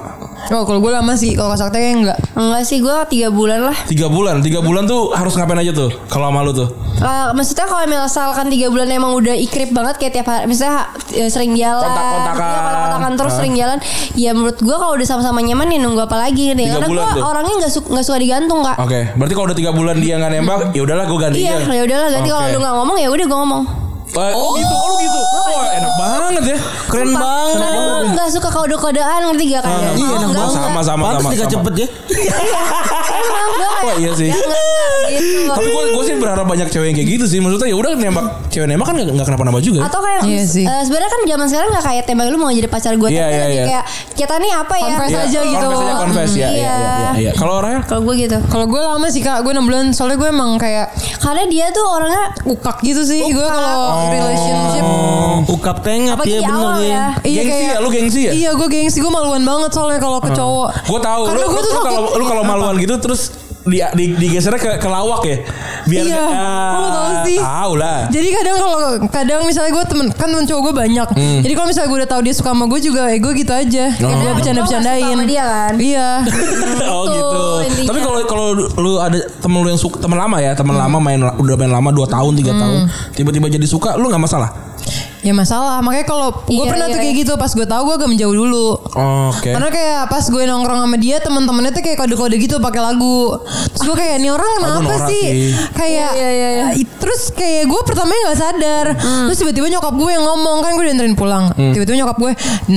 Speaker 4: Oh kalau gue lama sih Kalau kasaknya kayak enggak
Speaker 1: Enggak sih gue tiga bulan lah
Speaker 3: Tiga bulan, tiga bulan tuh harus ngapain aja tuh kalau sama lu tuh?
Speaker 1: Eh, Maksudnya kalau misalkan tiga bulan emang udah ikrip banget Kayak tiap hari Misalnya eh, sering jalan
Speaker 3: Kontak-kontakan.
Speaker 1: Iya, kontak-kontakan terus
Speaker 3: Ah.
Speaker 1: sering jalan Ya menurut gue kalau udah sama-sama nyaman ya nunggu apa lagi gitu. ya.
Speaker 3: Tiga
Speaker 1: Karena
Speaker 3: bulan
Speaker 1: gue
Speaker 3: tuh. Ah,
Speaker 1: orangnya gak, su- nggak suka digantung kak
Speaker 3: Oke, berarti kalau udah tiga bulan dia nggak nembak, ya udahlah gue ganti
Speaker 1: Iya,
Speaker 3: dia.
Speaker 1: ya udahlah ganti kalau
Speaker 3: Oke.
Speaker 1: lu nggak ngomong ya udah gue ngomong.
Speaker 3: Eh, Oh, gitu, oh lu gitu. Wah, enak banget ya. Keren
Speaker 1: Gue nggak suka kode-kodean ngerti gak kayak. mau,
Speaker 3: Ah,
Speaker 5: Iya, enak
Speaker 1: nggak,
Speaker 5: banget.
Speaker 1: nggak.
Speaker 3: Sama, sama,
Speaker 5: Pantes
Speaker 3: sama,
Speaker 5: nikah
Speaker 3: sama.
Speaker 5: cepet ya.
Speaker 1: Emang gue kayak.
Speaker 3: Wah, iya sih.
Speaker 1: ya, nggak, gitu.
Speaker 3: *laughs* Tapi gue gue sih berharap banyak cewek yang kayak gitu sih. Maksudnya ya udah nembak cewek nembak kan nggak nggak kenapa-napa juga.
Speaker 1: Atau kayak
Speaker 4: Iya
Speaker 1: eh,
Speaker 4: sih.
Speaker 1: sebenarnya kan zaman sekarang nggak kayak tembak lu mau jadi pacar gue
Speaker 3: Iya,
Speaker 1: tapi
Speaker 3: iya,
Speaker 1: lebih
Speaker 3: iya.
Speaker 1: kayak kita nih apa ya?
Speaker 4: Confess
Speaker 3: Iya,
Speaker 4: aja gitu.
Speaker 3: Confess aja confess ya.
Speaker 1: Hmm,
Speaker 3: Iya, iya,
Speaker 1: iya.
Speaker 3: iya. iya. Kalau orangnya
Speaker 1: Kalau gue gitu.
Speaker 4: Kalau gue lama sih kak Gue 6 bulan Soalnya gue emang kayak
Speaker 1: Karena dia tuh orangnya
Speaker 4: Ukak gitu sih Gue
Speaker 3: Oh.
Speaker 4: kalau relationship
Speaker 5: Ukap tengap
Speaker 1: Apalagi di
Speaker 5: ya bener
Speaker 1: awal
Speaker 5: ya.
Speaker 1: ya.
Speaker 3: Gengsi ya, lu gengsi ya? Hmm.
Speaker 4: Iya gue gengsi Gue maluan banget soalnya kalau ke cowok
Speaker 3: Gue tahu lu,
Speaker 4: Karena
Speaker 3: lu,
Speaker 4: gue tuh
Speaker 3: lu
Speaker 4: takut
Speaker 3: kalau lu kalau maluan gitu terus di, di, digesernya ke, ke lawak ya biar
Speaker 4: Iya. Lu
Speaker 3: ah,
Speaker 4: tahu sih.
Speaker 3: tahu
Speaker 4: *laughs*
Speaker 3: lah
Speaker 4: Jadi kadang kalau kadang misalnya gue temen kan temen cowok gue banyak. Jadi kalau misalnya gue udah tahu dia suka sama gue juga, eh gue gitu aja.
Speaker 3: Oh.
Speaker 4: Gue
Speaker 1: Lo gak
Speaker 4: bercanda-bercandain.
Speaker 1: suka sama dia kan?
Speaker 4: Iya.
Speaker 3: *laughs* oh
Speaker 1: Betul,
Speaker 3: gitu
Speaker 1: intinya.
Speaker 3: tapi kalau kalau lu ada temen lu yang suka temen lama ya temen lama main udah main lama 2 tahun
Speaker 4: Hmm.
Speaker 3: 3 tahun tiba-tiba jadi suka lu nggak masalah
Speaker 4: ya masalah. Makanya kalau gue
Speaker 1: Iya,
Speaker 4: pernah tuh
Speaker 1: iya.
Speaker 4: kayak gitu pas gue tahu gue agak menjauh dulu.
Speaker 3: oke
Speaker 4: Karena kayak pas gue nongkrong sama dia teman-temannya tuh kayak kode-kode gitu pakai lagu. Terus gue kayak ini orang kenapa
Speaker 3: norak
Speaker 4: sih?
Speaker 3: sih.
Speaker 4: Kayak
Speaker 1: Iya,
Speaker 4: i- terus kayak gue pertamanya nggak sadar.
Speaker 1: Hmm.
Speaker 4: Terus tiba-tiba nyokap gue yang ngomong kan gue dianterin pulang.
Speaker 3: Hmm.
Speaker 4: Tiba-tiba nyokap gue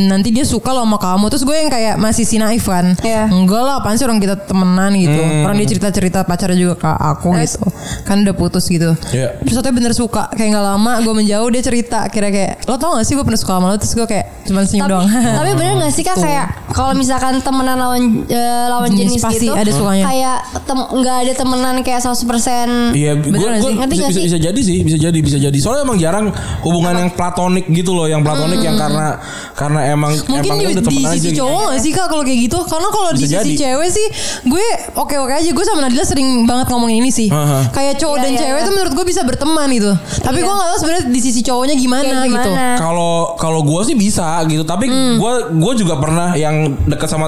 Speaker 4: nanti dia suka loh sama kamu. Terus gue yang kayak masih si naif kan.
Speaker 1: Iya.
Speaker 4: Enggak lah apaan sih orang kita temenan gitu.
Speaker 3: Hmm.
Speaker 4: Orang dia cerita-cerita pacarnya juga ke aku
Speaker 1: Eh.
Speaker 4: gitu. Kan udah putus gitu.
Speaker 3: Iya.
Speaker 4: Terus katanya bener suka kayak nggak lama gue menjauh dia cerita kira kayak lo tau gak sih gue pernah suka sama lo terus gue kayak cuman senyum
Speaker 1: tapi,
Speaker 4: doang.
Speaker 1: *laughs*
Speaker 4: *laughs*
Speaker 1: tapi bener gak sih kak kayak kalau misalkan temenan lawan eh, lawan
Speaker 4: Jenis
Speaker 1: jenis,
Speaker 4: pasti
Speaker 1: gitu
Speaker 4: ada sukanya.
Speaker 1: kayak tem- nggak ada temenan kayak 100%
Speaker 3: Iya, gue
Speaker 1: Bener nggak sih? Ngerti
Speaker 3: bisa,
Speaker 1: nggak
Speaker 3: bisa,
Speaker 1: sih?
Speaker 3: bisa jadi sih, bisa jadi, bisa jadi. Soalnya emang jarang hubungan yang platonik gitu loh, yang platonik
Speaker 1: Hmm.
Speaker 3: yang karena karena emang
Speaker 4: Mungkin
Speaker 3: emang
Speaker 4: di,
Speaker 3: udah
Speaker 4: di
Speaker 3: temen aja
Speaker 4: sisi
Speaker 3: gitu.
Speaker 4: cowok gak sih kak kalau kayak gitu Karena kalau di
Speaker 3: Bisa
Speaker 4: sisi
Speaker 3: jadi.
Speaker 4: cewek sih Gue oke-oke aja Gue sama Nadila sering banget ngomongin ini sih
Speaker 3: Aha.
Speaker 4: Kayak cowok
Speaker 1: Iya,
Speaker 4: dan
Speaker 1: iya,
Speaker 4: cewek
Speaker 1: iya.
Speaker 4: tuh menurut gue bisa berteman gitu Tapi gue gak tau sebenarnya di sisi cowoknya gimana,
Speaker 1: Kayak
Speaker 4: gitu
Speaker 1: gimana?
Speaker 3: Kalau kalau gue sih bisa gitu, tapi gue gue juga pernah yang deket sama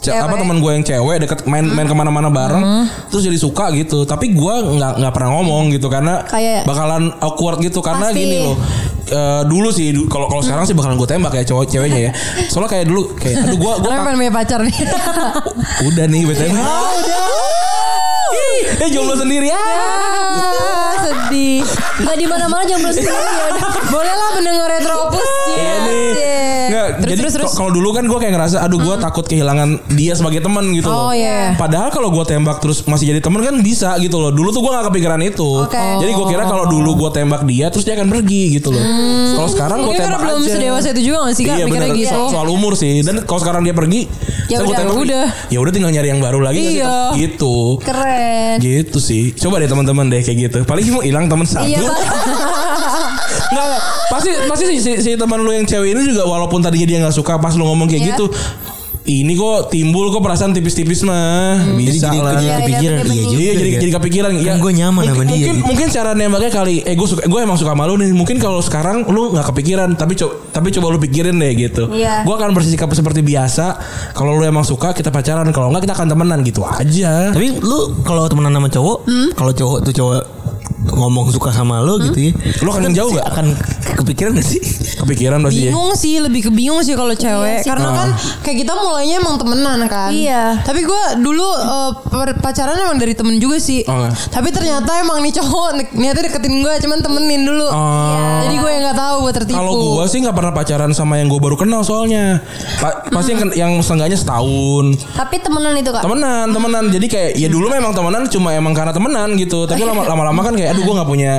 Speaker 3: ce-
Speaker 1: Hmm. Cewek.
Speaker 3: apa
Speaker 1: Hmm.
Speaker 3: teman gue yang cewek deket main main kemana-mana bareng, terus jadi suka gitu. Tapi gue nggak nggak pernah ngomong gitu karena
Speaker 1: Kayak-
Speaker 3: bakalan awkward gitu karena
Speaker 1: Pasti. Hmm.
Speaker 3: gini loh. eh, dulu sih du- kalau kalau sekarang sih bakalan gue tembak ya cowok ceweknya ya. Soalnya kayak dulu kayak aduh gue gue
Speaker 4: Karena pengen punya pacar
Speaker 1: *laughs*
Speaker 4: nih
Speaker 3: udah nih BTW.
Speaker 1: Iya.
Speaker 3: Eh jomblo sendiri ya.
Speaker 4: Ah, Sedih
Speaker 1: nggak di mana mana jomblo
Speaker 4: *laughs*
Speaker 1: sendiri ya udah.
Speaker 4: Boleh lah mendengar retropus
Speaker 3: Iya
Speaker 4: Cie.
Speaker 3: nih. Nggak,
Speaker 4: Terus,
Speaker 3: jadi
Speaker 4: terus, terus. Hmm.
Speaker 3: kalau- kalau dulu kan gue kayak ngerasa aduh gue takut kehilangan dia sebagai teman gitu
Speaker 4: Oh,
Speaker 3: loh.
Speaker 4: iya.
Speaker 3: Padahal kalau gue tembak terus masih jadi teman kan bisa gitu loh. Dulu tuh gue gak kepikiran itu.
Speaker 1: Oke.
Speaker 3: Jadi gue kira kalau dulu gue tembak dia terus dia akan pergi gitu loh. Kalau sekarang gue
Speaker 4: Hmm. Mungkin karena
Speaker 3: tembak
Speaker 4: belum
Speaker 3: aja.
Speaker 4: sedewasa itu juga gak sih kak
Speaker 3: Iya
Speaker 4: Mikirnya
Speaker 3: bener
Speaker 4: gitu
Speaker 3: so- soal umur sih dan kalau sekarang dia pergi
Speaker 4: Ya
Speaker 3: saya gua
Speaker 4: udah,
Speaker 3: tembak,
Speaker 4: udah.
Speaker 3: ya udah tinggal nyari yang baru lagi nggak sih?
Speaker 4: Iya.
Speaker 3: gitu
Speaker 1: keren
Speaker 3: gitu sih coba deh teman-teman deh kayak gitu paling mau hilang teman satu
Speaker 1: iya Pak.
Speaker 3: Enggak, enggak. pasti pasti si, si, si teman lu yang cewek ini juga walaupun tadinya dia nggak suka pas lu ngomong kayak
Speaker 1: Iya.
Speaker 3: gitu ini kok timbul kok perasaan tipis-tipis mah
Speaker 5: Hmm. Jadi
Speaker 3: bisa
Speaker 5: jadi
Speaker 3: lah
Speaker 5: jadi
Speaker 1: Iya, iya,
Speaker 5: kepikiran
Speaker 1: bener-bener.
Speaker 5: iya juga. Kan
Speaker 3: Iya jadi jadi kepikiran ya.
Speaker 5: gua nyaman sama
Speaker 3: mungkin,
Speaker 5: dia
Speaker 3: Mungkin
Speaker 5: gitu.
Speaker 3: mungkin cara nembaknya kali eh gue suka gue emang suka malu nih. Mungkin kalau sekarang lu nggak kepikiran tapi coba tapi coba lu pikirin deh gitu.
Speaker 1: Iya.
Speaker 3: Gue akan bersikap seperti biasa. Kalau lu emang suka kita pacaran, kalau nggak kita akan temenan gitu aja.
Speaker 5: Tapi lu kalau temenan sama cowok, kalau cowok tuh cowok ngomong suka sama lo gitu ya.
Speaker 3: Lo akan
Speaker 5: Kan
Speaker 3: jauh
Speaker 5: pasti
Speaker 3: gak?
Speaker 5: Akan kepikiran gak sih?
Speaker 3: Kepikiran pasti ya.
Speaker 5: Iya.
Speaker 4: bingung sih lebih ke bingung sih kalau cewek
Speaker 1: Iya sih.
Speaker 4: karena kan kayak kita mulainya emang temenan kan
Speaker 1: Iya.
Speaker 4: tapi gue dulu eh, per- pacaran emang dari temen juga sih
Speaker 3: Oh, iya.
Speaker 4: tapi ternyata emang nih cowok ni- niatnya deketin gue cuman temenin dulu
Speaker 3: Oh.
Speaker 4: jadi gue yang nggak tahu gue tertipu
Speaker 3: Kalau gua sih nggak pernah pacaran sama yang gua baru kenal soalnya. Pa- pasti yang, yang seenggaknya setahun.
Speaker 1: Tapi temenan itu kak.
Speaker 3: Temenan, temenan. Jadi kayak ya dulu memang temenan cuma emang karena temenan gitu. Tapi lama- lama-lama kan kayak aduh gua nggak punya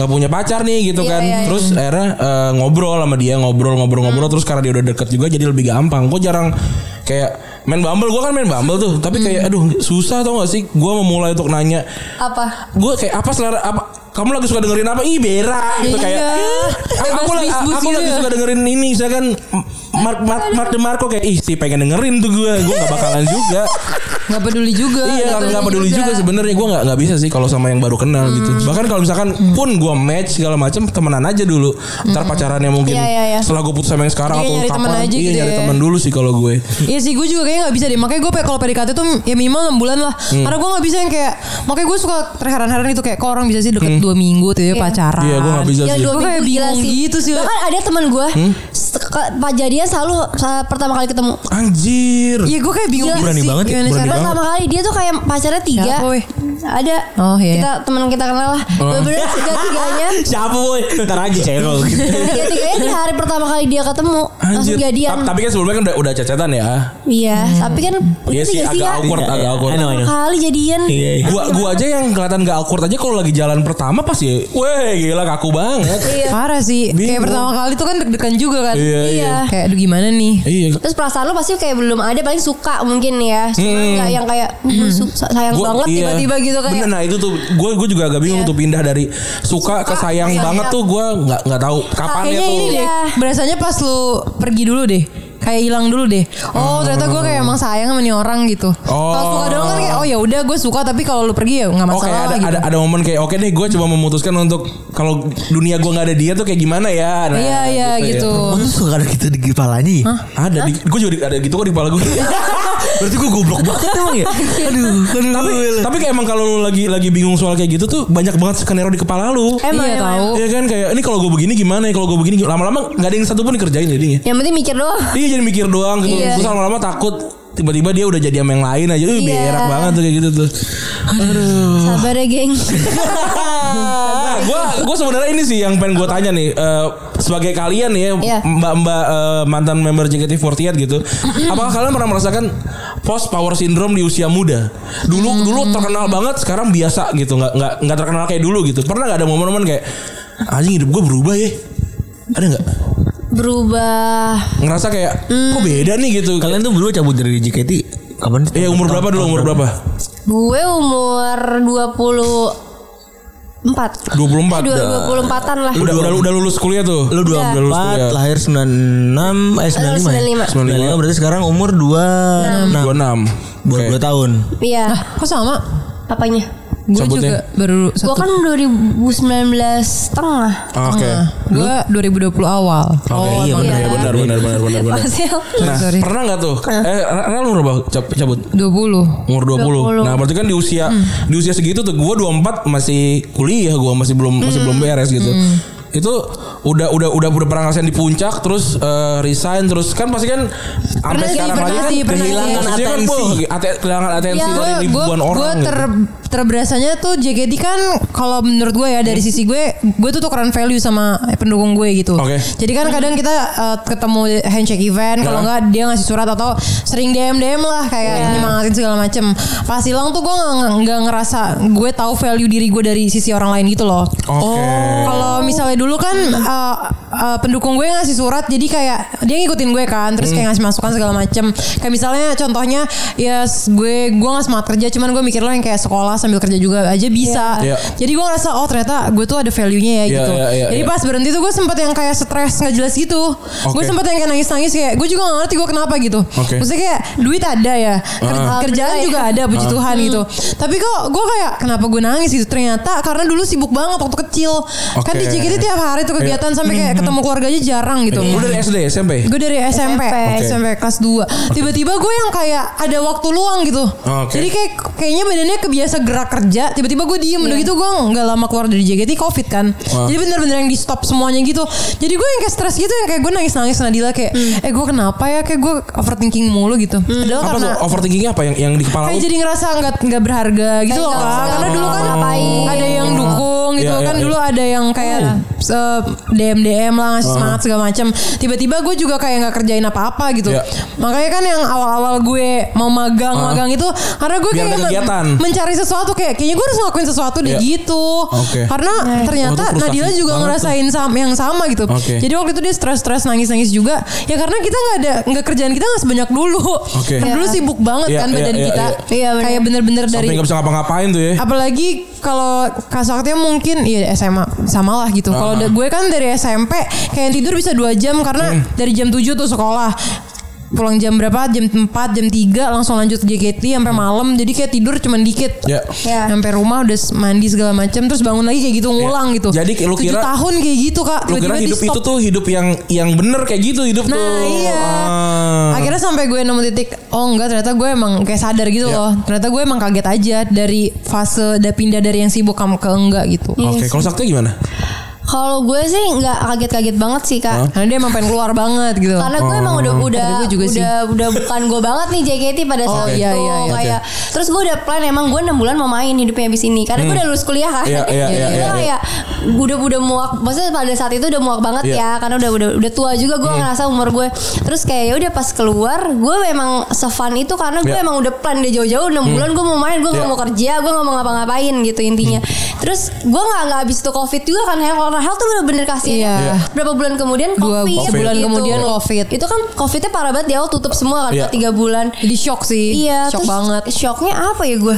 Speaker 3: nggak punya pacar nih gitu kan. Terus akhirnya eh, ngobrol sama dia, ngobrol-ngobrol-ngobrol terus karena dia udah deket juga jadi lebih gampang. Gua jarang kayak main Bumble, gua kan main Bumble tuh. Tapi kayak aduh susah tau gak sih gua memulai untuk nanya
Speaker 1: Apa?
Speaker 3: gue kayak apa selera apa kamu lagi suka dengerin apa? Ih berak gitu
Speaker 4: Iya.
Speaker 3: kayak. "Ah, Aku, lagi
Speaker 4: Bebas bisbus
Speaker 3: aku
Speaker 4: gitu
Speaker 3: lagi
Speaker 4: ya."
Speaker 3: suka dengerin ini misalkan Mark Mark Mark DeMarco kayak ih sih pengen dengerin tuh gue. Gue gak bakalan juga.
Speaker 4: nggak peduli juga
Speaker 3: iya
Speaker 4: nggak
Speaker 3: gak, peduli juga, sebenarnya gue gak, nggak bisa sih kalau sama yang baru kenal gitu. Bahkan kalau misalkan pun gue match segala macam temenan aja dulu. Ntar pacarannya mungkin
Speaker 1: Iya, iya, iya.
Speaker 3: setelah gue putus sama yang sekarang
Speaker 4: Iya,
Speaker 3: atau
Speaker 4: nyari
Speaker 3: kapan.
Speaker 4: teman aja
Speaker 3: iya
Speaker 4: gitu
Speaker 3: nyari
Speaker 4: ya.
Speaker 3: teman dulu sih kalau gue.
Speaker 4: Iya sih gue juga kayaknya gak bisa deh Makanya gue pe- kalau PDKT tuh ya minimal 6 bulan lah
Speaker 3: Hmm.
Speaker 4: Karena gue gak bisa yang kayak Makanya gue suka terheran-heran itu Kayak kok orang bisa sih deket 2 minggu tuh ya pacaran
Speaker 3: Hmm. Iya gue gak bisa
Speaker 1: Yang
Speaker 3: sih.
Speaker 1: dua
Speaker 4: Gua kayak
Speaker 1: minggu gila
Speaker 4: bingung
Speaker 1: sih.
Speaker 4: gitu sih.
Speaker 1: Bahkan ada teman gue,
Speaker 3: Hmm?
Speaker 1: Pak jadian selalu sa- pertama kali ketemu.
Speaker 3: Anjir.
Speaker 4: Iya gue kayak bingung Ya,
Speaker 1: Gila
Speaker 4: sih,
Speaker 5: Berani
Speaker 4: Iya.
Speaker 5: banget ya,
Speaker 4: gimana
Speaker 5: berani
Speaker 4: caranya.
Speaker 1: Pertama kali dia tuh kayak pacarnya tiga.
Speaker 4: Siapa, weh?
Speaker 1: Ada.
Speaker 4: Oh, iya.
Speaker 1: Kita teman kita kenal lah.
Speaker 3: Oh.
Speaker 1: Bener-bener tiga
Speaker 3: *laughs*
Speaker 1: tiganya.
Speaker 5: Siapa boy? Ntar aja cewek gitu.
Speaker 1: Tiga tiganya di hari pertama kali dia ketemu
Speaker 3: Anjir.
Speaker 1: langsung jadian.
Speaker 3: Ta- Tapi kan sebelumnya kan udah, udah cacatan ya.
Speaker 1: Iya. Tapi kan
Speaker 3: Iya
Speaker 1: udah
Speaker 3: sih
Speaker 1: tiga
Speaker 3: agak awkward,
Speaker 5: Iya,
Speaker 3: agak
Speaker 5: iya.
Speaker 3: awkward.
Speaker 5: I know, I know.
Speaker 1: Pertama kali jadian.
Speaker 5: Iya. iya.
Speaker 3: gua gua aja yang kelihatan gak awkward aja kalau lagi jalan pertama pas ya weh gila kaku banget
Speaker 1: Iya.
Speaker 4: Parah sih Kayak
Speaker 3: Bingung.
Speaker 4: pertama kali tuh kan deg-degan juga kan
Speaker 3: Iya,
Speaker 1: iya.
Speaker 4: Kayak aduh gimana nih
Speaker 3: iya
Speaker 1: Terus perasaan lu pasti kayak belum ada paling suka mungkin ya. Cuma nggak yang kayak "Uh, gua su- sayang
Speaker 3: Hmm. Gua-
Speaker 1: banget
Speaker 3: iya.
Speaker 1: tiba-tiba gitu kayak.
Speaker 3: Bener, nah itu tuh gue gue juga agak bingung tuh pindah dari suka, ke sayang
Speaker 1: sayang.
Speaker 3: banget tuh gue nggak nggak tahu kapan ya
Speaker 4: Kayaknya
Speaker 3: tuh
Speaker 4: ini deh
Speaker 1: Iya.
Speaker 4: Berasanya pas lu pergi dulu deh Kayak hilang dulu deh Oh ternyata gue kayak emang sayang sama nih orang gitu
Speaker 3: Ah. Oh.
Speaker 4: Kalau suka doang kan kayak Oh ya udah gue suka Tapi kalau lu pergi ya gak
Speaker 3: Oke
Speaker 4: masalah
Speaker 3: ada,
Speaker 4: gitu
Speaker 3: ada ada momen kayak oke deh gue coba memutuskan untuk kalau dunia gue nggak ada dia tuh kayak gimana ya Nah,
Speaker 4: Iya iya
Speaker 3: ya.
Speaker 4: gitu,
Speaker 5: Oh, tuh suka ada gitu di kepalanya ya?
Speaker 3: ada di, gue juga di- ada gitu kok di *laughs* kepala gue
Speaker 5: Berarti gue goblok banget emang ya? Aduh, aduh.
Speaker 3: Iya. tapi tapi kayak emang kalau lu lagi lagi bingung soal kayak gitu tuh banyak banget skenario di kepala lu
Speaker 1: Emang,
Speaker 4: Iya
Speaker 1: emang.
Speaker 4: tahu.
Speaker 3: Iya kan kayak ini kalau gue begini gimana ya kalau gue begini gimana?" lama-lama nggak ada yang satu pun dikerjain jadinya.
Speaker 1: Yang penting mikir doang.
Speaker 3: Iya jadi mikir doang gitu.
Speaker 1: Iya.
Speaker 3: Terus lama-lama takut tiba-tiba dia udah jadi sama yang lain aja. Ih
Speaker 1: Iya.
Speaker 3: berak banget tuh kayak gitu tuh.
Speaker 1: Sabar ya,
Speaker 3: *laughs*
Speaker 1: geng. *laughs*
Speaker 3: Nah, gua gua sebenarnya ini sih yang pengen gua tanya nih Eh, sebagai kalian ya
Speaker 1: Iya.
Speaker 3: mbak-mbak eh, mantan member JKT48
Speaker 1: *clears throat*
Speaker 3: gitu. Apakah kalian pernah merasakan post power syndrome di usia muda? Dulu
Speaker 1: Hmm.
Speaker 3: dulu terkenal banget, sekarang biasa gitu. Nggak nggak nggak terkenal kayak dulu gitu. Pernah nggak ada momen-momen kayak anjing hidup gue berubah ya? Ada nggak?
Speaker 1: Berubah.
Speaker 3: ngerasa kayak
Speaker 1: Hmm.
Speaker 3: kok beda nih gitu.
Speaker 5: Kalian tuh berdua cabut dari JKT kapan?
Speaker 3: Eh umur berapa dulu umur berapa?
Speaker 1: Gue umur 24
Speaker 3: 24.
Speaker 1: Eh, Dua-
Speaker 3: dah.
Speaker 1: 24-an lah
Speaker 3: Udah, udah udah lulus kuliah tuh.
Speaker 5: Lu 24
Speaker 3: lulus kuliah.
Speaker 5: lahir 96 eh
Speaker 3: 95.
Speaker 5: 95. 95. berarti sekarang umur 26.
Speaker 3: 26.
Speaker 5: Dua
Speaker 3: Oke.
Speaker 5: dua tahun.
Speaker 1: Iya
Speaker 4: Kok sama?
Speaker 1: Apanya?
Speaker 4: Gue
Speaker 3: Cabutnya.
Speaker 4: juga baru
Speaker 1: Gue
Speaker 4: satu
Speaker 1: kan 2019 setengah
Speaker 3: Ah, Oke.
Speaker 1: Ah.
Speaker 4: Gue 2020 awal
Speaker 3: Oke, iya benar, iya, benar, benar, benar, benar, benar.
Speaker 1: Masih
Speaker 3: Nah,
Speaker 4: Oh, *laughs* Sorry.
Speaker 3: pernah nggak tuh? Eh, Ran umur berapa? Cab- Cabut.
Speaker 4: 20
Speaker 3: Umur
Speaker 1: 20.
Speaker 3: 20. Nah, berarti kan di usia
Speaker 4: Hmm.
Speaker 3: di usia segitu tuh gua 24 masih kuliah, gua masih belum masih
Speaker 4: Hmm.
Speaker 3: belum beres gitu. Itu udah udah udah udah pernah ngerasain di puncak terus eh, resign terus kan pasti kan sampai
Speaker 4: sih,
Speaker 3: sekarang
Speaker 4: pernah
Speaker 3: aja kan
Speaker 4: sih, pernah
Speaker 3: kehilangan
Speaker 4: sih.
Speaker 3: atensi. Kan, ate- kehilangan atensi dari ribuan orang.
Speaker 4: Gue
Speaker 3: gitu.
Speaker 4: Ya, ter, terberasanya tuh JKT kan kalau menurut gue ya
Speaker 3: Hmm.
Speaker 4: dari sisi gue, gue tuh tukeran value sama pendukung gue gitu.
Speaker 3: Oke.
Speaker 4: Jadi kan kadang kita eh, ketemu handshake event, kalau
Speaker 3: Ya.
Speaker 4: enggak dia ngasih surat atau sering DM DM lah kayak nyemangatin segala macem. Pas hilang tuh gue nggak- nggak ngerasa gue tahu value diri gue dari sisi orang lain gitu loh.
Speaker 3: Oke.
Speaker 4: Kalau misalnya dulu kan uh, uh, pendukung gue ngasih surat jadi kayak dia ngikutin gue kan terus
Speaker 3: Hmm.
Speaker 4: kayak ngasih masukan segala macem kayak misalnya contohnya ya s- gue gue nggak semangat kerja cuman gue mikir lo yang kayak sekolah sambil kerja juga aja bisa
Speaker 3: Iya.
Speaker 4: jadi gue ngerasa oh ternyata gue tuh ada value nya ya
Speaker 3: Iya,
Speaker 4: gitu
Speaker 3: iya, iya,
Speaker 4: jadi
Speaker 3: iya.
Speaker 4: pas berhenti tuh gue sempet yang kayak stres nggak jelas gitu gue
Speaker 3: Oke.
Speaker 4: sempet yang kayak nangis nangis kayak gue juga gak ngerti gue kenapa gitu
Speaker 3: Oke.
Speaker 4: maksudnya kayak duit ada ya ker-
Speaker 1: Ah. Alhamdulillah
Speaker 4: kerjaan
Speaker 1: ya.
Speaker 4: juga ada
Speaker 3: Ah.
Speaker 4: puji Tuhan gitu. Tapi kok gue kayak kenapa gue nangis gitu? Ternyata karena dulu sibuk banget waktu kecil. Kan
Speaker 3: Oke. Iya.
Speaker 4: di JKT tiap hari tuh kegiatan sampai kayak ketemu keluarganya jarang gitu.
Speaker 3: Lu Iya. dari SD SMP?
Speaker 4: Gue dari SMP,
Speaker 1: Oke.
Speaker 4: SMP kelas 2. Tiba-tiba gue yang kayak ada waktu luang gitu.
Speaker 3: Oke.
Speaker 4: Jadi kayak kayaknya badannya kebiasa gerak kerja, tiba-tiba gue diem
Speaker 3: Iya.
Speaker 4: udah gitu gue nggak lama keluar dari JKT Covid kan. Jadi bener-bener yang di stop semuanya gitu. Jadi gue yang kayak stres gitu yang kayak gue nangis-nangis Nadila kayak eh gue kenapa ya kayak gue overthinking mulu gitu. Padahal
Speaker 3: Apa
Speaker 4: karena
Speaker 3: tuh overthinkingnya apa yang yang di kepala
Speaker 4: kayak
Speaker 3: lu?
Speaker 4: jadi ngerasa nggak nggak berharga gitu loh
Speaker 1: nggak
Speaker 4: kak
Speaker 1: usah,
Speaker 4: karena dulu kan
Speaker 1: ngapain.
Speaker 4: ada yang dukung gitu
Speaker 3: Iya,
Speaker 4: kan
Speaker 3: iya,
Speaker 4: dulu ada yang kayak eh, dm dm lah ngasih semangat segala macam tiba-tiba gue juga kayak nggak kerjain apa-apa gitu
Speaker 3: Iya.
Speaker 4: makanya kan yang awal-awal gue mau magang magang itu karena gue
Speaker 3: Biar
Speaker 4: kayak
Speaker 3: ada
Speaker 4: men-
Speaker 3: kegiatan.
Speaker 4: mencari sesuatu kayak kayaknya gue harus ngelakuin sesuatu deh
Speaker 3: Iya.
Speaker 4: gitu
Speaker 3: Oke.
Speaker 4: karena ternyata
Speaker 3: Wah, itu frustasi
Speaker 4: Nadila juga
Speaker 3: banget
Speaker 4: ngerasain sam- yang sama gitu
Speaker 3: Oke.
Speaker 4: jadi waktu itu dia stres-stres nangis-nangis juga ya karena kita nggak ada nggak kerjaan kita nggak sebanyak dulu
Speaker 3: Oke.
Speaker 4: Karena dulu sibuk banget
Speaker 3: Iya,
Speaker 4: kan
Speaker 3: iya,
Speaker 4: badan
Speaker 3: iya,
Speaker 4: kita
Speaker 3: iya.
Speaker 1: Iya, bener.
Speaker 4: kayak bener-bener dari
Speaker 3: Sampai nggak bisa ngapa-ngapain tuh ya.
Speaker 4: apalagi kalau kasaknya mungkin ya SMA sama lah gitu. Kalau
Speaker 3: Ah.
Speaker 4: da- gue kan dari SMP kayak yang tidur bisa dua jam karena
Speaker 3: Hmm.
Speaker 4: dari jam 7 tuh sekolah pulang jam berapa jam 4 jam 3 langsung lanjut JKT sampai
Speaker 3: Hmm.
Speaker 4: malam jadi kayak tidur cuman dikit
Speaker 3: Ya.
Speaker 1: Ya.
Speaker 4: sampai rumah udah mandi segala macam terus bangun lagi kayak gitu ngulang gitu
Speaker 3: Iya. Jadi lu
Speaker 4: Tujuh
Speaker 3: kira-
Speaker 4: tahun kayak gitu kak
Speaker 3: Lu kira
Speaker 4: tiba-tiba
Speaker 3: hidup
Speaker 4: di-stop.
Speaker 3: itu tuh hidup yang yang bener kayak gitu hidup
Speaker 4: Nah,
Speaker 3: tuh.
Speaker 4: iya.
Speaker 3: Ah.
Speaker 4: Akhirnya sampai gue nemu titik oh enggak ternyata gue emang kayak sadar gitu
Speaker 3: Iya.
Speaker 4: loh. Ternyata gue emang kaget aja dari fase da pindah dari yang sibuk kamu ke enggak gitu.
Speaker 3: Oke, kalau sakti gimana?
Speaker 1: Iya. Kalau gue sih nggak kaget-kaget banget sih kak.
Speaker 4: Karena dia emang pengen keluar banget gitu.
Speaker 1: Karena gue emang udah
Speaker 3: Oh.
Speaker 1: udah
Speaker 4: Ada gue juga
Speaker 1: udah
Speaker 4: sih.
Speaker 1: udah bukan gue banget nih JKT pada saat
Speaker 4: oke.
Speaker 1: itu
Speaker 4: Iya, iya, iya.
Speaker 1: kayak terus gue udah plan emang gue 6 bulan mau main hidupnya abis ini karena gue udah lulus kuliah kan.
Speaker 3: Iya, iya, iya,
Speaker 1: Jadi
Speaker 3: iya,
Speaker 1: kayak udah udah muak maksudnya pada saat itu udah muak banget
Speaker 3: Iya. Hmm.
Speaker 1: ya karena udah udah udah tua juga gue ngerasa umur gue terus kayak ya udah pas keluar gue memang sefun itu karena gue
Speaker 3: Iya. Hmm.
Speaker 1: emang udah plan dari jauh-jauh 6 bulan gue mau main gue nggak
Speaker 3: Iya. Hmm.
Speaker 1: mau kerja gue nggak mau ngapa-ngapain gitu intinya. Terus gue nggak nggak abis itu covid juga kan Hel karena Hel tuh bener-bener kasih
Speaker 4: Iya. Iya.
Speaker 1: berapa bulan kemudian
Speaker 4: Dua
Speaker 1: covid,
Speaker 4: bulan
Speaker 1: gitu.
Speaker 4: kemudian covid.
Speaker 1: Itu kan covidnya parah banget di awal tutup semua kan
Speaker 3: Iya.
Speaker 1: Pak, tiga bulan.
Speaker 4: Jadi shock sih.
Speaker 1: Iya,
Speaker 4: shock
Speaker 1: terus
Speaker 4: banget.
Speaker 1: Shocknya apa ya gue?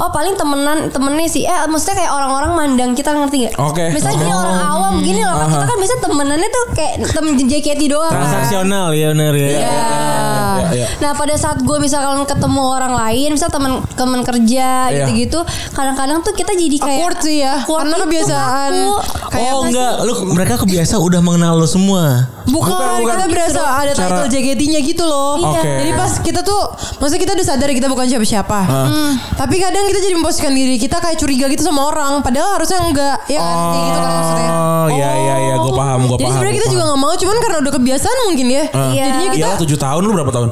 Speaker 1: Oh paling temenan temennya sih. Eh maksudnya kayak orang-orang mandang kita ngerti gak?
Speaker 3: Oke.
Speaker 1: Misalnya gini
Speaker 3: Oh.
Speaker 1: orang awam gini loh. Kita kan biasanya temenannya tuh kayak temen JKT doang. kan.
Speaker 5: Transaksional ya benar ya.
Speaker 3: Iya, iya.
Speaker 1: Nah pada saat gue misalkan ketemu orang lain, misal teman teman kerja
Speaker 3: Iya.
Speaker 1: gitu-gitu, kadang-kadang tuh kita jadi kayak
Speaker 4: Awkward sih ya.
Speaker 1: Awkward
Speaker 4: Karena
Speaker 1: itu
Speaker 4: kebiasaan.
Speaker 1: ngaku.
Speaker 4: Kayak
Speaker 5: oh
Speaker 4: apa sih?
Speaker 5: enggak, lu mereka kebiasa udah mengenal lu semua.
Speaker 4: Bukan,
Speaker 3: Bukan, bukan.
Speaker 4: kita berasa ada
Speaker 3: Cara-
Speaker 4: title JKT-nya gitu loh.
Speaker 3: Iya. Oke.
Speaker 4: Jadi pas kita tuh, maksudnya kita udah sadar kita bukan siapa-siapa. Hmm. Tapi kadang kita jadi memposisikan diri kita kayak curiga gitu sama orang, padahal harusnya enggak, ya kan? Kayak gitu kan maksudnya.
Speaker 3: Oh, iya iya iya, gue paham, gue paham.
Speaker 4: Jadi sebenarnya
Speaker 3: gua
Speaker 4: kita juga
Speaker 3: paham. Ah.
Speaker 4: nggak mau, cuman karena udah kebiasaan mungkin ya.
Speaker 1: Iya.
Speaker 4: Jadinya kita
Speaker 3: Iyalah 7 tahun lu berapa tahun?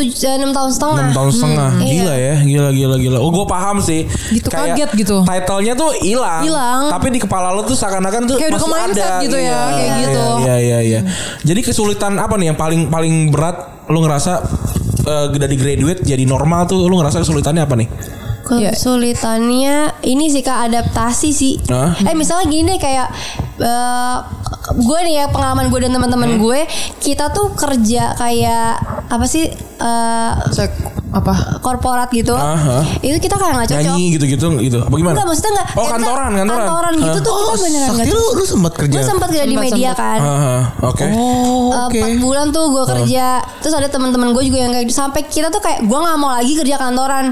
Speaker 1: tujuh eh, enam tahun setengah.
Speaker 3: 6
Speaker 4: hmm,
Speaker 3: tahun setengah.
Speaker 1: iya.
Speaker 3: Gila ya, gila gila gila. Oh, gue paham sih.
Speaker 4: Gitu, kaget gitu.
Speaker 3: Titlenya tuh hilang.
Speaker 4: Hilang.
Speaker 3: Tapi di kepala lu tuh seakan-akan tuh
Speaker 4: Kayak udah
Speaker 3: masih
Speaker 4: ke mindset
Speaker 3: ada.
Speaker 4: gitu ya,
Speaker 3: Iya,
Speaker 4: kayak
Speaker 3: iya,
Speaker 4: gitu.
Speaker 3: Iya iya iya. Jadi kesulitan apa nih yang paling paling berat lu ngerasa eh, dari graduate jadi normal tuh lu ngerasa kesulitannya apa nih?
Speaker 4: Iya.
Speaker 1: Kesulitannya ini sih kak adaptasi sih.
Speaker 3: Hah?
Speaker 1: Eh misalnya gini deh kayak eh, gue nih ya pengalaman gue dan teman-teman
Speaker 3: Hmm.
Speaker 1: gue kita tuh kerja kayak apa sih eh,
Speaker 4: Cek apa?
Speaker 1: korporat gitu.
Speaker 3: Aha.
Speaker 1: Itu kita kayak nggak cocok.
Speaker 3: Nyanyi gitu-gitu gitu. Apa gimana?
Speaker 1: Enggak maksudnya enggak
Speaker 3: Oh, kantoran, kantoran.
Speaker 1: Kantoran gitu
Speaker 3: Hah?
Speaker 1: tuh kita beneran
Speaker 5: Oh, Sakti
Speaker 1: enggak
Speaker 5: lu
Speaker 1: cocok.
Speaker 5: lu sempat
Speaker 1: Gue
Speaker 5: kerja.
Speaker 1: sempat kerja di
Speaker 4: Sempat,
Speaker 1: media
Speaker 4: sempat.
Speaker 1: kan.
Speaker 3: Ah, ya. oke.
Speaker 5: Oh,
Speaker 1: Eh,
Speaker 5: oke.
Speaker 1: Empat bulan tuh gue kerja Terus ada teman-teman gue juga yang kayak gitu Sampai kita tuh kayak Gue gak mau lagi kerja kantoran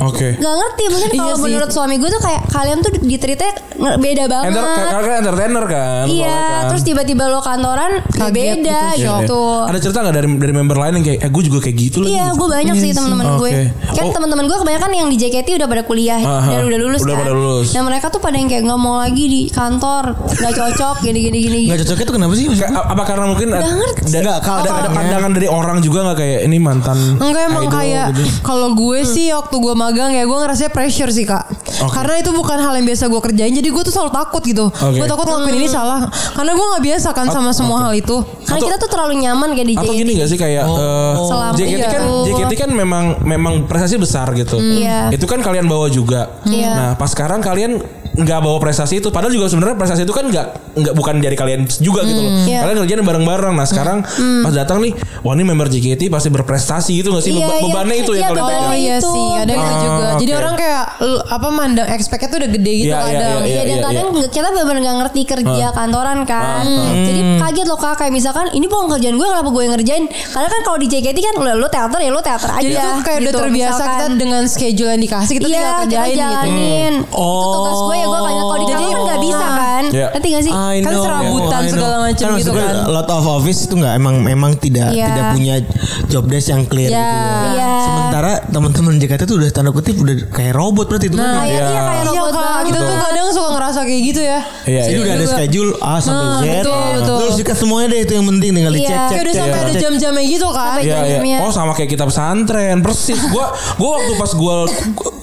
Speaker 3: Oke.
Speaker 1: Gak ngerti Mungkin
Speaker 4: Iya
Speaker 1: kalau
Speaker 4: sih.
Speaker 1: menurut suami gue tuh kayak Kalian tuh diteritanya nge- beda banget
Speaker 3: Enter, karena kan entertainer kan.
Speaker 1: Iya
Speaker 3: soalnya kan.
Speaker 1: Terus tiba-tiba lo kantoran ya
Speaker 4: Kaget
Speaker 1: Beda gitu,
Speaker 4: gitu,
Speaker 3: Iya, iya. Ada cerita nggak dari dari member lain yang kayak, eh gue juga kayak gitu lagi.
Speaker 1: Iya
Speaker 3: gitu.
Speaker 1: gue banyak sih teman-teman
Speaker 3: Oke.
Speaker 1: gue Kan
Speaker 3: Oh.
Speaker 1: teman-teman gue kebanyakan yang di JKT udah pada kuliah
Speaker 3: Aha.
Speaker 1: Dan udah lulus
Speaker 3: Udah
Speaker 1: kan
Speaker 3: pada lulus.
Speaker 1: Dan mereka tuh pada yang kayak Gak mau lagi di kantor Gak cocok gini-gini gini.
Speaker 3: Nah,
Speaker 5: Enggak cocoknya tuh kenapa sih?
Speaker 3: Kayak, a- apa karena mungkin ada,
Speaker 1: ngerti.
Speaker 3: ada,
Speaker 5: Nggak, kalau
Speaker 3: ada,
Speaker 5: ada-
Speaker 3: ada pandangan dari orang juga nggak kayak ini mantan
Speaker 4: Enggak emang
Speaker 3: idol gitu.
Speaker 4: kayak kalau gue sih waktu gue magang ya gue ngerasa pressure sih kak. Karena itu bukan hal yang biasa gue kerjain jadi gue tuh selalu takut gitu.
Speaker 3: Oke.
Speaker 4: Gue takut ngelakuin ini
Speaker 1: Hmm.
Speaker 4: salah karena gue nggak biasa kan sama semua hal itu.
Speaker 1: Karena
Speaker 3: Atau-
Speaker 1: kita tuh terlalu nyaman kayak di
Speaker 3: atau
Speaker 1: JKT
Speaker 3: gini ya, gak sih kayak eh,
Speaker 1: Selama iya.
Speaker 3: JKT kan
Speaker 1: itu.
Speaker 3: JKT kan memang memang prestasi besar gitu.
Speaker 1: Iya.
Speaker 3: Itu kan kalian bawa juga.
Speaker 1: Iya.
Speaker 3: Nah, pas sekarang kalian nggak bawa prestasi itu padahal juga sebenarnya prestasi itu kan nggak nggak bukan dari kalian juga gitu loh.
Speaker 1: Iya. Hmm.
Speaker 3: Kalian kerjaan bareng-bareng. Nah, sekarang pas datang nih, wah ini member JKT pasti berprestasi gitu gak sih?
Speaker 1: Iya,
Speaker 3: Beba-
Speaker 1: iya.
Speaker 3: bebannya itu
Speaker 1: Iya,
Speaker 3: yang kalian
Speaker 1: bebannya
Speaker 3: pegang.
Speaker 4: Oh iya
Speaker 1: Itu.
Speaker 4: sih, ada itu
Speaker 3: Ah,
Speaker 4: juga. Jadi
Speaker 3: oke.
Speaker 4: orang kayak l- apa mandang expect-nya tuh udah gede gitu
Speaker 3: Iya, iya,
Speaker 4: kadang.
Speaker 3: iya,
Speaker 1: Iya, dan
Speaker 3: iya,
Speaker 1: kadang nggak- kita benar-benar nggak ngerti kerja
Speaker 3: Ah.
Speaker 1: kantoran kan. Jadi
Speaker 3: Hmm.
Speaker 1: kaget loh kak kayak misalkan ini bukan kerjaan gue kenapa gue yang ngerjain? Karena kan kalau di JKT kan lo, lo teater ya lo teater aja.
Speaker 4: Jadi tuh kayak udah
Speaker 1: gitu,
Speaker 4: terbiasa
Speaker 1: misalkan.
Speaker 4: kita dengan schedule yang dikasih kita
Speaker 1: Iya,
Speaker 4: tinggal
Speaker 1: kita
Speaker 4: kerjain gitu.
Speaker 1: jalanin. Itu tugas gue ya gue kayak kalau di
Speaker 4: Jadi
Speaker 1: kantor Hmm. kan nggak bisa
Speaker 4: nah,
Speaker 1: kan. Iya.
Speaker 3: Iya.
Speaker 1: Nanti gak sih?
Speaker 5: Ya. I
Speaker 4: Kan
Speaker 5: know,
Speaker 4: serabutan
Speaker 5: I know.
Speaker 4: segala macam
Speaker 5: maksud
Speaker 4: gitu
Speaker 5: gue,
Speaker 4: kan.
Speaker 5: A lot of office itu nggak emang emang tidak
Speaker 1: Iya.
Speaker 5: tidak punya job desk yang clear
Speaker 4: Iya.
Speaker 5: gitu. loh.
Speaker 1: Iya.
Speaker 5: Sementara teman-teman JKT tuh udah tanda kutip udah kayak robot berarti itu
Speaker 1: Kayak
Speaker 5: kan.
Speaker 1: iya, gitu
Speaker 3: Iya.
Speaker 1: kayak
Speaker 4: Iya
Speaker 1: robot
Speaker 4: kak,
Speaker 1: banget.
Speaker 4: kita tuh kadang suka ngerasa kayak gitu ya.
Speaker 3: Iya,
Speaker 5: Jadi
Speaker 3: iya.
Speaker 5: udah ada
Speaker 4: juga.
Speaker 5: schedule A sampai
Speaker 4: Nah,
Speaker 5: Z.
Speaker 4: betul, betul.
Speaker 5: Terus juga semuanya deh itu yang penting tinggal
Speaker 1: Iya.
Speaker 5: dicek.
Speaker 4: Kayak Ya udah sampai ada jam-jamnya gitu kan.
Speaker 1: Sampai
Speaker 3: Iya, iya.
Speaker 1: jamnya.
Speaker 3: Oh sama kayak kita pesantren persis. Gua gua waktu pas gua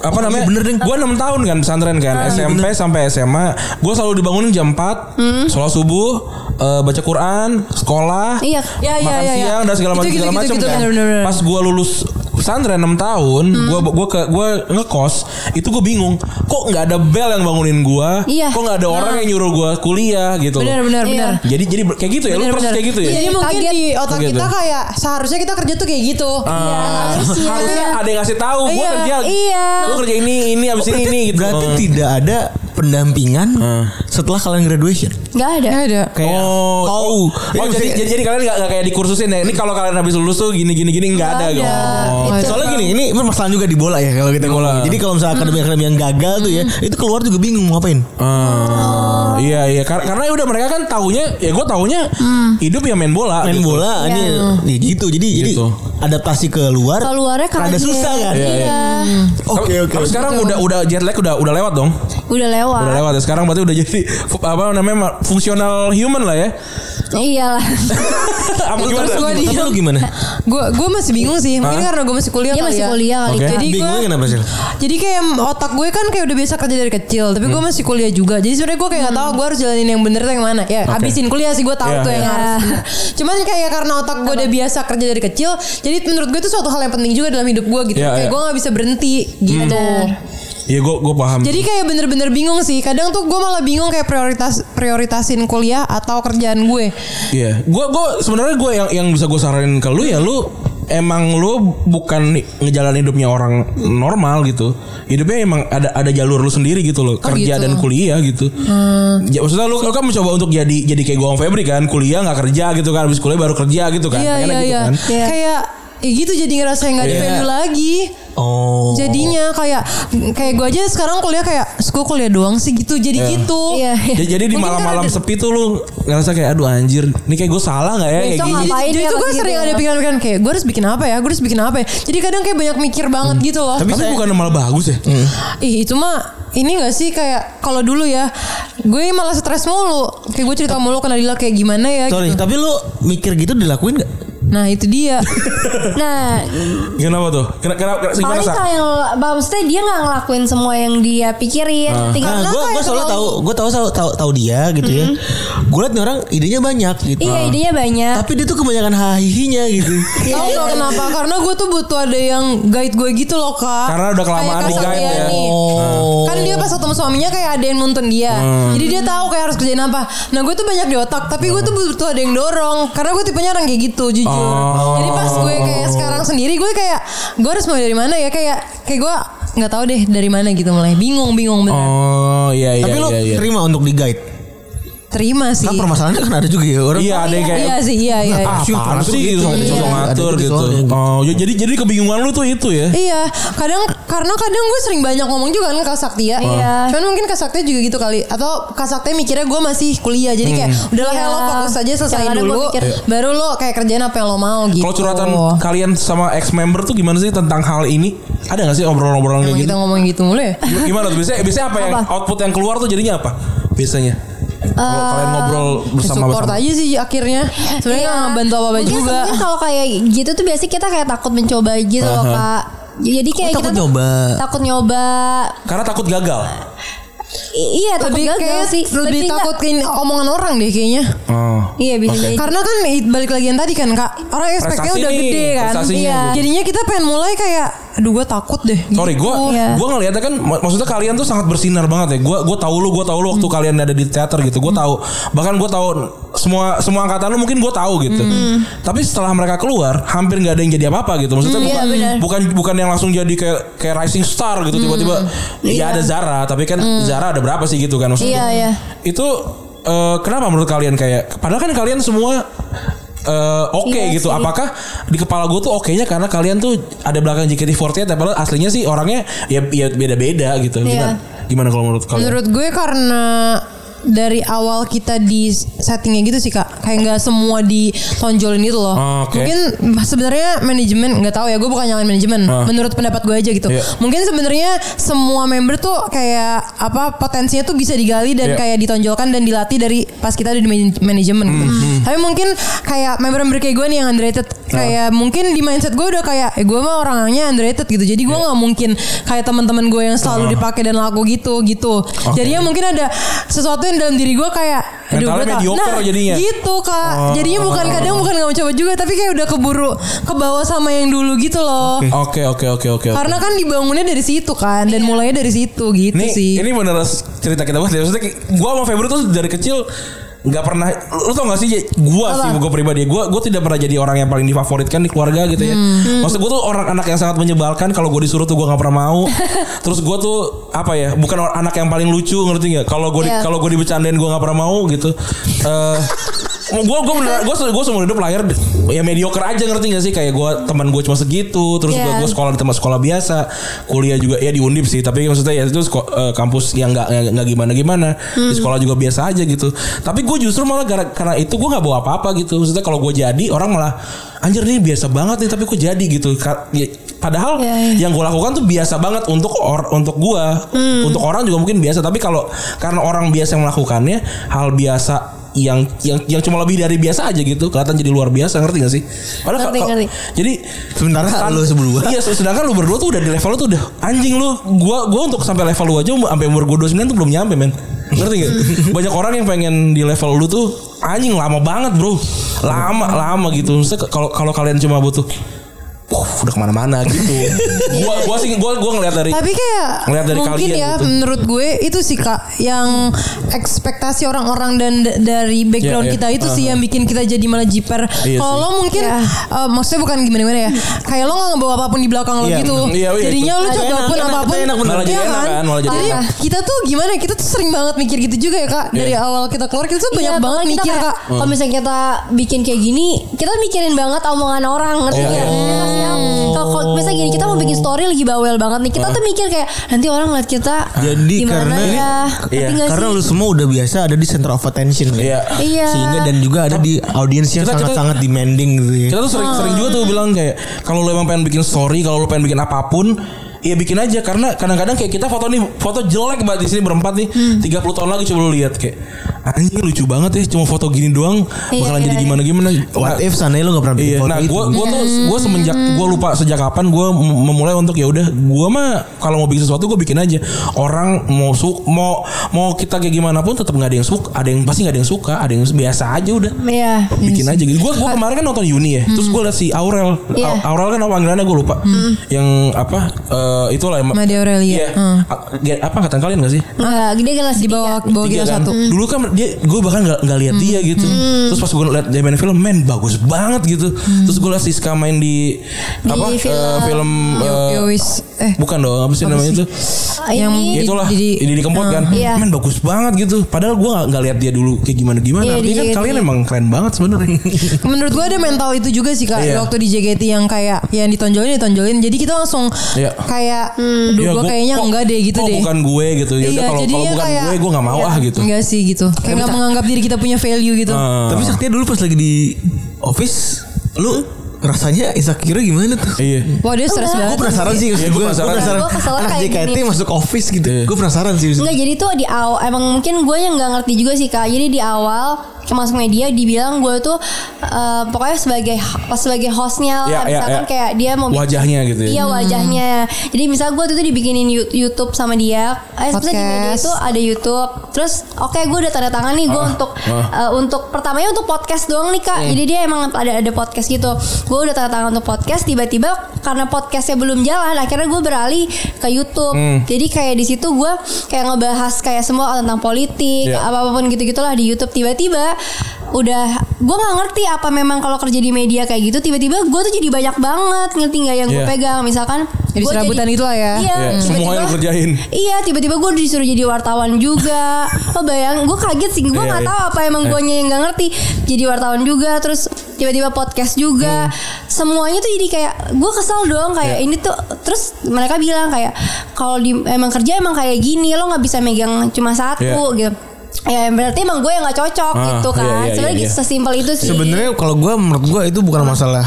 Speaker 3: apa namanya?
Speaker 5: Bener, Ding.
Speaker 3: Gua 6 tahun kan pesantren kan.
Speaker 4: Ah.
Speaker 3: SMP sampai SMA, gua selalu dibangunin jam 4,
Speaker 4: Hmm.
Speaker 3: sholat subuh, eh, baca Quran, sekolah,
Speaker 1: Iya.
Speaker 4: Iya, iya,
Speaker 3: makan
Speaker 4: iya, iya.
Speaker 3: siang dan segala
Speaker 4: Itu
Speaker 3: macam
Speaker 4: gitu,
Speaker 3: segala
Speaker 4: gitu,
Speaker 3: macam
Speaker 4: gitu,
Speaker 3: kan.
Speaker 4: bener-bener.
Speaker 3: Pas gua lulus pesantren 6 tahun,
Speaker 4: Hmm.
Speaker 3: gua gua ke gua ngekos, itu gua bingung, kok nggak ada bel yang bangunin gua?
Speaker 1: Iya.
Speaker 3: Kok nggak ada orang
Speaker 4: Nah.
Speaker 3: yang nyuruh gua kuliah gitu loh.
Speaker 4: Benar, benar,
Speaker 1: Iya.
Speaker 4: benar.
Speaker 3: Jadi jadi kayak gitu ya, lu persis kayak gitu ya.
Speaker 4: Jadi Iya, mungkin
Speaker 1: Kaget.
Speaker 4: di otak
Speaker 3: Kaget
Speaker 4: kita
Speaker 3: tuh.
Speaker 4: kayak seharusnya kita kerja tuh kayak gitu.
Speaker 3: Ah, harusnya ada yang ngasih tahu gue
Speaker 4: Iya,
Speaker 3: kerja
Speaker 1: iya.
Speaker 3: gue kerja ini ini abis ini ini gitu
Speaker 5: Berarti tidak ada pendampingan setelah kalian graduation.
Speaker 1: Gak ada.
Speaker 4: Nggak Ya, ada.
Speaker 5: Kayak
Speaker 3: Hmm. oh
Speaker 5: kau.
Speaker 3: oh,
Speaker 5: Ini
Speaker 3: jadi,
Speaker 5: Iya, maksudnya-
Speaker 3: jadi jadi kalian gak, kayak dikursusin ya ini kalau kalian habis lulus tuh gini gini gini nggak ada gitu Oh.
Speaker 1: Iya.
Speaker 5: Oh, Soalnya gini, ini permasalahan juga di bola ya kalau kita
Speaker 3: Bola.
Speaker 5: bola. Jadi kalau misalnya
Speaker 4: Hmm.
Speaker 5: akademi-akademi yang gagal tuh ya, itu keluar juga bingung mau ngapain.
Speaker 3: Ah, iya iya Kar- karena udah mereka kan taunya ya gue taunya hidup ya main bola
Speaker 5: Main
Speaker 3: gitu.
Speaker 5: bola ini
Speaker 4: Iya.
Speaker 5: ya gitu. Jadi jadi
Speaker 3: Gitu.
Speaker 5: adaptasi ke luar.
Speaker 1: Keluarnya kaget.
Speaker 5: Ada susah kan?
Speaker 3: Iya, iya.
Speaker 5: Oke
Speaker 3: Tapi-
Speaker 5: oke.
Speaker 3: tapi sekarang udah udah jet lag udah udah lewat dong
Speaker 1: Udah lewat.
Speaker 3: udah lewat ya sekarang berarti udah jadi fu- apa namanya ma- fungsional human lah ya
Speaker 1: Iyalah.
Speaker 5: Hmm.
Speaker 3: apa gimana
Speaker 4: Terus gua
Speaker 5: Tapi
Speaker 4: diem.
Speaker 5: lu gimana?
Speaker 4: Gue gue masih bingung sih. Mungkin
Speaker 3: Hah?
Speaker 4: karena gue masih kuliah
Speaker 1: Dia
Speaker 4: kali
Speaker 1: masih
Speaker 4: ya.
Speaker 1: kuliah kali.
Speaker 3: Ah. Oke.
Speaker 1: Kak.
Speaker 4: Jadi gue
Speaker 5: Bingungnya kenapa sih?
Speaker 4: Jadi kayak otak gue kan kayak udah biasa kerja dari kecil, tapi
Speaker 3: Hmm.
Speaker 4: gue masih kuliah juga. Jadi sebenarnya gue kayak nggak tahu gue harus jalanin yang bener tuh yang mana. Ya, habisin kuliah sih gue tahu
Speaker 3: Iya,
Speaker 4: tuh yang
Speaker 1: iya.
Speaker 4: harus. bener. Cuman kayak karena otak gue udah biasa kerja dari kecil, jadi menurut gue itu suatu hal yang penting juga dalam hidup gue gitu.
Speaker 3: Iya,
Speaker 4: kayak
Speaker 3: iya. Hmm.
Speaker 4: gue nggak bisa berhenti gitu.
Speaker 3: ya gue gue paham
Speaker 4: Jadi kayak bener-bener bingung sih. Kadang tuh gue malah bingung kayak prioritas prioritasin kuliah atau kerjaan gue.
Speaker 3: Iya, gua gua sebenarnya gua yang yang bisa gue saranin ke lu ya lu emang lu bukan ngejalan hidupnya orang normal gitu. Hidupnya emang ada ada jalur lu sendiri gitu loh,
Speaker 4: gitu. Hmm.
Speaker 3: kerja dan kuliah gitu. Ya, maksudnya lu, lu kan mencoba untuk jadi jadi kayak gua sama Febri kan, kuliah nggak kerja gitu kan, habis kuliah baru kerja gitu kan.
Speaker 4: Iya
Speaker 3: Pengennya
Speaker 4: iya
Speaker 3: gitu
Speaker 4: iya.
Speaker 3: kan.
Speaker 1: Iya.
Speaker 4: Kayak ya gitu jadi ngerasa yang nggak
Speaker 3: Iya.
Speaker 4: di value lagi.
Speaker 5: Oh.
Speaker 4: Jadinya kayak kayak gue aja sekarang kuliah kayak suka kuliah doang sih gitu. Jadi gitu.
Speaker 1: Iya. iya.
Speaker 3: Jadi, jadi di
Speaker 4: Mungkin karena
Speaker 3: malam-malam
Speaker 4: ada-
Speaker 3: sepi tuh lu ngerasa kayak aduh anjir, ini kayak gue salah nggak ya kayak
Speaker 1: Besok
Speaker 3: gini.
Speaker 1: nggak- Ngapain
Speaker 4: Jadi, jadi
Speaker 1: ya
Speaker 4: tuh gue
Speaker 1: pas
Speaker 4: sering
Speaker 1: gitu
Speaker 4: ada
Speaker 1: ya?
Speaker 4: pikiran-pikiran kayak gue harus bikin apa ya, gue harus bikin apa ya. Jadi kadang kayak banyak mikir banget gitu loh.
Speaker 3: Tapi,
Speaker 5: saya- Hmm.
Speaker 3: bukan malah bagus ya.
Speaker 4: Ih itu mah ini gak sih kayak kalau dulu ya gue malah stres mulu. Kayak gue cerita mulu ke Nadila kayak gimana ya.
Speaker 5: Sorry, tapi lu mikir gitu dilakuin gak?
Speaker 4: Nah itu
Speaker 3: *laughs*
Speaker 4: dia.
Speaker 1: Nah,
Speaker 3: Kenapa tuh? Kenapa kenapa kena, gimana
Speaker 1: paling
Speaker 3: Sa?
Speaker 1: kalau yang bah, maksudnya dia nggak ngelakuin semua yang dia pikirin. Tinggal Nah,
Speaker 5: Nah, gue gue
Speaker 1: kayak
Speaker 5: soalnya
Speaker 1: kalau- Mm-hmm.
Speaker 5: tahu, gue tahu tahu tahu, tahu dia gitu ya. Gue liat nih orang idenya banyak gitu.
Speaker 1: Iya,
Speaker 5: Ah.
Speaker 1: idenya banyak. Iya.
Speaker 5: Tapi dia tuh kebanyakan hahihinya gitu.
Speaker 4: Tahu nggak kenapa? Karena gue tuh butuh ada yang guide gue gitu loh kak.
Speaker 3: Karena udah kelamaan
Speaker 4: Kayak Kak
Speaker 3: di-guide ya.
Speaker 4: Satriani.
Speaker 5: oh.
Speaker 4: Kan dia pas ketemu suaminya kayak ada yang nuntun dia. Jadi dia tahu kayak harus kerjain apa. Nah gue tuh banyak di otak, tapi gue tuh butuh ada yang dorong. Karena gue tipenya orang kayak gitu, jujur. Jadi pas gue kayak sekarang sendiri, gue kayak gue harus mulai dari mana ya? Kayak kayak gue nggak tahu deh dari mana gitu mulai. Bingung, bingung bener.
Speaker 3: Oh iya iya
Speaker 5: Tapi lu
Speaker 3: iya, iya.
Speaker 5: terima untuk di guide.
Speaker 4: Terima sih.
Speaker 5: Kan
Speaker 1: Iya.
Speaker 5: permasalahannya kan ada juga ya orang.
Speaker 3: Iya ada yang kayak
Speaker 4: Iya sih, iya iya. iya.
Speaker 3: Ah, apaan
Speaker 5: ngatur
Speaker 3: sih
Speaker 5: gitu.
Speaker 3: gitu,
Speaker 5: Iya.
Speaker 3: sosok ngatur
Speaker 5: Ada gitu
Speaker 3: gitu.
Speaker 5: soalnya gitu.
Speaker 3: Oh, ya jadi jadi kebingungan lu tuh itu ya.
Speaker 4: Iya, kadang karena kadang gue sering banyak ngomong juga kan ke Kak Saktia.
Speaker 1: Iya.
Speaker 4: Cuman mungkin Kak Saktia juga gitu kali atau Kak Saktia mikirnya gue masih kuliah. Jadi kayak
Speaker 3: Hmm.
Speaker 4: udahlah
Speaker 1: Iya.
Speaker 4: ya lo fokus aja selesaiin
Speaker 1: Jangan ada
Speaker 4: dulu.
Speaker 1: gua pikir.
Speaker 4: Baru lo kayak kerjain apa yang lo mau gitu.
Speaker 3: Kalau curhatan kalian sama ex member tuh gimana sih tentang hal ini? Ada gak sih
Speaker 4: Emang
Speaker 3: obrolan-obrolan kayak
Speaker 4: kita
Speaker 3: gitu?
Speaker 4: ngomong gitu *laughs* mulu ya?
Speaker 3: Gimana tuh biasanya? Biasanya apa yang
Speaker 1: Apa?
Speaker 3: output yang keluar tuh jadinya apa? Biasanya. Kalau kalian ngobrol
Speaker 4: Eh,
Speaker 3: bersama
Speaker 4: Support
Speaker 3: bersama.
Speaker 4: aja sih akhirnya. Sebenarnya nggak Iya, bantu apa-apa
Speaker 1: Iya. Mungkin-
Speaker 4: juga.
Speaker 1: Mungkin kalau kayak gitu tuh biasanya kita kayak takut mencoba gitu loh kak. Jadi
Speaker 4: Oh,
Speaker 1: kayak
Speaker 5: takut
Speaker 1: kita tuh
Speaker 5: nyoba.
Speaker 1: takut nyoba.
Speaker 3: Karena takut gagal.
Speaker 1: I- iya takut
Speaker 4: Lebih
Speaker 1: gagal
Speaker 4: kayak
Speaker 1: sih.
Speaker 4: lebih
Speaker 1: nggak-
Speaker 4: takut ke omongan orang deh kayaknya.
Speaker 3: Oh.
Speaker 1: Iya bisa jadi.
Speaker 4: Karena kan i- balik lagi yang tadi kan kak Orang expect-nya
Speaker 3: Prestasi
Speaker 4: udah
Speaker 3: nih,
Speaker 4: gede kan
Speaker 3: prestasinya
Speaker 4: Iya.
Speaker 3: gitu.
Speaker 4: Jadinya kita pengen mulai kayak Aduh gue takut deh Gitu.
Speaker 3: Sorry, gue
Speaker 1: Iya.
Speaker 3: gue ngeliatnya kan, mak- maksudnya kalian tuh sangat bersinar banget ya. Gue gue tahu lu, gue tahu lu
Speaker 1: Hmm.
Speaker 3: waktu kalian ada di teater gitu. Gue tahu, bahkan gue tahu semua semua angkatan lu mungkin gue tahu gitu. Tapi setelah mereka keluar, hampir nggak ada yang jadi apa-apa gitu. Maksudnya
Speaker 1: Hmm, iya,
Speaker 3: bukan,
Speaker 1: benar.
Speaker 3: bukan bukan yang langsung jadi kayak kayak rising star gitu tiba-tiba.
Speaker 1: Hmm.
Speaker 3: Ya ada Zara, tapi kan Zara ada berapa sih gitu kan? Maksudnya
Speaker 1: Iya Hmm. iya.
Speaker 3: itu eh, kenapa menurut kalian kayak? Padahal kan kalian semua eh, oke
Speaker 1: Iya
Speaker 3: gitu.
Speaker 1: sih.
Speaker 3: Apakah di kepala gue tuh oke-nya karena kalian tuh ada belakang JKT48 tapi aslinya sih orangnya ya ya beda-beda gitu. Gimana?
Speaker 1: Iya.
Speaker 3: ya. Gimana kalau menurut kalian?
Speaker 4: Menurut gue karena dari awal kita di settingnya gitu sih kak kayak nggak semua ditonjolin itu loh
Speaker 3: Oh, oke.
Speaker 4: mungkin sebenarnya manajemen nggak tahu ya gue bukan nyalain manajemen
Speaker 3: Ah.
Speaker 4: menurut pendapat gue aja gitu
Speaker 3: Iya.
Speaker 4: mungkin sebenarnya semua member tuh kayak apa potensinya tuh bisa digali dan
Speaker 3: Iya.
Speaker 4: kayak ditonjolkan dan dilatih dari pas kita ada di man- manajemen gitu
Speaker 3: Hmm.
Speaker 4: tapi mungkin kayak member-member kayak gue nih yang
Speaker 3: Ah.
Speaker 4: underrated kayak mungkin di mindset gue udah kayak eh, gue mah orangnya underrated gitu jadi
Speaker 3: Iya.
Speaker 4: gue nggak mungkin kayak teman-teman gue yang
Speaker 3: Ah.
Speaker 4: selalu dipakai dan laku gitu gitu jadinya mungkin ada sesuatu yang dalam diri gue kayak aduh,
Speaker 3: Mentalnya
Speaker 4: gue tak-
Speaker 3: mediocre jadinya. Oh.
Speaker 4: gitu kak jadinya bukan kadang bukan nggak mencoba juga tapi kayak udah keburu ke bawah sama yang dulu gitu loh
Speaker 3: Oke oke oke oke. oke.
Speaker 4: karena kan dibangunnya dari situ kan
Speaker 1: Iya.
Speaker 4: dan mulainya dari situ gitu
Speaker 3: Ini
Speaker 4: sih.
Speaker 3: ini bener cerita kita banget. ya. Maksudnya kayak- gua sama Febri tuh dari kecil nggak pernah lu tau gak sih ya, gua
Speaker 4: Apa?
Speaker 3: sih gua pribadi gua gua tidak pernah jadi orang yang paling difavoritkan di keluarga gitu ya
Speaker 4: Hmm.
Speaker 3: maksud gua tuh orang anak yang sangat menyebalkan kalau gua disuruh tuh gua nggak pernah
Speaker 4: *laughs*
Speaker 3: mau terus gua tuh apa ya bukan or- anak yang paling lucu ngerti nggak kalau gua di-
Speaker 1: Iya.
Speaker 3: kalau gua dibecandain gua nggak pernah mau gitu Eh gua gua bener gua se- gua seumur hidup lahir di- ya mediocre aja ngerti gak sih kayak gua teman gua cuma segitu terus gua
Speaker 1: Iya.
Speaker 3: gua sekolah di tempat sekolah biasa kuliah juga ya di undip sih tapi maksudnya ya itu sko- eh, kampus yang nggak nggak- nggak gimana gimana di sekolah juga biasa aja gitu tapi gue justru malah gara karena itu gue nggak bawa apa apa gitu maksudnya kalau gue jadi orang malah anjir nih biasa banget nih tapi kok jadi gitu Ka- ya, padahal
Speaker 1: Iya, iya.
Speaker 3: yang gue lakukan tuh biasa banget untuk or, untuk gue untuk orang juga mungkin biasa tapi kalau karena orang biasa yang melakukannya hal biasa yang yang yang cuma lebih dari biasa aja gitu kelihatan jadi luar biasa ngerti gak sih? Padahal
Speaker 1: Ngerti,
Speaker 3: kalau-
Speaker 1: ngerti.
Speaker 3: Jadi
Speaker 5: Sementara lu sebelum gua.
Speaker 3: Iya sedangkan lu berdua tuh udah di level lu tuh udah Anjing lu Gua gua untuk sampai level lu aja um- Sampai umur gua 29 tuh belum nyampe men Ngerti
Speaker 5: *laughs*
Speaker 3: gak? Banyak orang yang pengen di level lu tuh Anjing lama banget bro Lama lama gitu Maksudnya ke- kalau kalau kalian cuma butuh "Wah, udah kemana-mana gitu Gua gua sih gua gua ngeliat dari
Speaker 4: Tapi kayak
Speaker 3: Ngeliat dari
Speaker 4: mungkin
Speaker 3: kalian
Speaker 4: ya
Speaker 3: gitu.
Speaker 4: menurut gue itu sih kak yang ekspektasi orang-orang dan d- dari background
Speaker 3: Iya, iya.
Speaker 4: kita itu sih yang bikin kita jadi malah jiper.
Speaker 3: Iya
Speaker 4: Kalau
Speaker 3: sih.
Speaker 4: lo mungkin eh, maksudnya bukan gimana-gimana ya, kayak lo nggak ngebawa apapun di belakang lo
Speaker 5: Iya,
Speaker 4: gitu.
Speaker 3: bener. Iya, iya,
Speaker 4: Jadinya
Speaker 3: itu.
Speaker 4: lo
Speaker 5: Ada
Speaker 4: coba
Speaker 5: enak,
Speaker 4: pun
Speaker 5: enak,
Speaker 4: apapun
Speaker 5: tapi enak bener.
Speaker 3: Malah jadi
Speaker 4: Iya
Speaker 3: enak kan, malah jadi
Speaker 4: Jadi
Speaker 3: enak.
Speaker 4: kita tuh gimana? Kita tuh sering banget mikir gitu juga ya kak. Dari
Speaker 3: Iya.
Speaker 4: awal kita keluar kita tuh banyak
Speaker 1: Iya,
Speaker 4: banget
Speaker 1: kalau kita
Speaker 4: mikir
Speaker 1: kayak,
Speaker 4: kak. Hmm.
Speaker 1: Kalau misalnya kita bikin kayak gini, kita mikirin banget omongan orang, ngerti
Speaker 3: Iya,
Speaker 1: nggak?
Speaker 3: iya.
Speaker 1: Kita kasih yang- Kalau kalau misalnya gini, kita mau bikin story lagi bawel banget nih. Kita tuh mikir kayak nanti orang ngeliat kita
Speaker 5: Jadi
Speaker 1: gimana
Speaker 5: karena
Speaker 1: ya, ngerti
Speaker 3: Iya,
Speaker 1: nggak
Speaker 5: karena
Speaker 1: sih?
Speaker 5: lu semua udah biasa ada di center of attention kan?
Speaker 3: Iya.
Speaker 1: Iya.
Speaker 5: Sehingga dan juga ada di audiens yang
Speaker 3: Kita- kita-
Speaker 5: sangat-sangat demanding gitu ya.
Speaker 3: Kita tuh sering-sering juga tuh bilang kayak kalau lu emang pengen bikin story, kalau lu pengen bikin apapun, ya bikin aja karena kadang-kadang kayak kita foto nih foto jelek banget di sini berempat nih 30 tahun lagi coba lu lihat kayak anjing lucu banget ya cuma foto gini doang bakalan jadi gimana gimana
Speaker 5: What if seandainya lu gak pernah bikin
Speaker 3: Iya.
Speaker 5: foto
Speaker 3: Nah,
Speaker 5: itu?
Speaker 3: gue gua tuh gue semenjak gue lupa sejak kapan gue memulai untuk ya udah gue mah kalau mau bikin sesuatu gue bikin aja. Orang mau su mau mau kita kayak gimana pun tetap nggak ada yang suka, ada yang pasti nggak ada yang suka, ada yang biasa aja udah.
Speaker 1: Iya.
Speaker 3: Bikin aja gitu. Gue gua kemarin kan nonton Uni ya. Terus gue liat si Aurel.
Speaker 1: Iya.
Speaker 3: A- Aurel kan apa panggilannya gue lupa. Yang apa? eh, itulah yang
Speaker 4: Made Aurelia.
Speaker 3: Iya.
Speaker 4: Hmm.
Speaker 3: A- dia- Apa angkatan kalian gak sih?
Speaker 1: Nggak, dia kelas
Speaker 4: Di bawah
Speaker 1: tiga.
Speaker 4: bawah
Speaker 3: Tiga
Speaker 4: kita
Speaker 3: kan?
Speaker 4: satu.
Speaker 3: Dulu kan dia gue bahkan gak, nggak lihat dia gitu. Terus pas gue liat dia main film, men bagus banget gitu. Terus gue liat Siska main di, apa eh,
Speaker 1: film-
Speaker 3: film eh,
Speaker 4: Yo, wis. Eh.
Speaker 3: bukan dong apa sih namanya itu?
Speaker 4: Yang
Speaker 1: Ini-
Speaker 3: Ya itulah
Speaker 4: Didi-
Speaker 3: Didi, Kempot kan
Speaker 1: Iya.
Speaker 3: Men bagus banget gitu Padahal gue gak, lihat dia dulu Kayak gimana-gimana
Speaker 1: Iya,
Speaker 3: Artinya
Speaker 1: di-
Speaker 3: kan
Speaker 1: di-
Speaker 3: kalian emang keren banget sebenarnya
Speaker 4: Menurut gue ada mental itu juga sih kak
Speaker 3: Iya.
Speaker 4: Waktu di JKT yang kayak Yang ditonjolin ditonjolin Jadi kita langsung
Speaker 3: Iya.
Speaker 4: Kayak
Speaker 1: Hmm.
Speaker 4: Duh
Speaker 3: Ya,
Speaker 4: gue
Speaker 3: gua-
Speaker 4: kayaknya
Speaker 3: kok-
Speaker 4: enggak deh gitu
Speaker 3: kok
Speaker 4: deh
Speaker 3: bukan gue gitu ya udah
Speaker 4: Iya,
Speaker 3: kalau kalau
Speaker 4: jadinya
Speaker 3: bukan
Speaker 4: kayak-
Speaker 3: gue gue nggak mau
Speaker 4: Iya.
Speaker 3: ah gitu
Speaker 4: Enggak sih gitu Kayak nggak menganggap diri kita punya value gitu
Speaker 3: Ah.
Speaker 5: Tapi Saktia dulu pas lagi di office lu rasanya insecure gimana tuh?
Speaker 3: iya
Speaker 4: Wah dia stres
Speaker 5: Gue
Speaker 4: banget
Speaker 5: penasaran sih
Speaker 3: Iya, gua
Speaker 5: gue
Speaker 3: penasaran.
Speaker 5: penasaran.
Speaker 1: Gua kesel
Speaker 5: Anak
Speaker 1: kayak
Speaker 5: JKT
Speaker 1: gini.
Speaker 5: masuk office gitu.
Speaker 3: Iya.
Speaker 5: Gue penasaran sih.
Speaker 1: Enggak jadi tuh di awal emang mungkin gue yang nggak ngerti juga sih kak. Jadi di awal ke masuk media dibilang gue tuh eh, pokoknya sebagai pas sebagai hostnya lah.
Speaker 3: Iya, iya,
Speaker 1: misalkan
Speaker 3: iya.
Speaker 1: kayak dia mau bikin-
Speaker 3: Wajahnya gitu ya.
Speaker 1: Iya wajahnya. Jadi misal gue tuh dibikinin Yu- YouTube sama dia. Eh sebenarnya di media
Speaker 4: Podcast.
Speaker 1: itu ada YouTube. Terus oke gue udah tanda tangan nih gue
Speaker 3: Ah, Hmm.
Speaker 1: untuk
Speaker 3: ah.
Speaker 1: eh, untuk pertamanya untuk podcast doang nih kak. Jadi dia emang ada ada podcast gitu. Gue udah tanda tangan untuk podcast. Tiba-tiba karena podcastnya belum jalan, akhirnya gue beralih ke YouTube.
Speaker 3: Hmm.
Speaker 1: Jadi kayak di situ gue kayak ngebahas kayak semua tentang politik,
Speaker 3: Iya.
Speaker 1: apa apapun gitu gitulah di YouTube. Tiba-tiba udah gue nggak ngerti apa memang kalau kerja di media kayak gitu tiba-tiba gue tuh jadi banyak banget ngerti nggak ya? yang gue
Speaker 3: Iya.
Speaker 1: pegang misalkan
Speaker 4: Jadi
Speaker 1: gua
Speaker 4: serabutan gitu lah ya.
Speaker 1: iya
Speaker 3: Iya,
Speaker 1: tiba-tiba-
Speaker 3: semuanya lu kerjain.
Speaker 1: iya tiba-tiba gue disuruh jadi wartawan juga lo bayang gue kaget sih gue
Speaker 3: Iya,
Speaker 1: nggak
Speaker 3: iya.
Speaker 1: tahu apa emang
Speaker 3: Iya.
Speaker 1: guanya yang nggak ngerti jadi wartawan juga terus tiba-tiba podcast juga
Speaker 3: Hmm.
Speaker 1: semuanya tuh jadi kayak gue kesel doang
Speaker 3: Iya.
Speaker 1: kayak ini tuh terus mereka bilang kayak kalau di emang kerja emang kayak gini lo nggak bisa megang cuma satu
Speaker 3: Iya.
Speaker 1: gitu ya berarti emang gue yang nggak cocok
Speaker 3: Ah,
Speaker 1: gitu kan.
Speaker 3: iya, iya,
Speaker 1: Sebenarnya
Speaker 3: iya,
Speaker 1: gitu
Speaker 3: iya.
Speaker 1: sesimpel itu sih.
Speaker 5: Sebenarnya kalau gue menurut gue itu bukan masalah.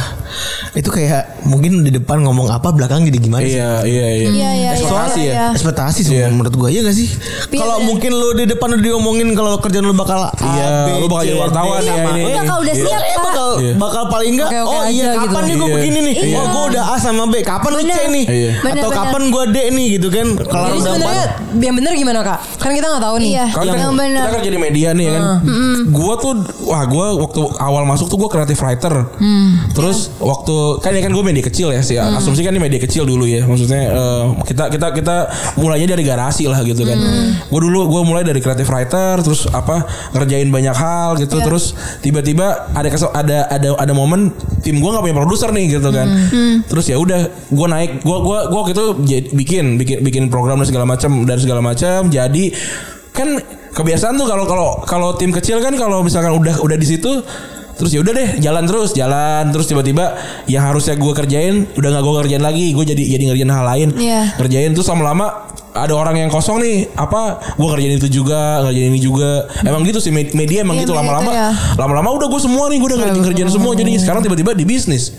Speaker 5: Itu kayak mungkin di depan ngomong apa belakang jadi gimana sih?
Speaker 3: Iya, iya, iya.
Speaker 1: Iya, iya, iya,
Speaker 3: Ekspektasi
Speaker 1: iya,
Speaker 3: ya.
Speaker 1: iya.
Speaker 5: Ekspektasi sih
Speaker 3: Iya.
Speaker 5: menurut gue ya gak sih?
Speaker 1: Iya,
Speaker 5: Kalau
Speaker 1: bener.
Speaker 5: mungkin lu di depan udah diomongin kalau kerjaan lu bakal A,
Speaker 3: Iya,
Speaker 5: B,
Speaker 3: lu bakal
Speaker 5: C,
Speaker 3: jadi wartawan
Speaker 5: D,
Speaker 3: ya
Speaker 5: sama.
Speaker 3: ini.
Speaker 5: Enggak,
Speaker 1: kalau udah
Speaker 3: Iya.
Speaker 1: siap,
Speaker 5: Eh,
Speaker 1: Pak.
Speaker 5: bakal
Speaker 3: Iya.
Speaker 5: bakal paling enggak
Speaker 4: Oke-oke
Speaker 5: oh iya
Speaker 4: aja gitu.
Speaker 5: kapan nih gue
Speaker 3: Iya.
Speaker 5: begini nih
Speaker 1: Iya.
Speaker 5: oh gue udah A sama B kapan lu C
Speaker 1: Bener.
Speaker 5: nih
Speaker 3: Iya.
Speaker 1: Bener,
Speaker 5: atau
Speaker 1: bener.
Speaker 5: kapan gue D nih gitu kan kalau
Speaker 4: Jadi
Speaker 5: udah
Speaker 4: sebenarnya
Speaker 5: empat-
Speaker 4: yang benar gimana kak? Kan kita nggak tahu nih.
Speaker 1: Iya.
Speaker 3: Kan
Speaker 1: Yang
Speaker 3: kita,
Speaker 1: benar.
Speaker 3: kita kerja di media nih ya kan. Gua tuh wah gua waktu awal masuk tuh gua kreatif writer.
Speaker 1: Hmm.
Speaker 3: Terus
Speaker 1: Iya.
Speaker 3: waktu kan ya kan gua media kecil ya sih. Asumsi kan ini media kecil dulu ya. Maksudnya eh, kita kita kita mulainya dari garasi lah gitu kan. Gua dulu gua mulai dari kreatif writer terus apa ngerjain banyak hal
Speaker 1: Iya.
Speaker 3: gitu terus tiba-tiba ada kesel, ada ada ada momen tim gua nggak punya produser nih gitu kan.
Speaker 1: Mm.
Speaker 3: Terus ya udah gua naik gua gua gua waktu itu jadi- bikin bikin bikin program dan segala macam dan segala macam jadi kan kebiasaan tuh kalau kalau kalau tim kecil kan kalau misalkan udah udah di situ terus ya udah deh jalan terus jalan terus tiba-tiba yang harusnya gue kerjain udah nggak gue kerjain lagi gue jadi jadi ngerjain hal lain
Speaker 1: Iya.
Speaker 3: kerjain terus lama-lama ada orang yang kosong nih apa gue kerjain itu juga kerjain ini juga emang gitu sih med- media emang
Speaker 1: Iya, media itu
Speaker 3: gitu lama-lama
Speaker 1: ya.
Speaker 3: lama-lama udah gue semua nih gue udah kerjain, kerjain semua jadi sekarang tiba-tiba di bisnis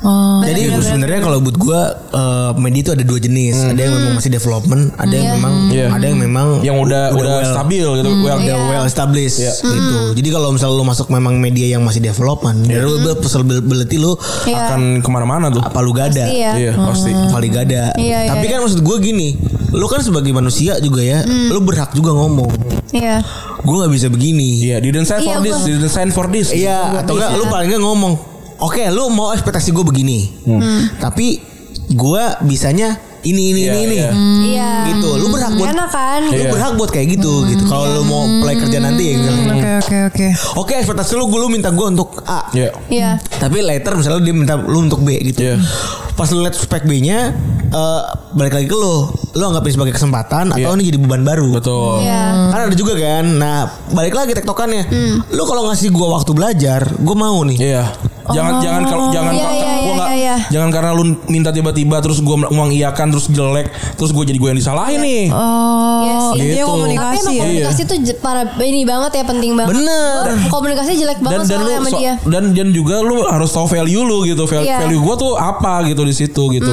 Speaker 4: Oh.
Speaker 5: jadi
Speaker 3: Iya, gitu.
Speaker 5: sebenarnya kalau buat gue eh, media itu ada dua jenis ada yang memang masih development ada yang memang
Speaker 3: Hmm. Iya.
Speaker 5: ada yang memang
Speaker 3: yang udah udah,
Speaker 5: well-
Speaker 3: stabil gitu
Speaker 1: Hmm,
Speaker 3: Well,
Speaker 5: udah well established
Speaker 3: Iya.
Speaker 5: gitu jadi kalau misalnya lu masuk memang media yang masih development
Speaker 3: Iya.
Speaker 5: dari lu possibility lu
Speaker 1: Iya.
Speaker 3: akan kemana-mana tuh
Speaker 5: apa lu gada
Speaker 1: Pasti ya.
Speaker 3: iya pasti
Speaker 5: paling gada.
Speaker 1: Iya, iya,
Speaker 5: Tapi
Speaker 1: iya.
Speaker 5: kan maksud gue gini, lu kan sebagai manusia juga ya,
Speaker 1: Hmm.
Speaker 5: lu berhak juga ngomong.
Speaker 1: Iya.
Speaker 3: Hmm,
Speaker 5: Gue nggak bisa begini.
Speaker 3: Iya, didn't sign for
Speaker 1: Iya,
Speaker 3: this,
Speaker 1: gua-
Speaker 3: didn't sign for this.
Speaker 5: Iya, atau enggak lu paling nggak ngomong. Oke, lu mau ekspektasi gue begini,
Speaker 3: Hmm.
Speaker 5: tapi gue bisanya ini ini
Speaker 3: Iya,
Speaker 5: ini ini.
Speaker 3: iya.
Speaker 1: Iya.
Speaker 5: Gitu, lu berhak buat
Speaker 1: Enak kan?
Speaker 5: lu
Speaker 3: Iya.
Speaker 5: berhak buat kayak gitu gitu. Kalau lu mau play kerja nanti ya. misalnya.
Speaker 3: Hmm.
Speaker 4: Hmm, Oke oke oke.
Speaker 5: Oke, ekspektasi lu gue lu minta gue untuk A.
Speaker 3: Iya.
Speaker 1: Iya.
Speaker 5: Tapi later misalnya dia minta lu untuk B gitu.
Speaker 3: Iya.
Speaker 5: Pas lu lihat spek B-nya eh, balik lagi ke lu. Lu anggap ini sebagai kesempatan atau
Speaker 3: Iya.
Speaker 5: ini jadi beban baru?
Speaker 3: Betul.
Speaker 1: Iya.
Speaker 5: Kan ada juga kan. Nah, balik lagi tektokannya. Lu kalau ngasih gua waktu belajar, gua mau nih.
Speaker 3: Iya. Jangan jangan kalau jangan
Speaker 1: Iya,
Speaker 3: karena
Speaker 1: iya,
Speaker 3: gua
Speaker 1: iya,
Speaker 3: nggak-
Speaker 1: iya, iya.
Speaker 3: jangan karena lu minta tiba-tiba terus gua nguang iyakan terus jelek terus gua jadi gua yang disalahin nih.
Speaker 4: Oh,
Speaker 1: Iya sih.
Speaker 4: dia
Speaker 3: Gitu.
Speaker 1: Tapi
Speaker 4: komunikasi
Speaker 1: emang
Speaker 4: ya.
Speaker 1: komunikasi tuh je- para ini banget ya penting banget.
Speaker 5: Bener.
Speaker 1: Gua Komunikasi jelek
Speaker 3: Dan
Speaker 1: banget
Speaker 3: dan lu
Speaker 1: soalnya sama
Speaker 3: so-
Speaker 1: dia.
Speaker 3: dan dan juga lu harus tahu value lu gitu. Val-
Speaker 1: Iya. Hmm.
Speaker 3: Value gua tuh apa gitu di situ gitu.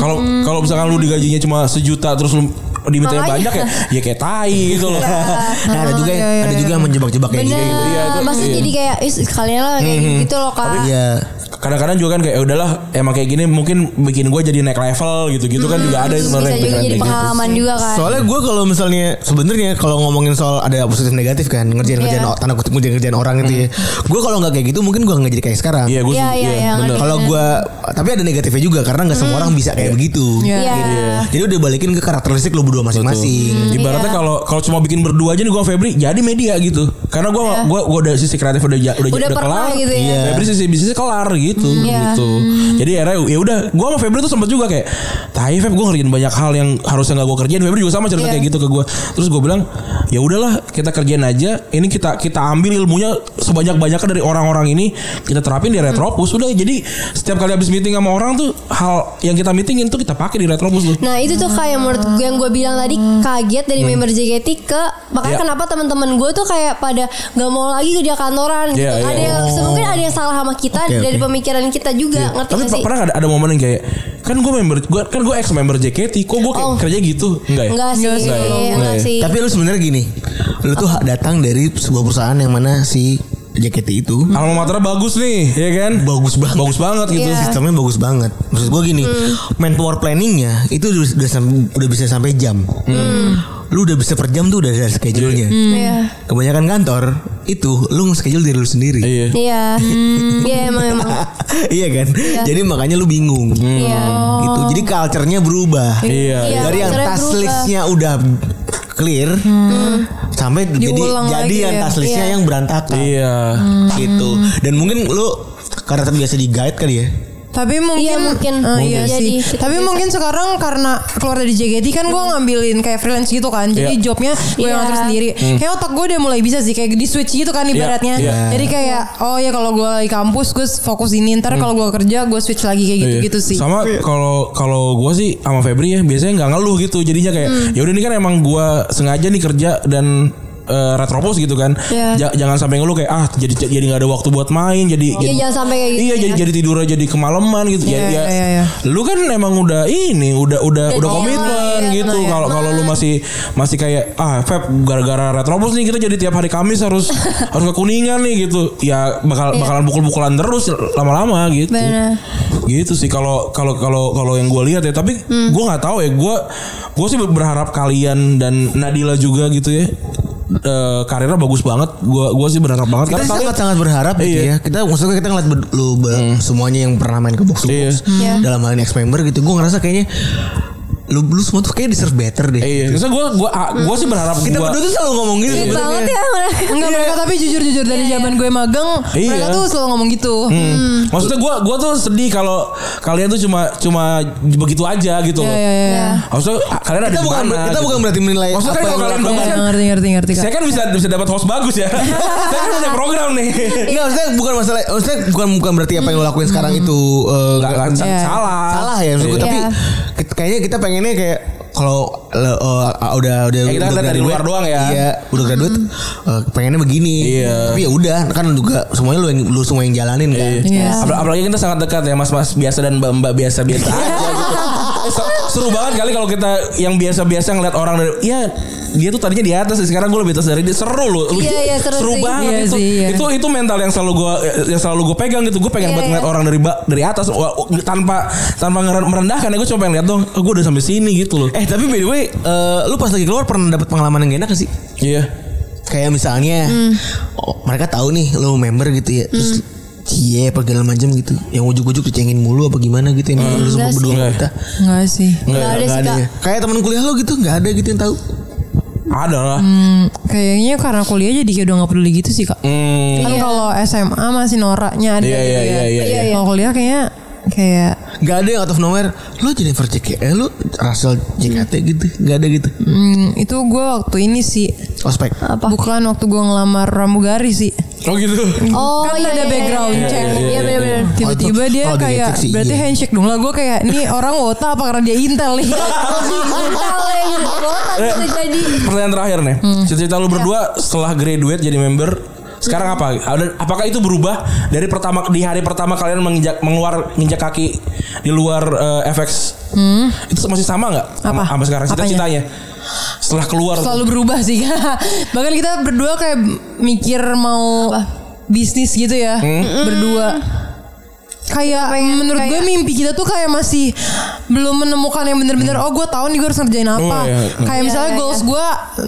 Speaker 3: Kalau kalau misalkan lu digajinya cuma sejuta terus lu diminta
Speaker 1: Makanya.
Speaker 3: banyak ya
Speaker 1: iya.
Speaker 3: ya kayak tai gitu loh.
Speaker 5: Nah, ada juga
Speaker 4: iya,
Speaker 5: ada juga yang menjebak-jebak kayak gitu.
Speaker 1: Bener.
Speaker 3: iya, itu-
Speaker 1: Maksudnya
Speaker 3: iya. Hmm,
Speaker 1: jadi kayak "Ih, sekalian lah kayak gitu loh kak.
Speaker 5: Iya.
Speaker 3: Kadang-kadang juga kan kayak "Ya udahlah emang kayak gini mungkin bikin gua jadi naik level gitu-gitu kan juga ada
Speaker 1: Hmm. Bisa
Speaker 3: sebenarnya
Speaker 1: juga
Speaker 3: pikiran
Speaker 1: jadi
Speaker 3: kayak gitu.
Speaker 1: pengalaman juga kan.
Speaker 5: Soalnya gua kalau misalnya sebenarnya kalau ngomongin soal ada positif negatif kan ngerjain ngerjain
Speaker 1: Iya. Hmm.
Speaker 5: o- tanda kutip ngerjain ngerjain orang gitu ya. Gue kalau nggak kayak gitu mungkin gua nggak jadi kayak sekarang.
Speaker 3: Iya, gua
Speaker 1: Iya,
Speaker 3: setuju.
Speaker 1: iya,
Speaker 3: Iya,
Speaker 1: iya,
Speaker 3: bener.
Speaker 1: ngerti.
Speaker 5: Kalau gua tapi ada negatifnya juga karena nggak semua orang bisa kayak begitu.
Speaker 4: Iya.
Speaker 1: Hmm. Iya.
Speaker 5: Jadi udah balikin ke karakteristik lu berdua masing-masing.
Speaker 3: Ibaratnya
Speaker 1: iya.
Speaker 3: kalau kalau cuma bikin berdua aja nih gue sama Febri jadi media gitu. Karena gue gua gua udah sisi kreatif udah ja- udah,
Speaker 1: Iya. Udah pernah
Speaker 3: kelar.
Speaker 1: gitu ya.
Speaker 5: Iya.
Speaker 3: Febri sisi bisnisnya kelar gitu
Speaker 1: Iya.
Speaker 3: gitu. Jadi akhirnya ya udah gue sama Febri tuh sempet juga kayak tai Feb gue ngerjain banyak hal yang harusnya nggak gue kerjain. Febri juga sama cerita
Speaker 1: Iya.
Speaker 3: kayak gitu ke gue. Terus gue bilang ya udahlah kita kerjain aja. Ini kita kita ambil ilmunya sebanyak banyaknya dari orang-orang ini kita terapin di Retropus. Udah jadi setiap kali habis meeting sama orang tuh hal yang kita meetingin tuh kita pakai di Retropus tuh.
Speaker 1: Nah itu tuh kayak menurut gue yang gue bilang tadi kaget dari
Speaker 3: Hmm.
Speaker 1: member JKT ke makanya
Speaker 3: Iya.
Speaker 1: kenapa teman-teman gue tuh kayak pada nggak mau lagi kerja kantoran gitu.
Speaker 3: Iya, iya.
Speaker 1: Ada yang mungkin ada yang salah sama kita
Speaker 5: Oke,
Speaker 1: dari
Speaker 5: oke.
Speaker 1: pemikiran kita juga ngerti
Speaker 3: Ya, Tapi
Speaker 1: gak
Speaker 3: per-
Speaker 1: sih?
Speaker 3: pernah gak ada, ada momen yang kayak kan gue member gue kan gue ex member JKT kok gue kayak
Speaker 1: Oh.
Speaker 3: kerja gitu enggak ya?
Speaker 1: Enggak sih, Iya.
Speaker 4: Enggak sih.
Speaker 1: enggak,
Speaker 3: Enggak ya.
Speaker 1: sih.
Speaker 5: Tapi lu sebenarnya gini, lu tuh ha- datang dari sebuah perusahaan yang mana si JKT itu
Speaker 3: Alma mater bagus nih, ya kan?
Speaker 5: bagus banget.
Speaker 3: Bagus banget gitu.
Speaker 1: Iya.
Speaker 5: Sistemnya bagus banget. Maksud gua gini, manpower planningnya itu udah, udah sam- udah bisa sampai jam. Lu udah bisa per jam tuh udah ada schedule-nya.
Speaker 1: Iya.
Speaker 5: Kebanyakan kantor itu lu nge-schedule diri lu sendiri.
Speaker 3: Iya.
Speaker 1: Iya.
Speaker 4: Hmm.
Speaker 1: Iya emang emang.
Speaker 5: *laughs* iya kan? Jadi makanya lu bingung.
Speaker 1: Iya.
Speaker 5: Gitu. Jadi culture-nya berubah.
Speaker 3: Iya.
Speaker 1: Iya.
Speaker 5: Dari yang
Speaker 1: culture-nya
Speaker 5: task
Speaker 1: berubah.
Speaker 5: list-nya udah clear sampai jadi
Speaker 4: Diulang
Speaker 5: jadi
Speaker 4: lagi
Speaker 5: yang
Speaker 4: ya.
Speaker 5: task list-nya
Speaker 1: Iya.
Speaker 5: yang berantakan.
Speaker 3: Iya.
Speaker 5: gitu dan mungkin lu karena terbiasa di guide kali ya
Speaker 4: Tapi mungkin,
Speaker 1: Iya, mungkin.
Speaker 4: Eh, iya
Speaker 1: Mungkin.
Speaker 4: sih.
Speaker 1: Jadi- Hmm.
Speaker 4: Tapi mungkin sekarang karena keluar dari JKT kan gue ngambilin kayak freelance gitu kan. Jadi
Speaker 3: Iya. Hmm.
Speaker 4: jobnya gue
Speaker 1: Iya.
Speaker 4: yang ngatur sendiri. Kayak otak gue udah mulai bisa sih kayak di switch gitu kan ibaratnya.
Speaker 3: iya.
Speaker 4: Jadi kayak oh ya kalau gue di kampus gue fokus ini ntar kalau gue kerja gue switch lagi kayak gitu
Speaker 3: Hmm. Iya.
Speaker 4: gitu sih.
Speaker 3: Sama kalau kalau gue sih
Speaker 1: Hmm.
Speaker 3: sama Febri ya biasanya nggak ngeluh gitu. Jadinya kayak ya udah ini kan emang gue sengaja nih kerja dan eh, retropus gitu kan.
Speaker 1: Iya.
Speaker 3: Ja- jangan sampai ngeluh kayak ah jadi jadi nggak ada waktu buat main, jadi
Speaker 1: Iya,
Speaker 3: jadi-
Speaker 1: jangan sampai kayak gitu
Speaker 3: Iya,
Speaker 1: ya.
Speaker 3: jadi jadi tidur aja jadi kemalaman gitu. Ya,
Speaker 4: Iya,
Speaker 3: ya,
Speaker 4: iya, iya.
Speaker 3: Lu kan emang udah ini, udah udah udah komitmen
Speaker 4: iya,
Speaker 3: gitu.
Speaker 4: iya.
Speaker 3: Kalau kalau lu masih masih kayak ah Feb gara-gara retropus nih kita jadi tiap hari Kamis
Speaker 4: *laughs*
Speaker 3: harus harus ke Kuningan nih gitu.
Speaker 4: Iya.
Speaker 3: Ya bakal bakalan pukul-pukulan terus lama-lama gitu.
Speaker 1: Benar.
Speaker 3: Gitu sih kalau kalau kalau kalau yang gue lihat ya, tapi
Speaker 4: Hmm.
Speaker 3: gue nggak tahu ya. Gue gue sih berharap kalian dan Nadila juga gitu ya. eh, karirnya bagus banget. Gue gue sih berharap banget
Speaker 5: kita
Speaker 3: karena kalian-
Speaker 5: sangat sangat berharap gitu
Speaker 3: Iya. Hmm.
Speaker 5: ya kita maksudnya kita ngeliat ber- lu ber- semuanya yang pernah main ke box to
Speaker 3: Iya.
Speaker 5: box
Speaker 4: Hmm.
Speaker 1: Iya.
Speaker 5: dalam hal ini ex member gitu gue ngerasa kayaknya lu lu semua tuh kayak deserve better deh
Speaker 3: Iya, terus gue gue gue sih berharap
Speaker 5: kita
Speaker 3: gua-
Speaker 5: berdua tuh selalu ngomong gitu sebenarnya
Speaker 1: banget ya iya. mereka.
Speaker 4: Enggak mereka tapi jujur-jujur dari zaman gue magang
Speaker 3: Iya.
Speaker 4: mereka tuh selalu ngomong gitu.
Speaker 3: Hmm. Maksudnya gue gua tuh sedih kalau kalian tuh cuma cuma begitu aja
Speaker 4: Iya
Speaker 3: gitu. loh.
Speaker 4: iya iya.
Speaker 3: Maksudnya ah, kalian ada
Speaker 5: kita
Speaker 3: di
Speaker 5: bukan
Speaker 3: mana?
Speaker 5: kita
Speaker 3: gitu.
Speaker 5: bukan berarti menilai
Speaker 3: Maksudnya kan
Speaker 5: apa
Speaker 3: kalau
Speaker 5: yang
Speaker 3: kalian
Speaker 5: lu
Speaker 3: bagus
Speaker 5: lakukan.
Speaker 4: Iya,
Speaker 3: kan-
Speaker 4: Ngerti ngerti ngerti. Kak.
Speaker 3: saya kan bisa bisa dapat host bagus
Speaker 5: *laughs*
Speaker 3: ya. saya kan punya program nih.
Speaker 5: Enggak, Iya, maksudnya bukan masalah, maksudnya bukan bukan berarti apa yang lo lakuin sekarang
Speaker 3: Hmm.
Speaker 5: itu eh,
Speaker 3: Enggak enggak
Speaker 4: Iya.
Speaker 3: salah.
Speaker 5: salah ya maksud gue,
Speaker 3: Iya.
Speaker 5: tapi
Speaker 1: Iya.
Speaker 5: kit- kayaknya kita pengennya kayak kalau le- eh, udah udah
Speaker 3: Ya, kita
Speaker 5: udah
Speaker 3: lihat dari
Speaker 5: graduate,
Speaker 3: luar doang ya.
Speaker 5: Iya, udah graduate eh, pengennya begini.
Speaker 3: Iya.
Speaker 5: Tapi ya udah kan juga semuanya lu yang lu semua yang jalanin kan.
Speaker 4: Iya.
Speaker 3: Apal- Apalagi kita sangat dekat ya mas-mas biasa dan mbak-mbak biasa-biasa aja gitu. Eh, se- Seru banget kali kalau kita yang biasa-biasa ngeliat orang dari ya dia tuh tadinya di atas sekarang gue lebih atas dari dia seru loh Lu-
Speaker 1: Iya, iya, seru sih.
Speaker 3: banget
Speaker 4: Iya
Speaker 3: itu.
Speaker 4: sih, iya.
Speaker 3: itu itu mental yang selalu gue yang selalu gue pegang gitu gue
Speaker 1: Iya,
Speaker 3: pengen banget ngeliat
Speaker 1: iya.
Speaker 3: orang dari ba- dari atas Wah, wah, tanpa tanpa ngeren- merendahkan ya gue cuma pengen lihat dong gue udah sampai sini gitu loh
Speaker 5: Eh tapi by the way, eh, lu pas lagi keluar pernah dapet pengalaman yang gak enak gak sih?
Speaker 3: iya
Speaker 5: Kayak misalnya oh, mereka tahu nih lu member gitu ya. Terus Cie apa segala macam gitu Yang ujuk-ujuk dicengin mulu apa gimana gitu Yang lu semua
Speaker 1: Enggak sih.
Speaker 5: berdua kita
Speaker 4: Enggak sih.
Speaker 1: Enggak ada sih kak.
Speaker 5: ya. Kayak teman kuliah lo gitu Gak ada gitu yang tahu
Speaker 3: ada lah
Speaker 4: Hmm, kayaknya karena kuliah jadi kayak udah nggak peduli gitu sih kak.
Speaker 3: Hmm.
Speaker 4: Kan kalau SMA masih noraknya ada
Speaker 3: Iya,
Speaker 4: gitu
Speaker 3: iya,
Speaker 4: ya.
Speaker 3: iya, iya,
Speaker 1: iya.
Speaker 4: Kalau kuliah kayaknya kayak
Speaker 5: Gak ada yang out of nowhere Lo Jennifer JKT Lo Russell JKT gitu Gak ada gitu
Speaker 4: hmm, itu gue waktu ini sih
Speaker 5: Ospek
Speaker 4: bukan waktu gue ngelamar pramugari sih.
Speaker 3: oh gitu
Speaker 1: *laughs* Oh
Speaker 4: Kan
Speaker 1: iya,
Speaker 4: ada
Speaker 1: iya,
Speaker 4: background
Speaker 1: iya,
Speaker 4: check.
Speaker 1: Iya iya, benar-benar.
Speaker 4: Tiba-tiba
Speaker 5: Oh, itu-
Speaker 4: dia
Speaker 5: oh, genetik
Speaker 4: kayak
Speaker 5: sih,
Speaker 4: berarti
Speaker 5: iya.
Speaker 4: handshake dong lah gue kayak nih orang wota apa karena dia intel
Speaker 1: *laughs*
Speaker 4: nih.
Speaker 1: Mental ya gitu. Kalau tadi
Speaker 3: Eh.
Speaker 1: udah jadi
Speaker 3: Pertanyaan terakhir nih.
Speaker 4: Hmm.
Speaker 3: Cerita-cerita lu
Speaker 4: Ya.
Speaker 3: berdua setelah graduate jadi member
Speaker 4: Hmm.
Speaker 3: sekarang apa? Ada- Apakah itu berubah dari pertama di hari pertama kalian menginjak mengeluar nginjak kaki di luar eh, FX? Itu masih sama nggak?
Speaker 4: Hmm. Apa?
Speaker 3: Sama sekarang
Speaker 4: Apanya?
Speaker 3: cita-citanya. Setelah keluar
Speaker 4: Selalu berubah sih *laughs* Kak. Bahkan kita berdua kayak mikir mau bisnis gitu ya.
Speaker 3: Hmm?
Speaker 4: Berdua. Kayak menurut gue mimpi kita tuh kayak masih belum menemukan yang bener-bener oh gue tahu nih gue harus ngerjain apa.
Speaker 3: Hmm. Oh, iya. Hmm.
Speaker 4: Kayak misalnya goals gue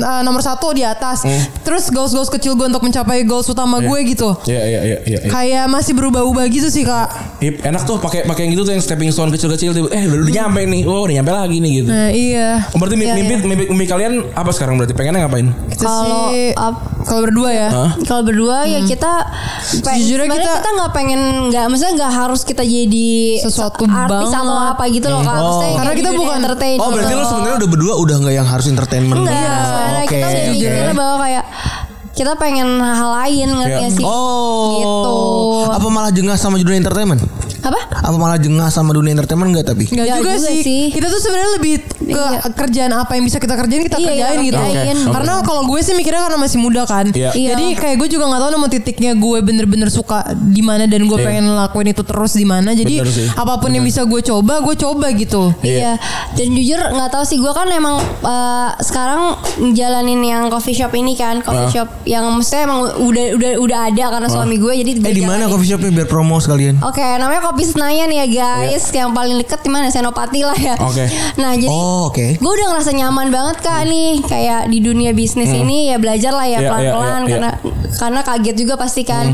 Speaker 4: uh, nomor satu di atas. Terus goals-goals kecil gue untuk mencapai goals utama gue gitu.
Speaker 3: Iya iya iya iya. iya.
Speaker 4: Kayak masih berubah-ubah gitu sih kak.
Speaker 3: Hip, enak tuh pakai pakai yang gitu tuh yang stepping stone kecil-kecil tiba- eh udah, udah nyampe nih. Oh, udah nyampe lagi nih gitu.
Speaker 4: Nah iya.
Speaker 3: Berarti mimpi, mimpi, mimpi, kalian apa sekarang berarti pengennya ngapain?
Speaker 4: Itu
Speaker 1: Kalau-
Speaker 4: sih-
Speaker 1: ap-
Speaker 4: kalau berdua ya. Hmm.
Speaker 3: Hah?
Speaker 1: kalau berdua ya kita pengen,
Speaker 4: Sejujurnya
Speaker 1: sebenarnya
Speaker 4: kita-
Speaker 1: kita nggak pengen nggak maksudnya nggak harus kita jadi
Speaker 4: Sesuatu
Speaker 1: artis
Speaker 4: banget.
Speaker 1: atau apa gitu loh kak. Maksudnya
Speaker 4: Karena
Speaker 1: kayak di
Speaker 4: kita
Speaker 1: dunia
Speaker 4: bukan-
Speaker 1: entertain
Speaker 5: Oh berarti
Speaker 1: gitu
Speaker 5: lo
Speaker 1: loh.
Speaker 5: sebenarnya udah berdua Udah gak yang harus entertainment
Speaker 1: Enggak,
Speaker 5: Oh,
Speaker 1: soalnya
Speaker 5: Oke
Speaker 1: kita udah mikirnya bahwa kayak kita pengen hal lain ngerti
Speaker 3: Kayak,
Speaker 1: nggak sih?
Speaker 5: Oh
Speaker 1: Gitu.
Speaker 5: Apa malah jengah sama dunia entertainment
Speaker 1: Apa?
Speaker 5: Apa malah jengah sama dunia entertainment gak tapi
Speaker 4: Enggak
Speaker 1: Ya,
Speaker 4: juga,
Speaker 1: juga
Speaker 4: sih.
Speaker 1: sih.
Speaker 4: Kita tuh sebenarnya lebih ke
Speaker 1: Iya.
Speaker 4: kerjaan apa yang bisa kita kerjain kita
Speaker 1: Iya,
Speaker 4: kerjain
Speaker 1: iya,
Speaker 4: gitu.
Speaker 1: kerjain. Oke, oke.
Speaker 4: Karena kalau gue sih mikirnya karena masih muda kan.
Speaker 3: Iya.
Speaker 1: Iya.
Speaker 4: Jadi kayak gue juga nggak tahu nemu titiknya gue bener-bener suka di mana dan gue
Speaker 3: Iya.
Speaker 4: pengen lakuin itu terus di mana. Jadi
Speaker 3: Bener sih.
Speaker 4: apapun yang bisa gue coba, gue coba gitu.
Speaker 1: Iya. Dan jujur nggak tahu sih gue kan emang eh, sekarang jalanin yang coffee shop ini kan coffee
Speaker 3: Ah.
Speaker 1: shop yang maksudnya emang udah udah udah ada karena suami gue jadi
Speaker 5: Eh di
Speaker 1: dijalanin.
Speaker 5: mana coffee shopnya biar promo sekalian
Speaker 1: Oke, namanya Kopi Senayan ya guys. Yang paling deket di mana? Senopati lah ya.
Speaker 3: Oke.
Speaker 1: Nah, jadi
Speaker 5: Iya. Oh oke
Speaker 1: gue udah ngerasa nyaman banget kak nih kayak di dunia bisnis ini ya belajar lah ya
Speaker 3: Hmm. Iya,
Speaker 1: pelan pelan
Speaker 3: iya, Hmm. iya,
Speaker 1: karena karena kaget juga pasti kan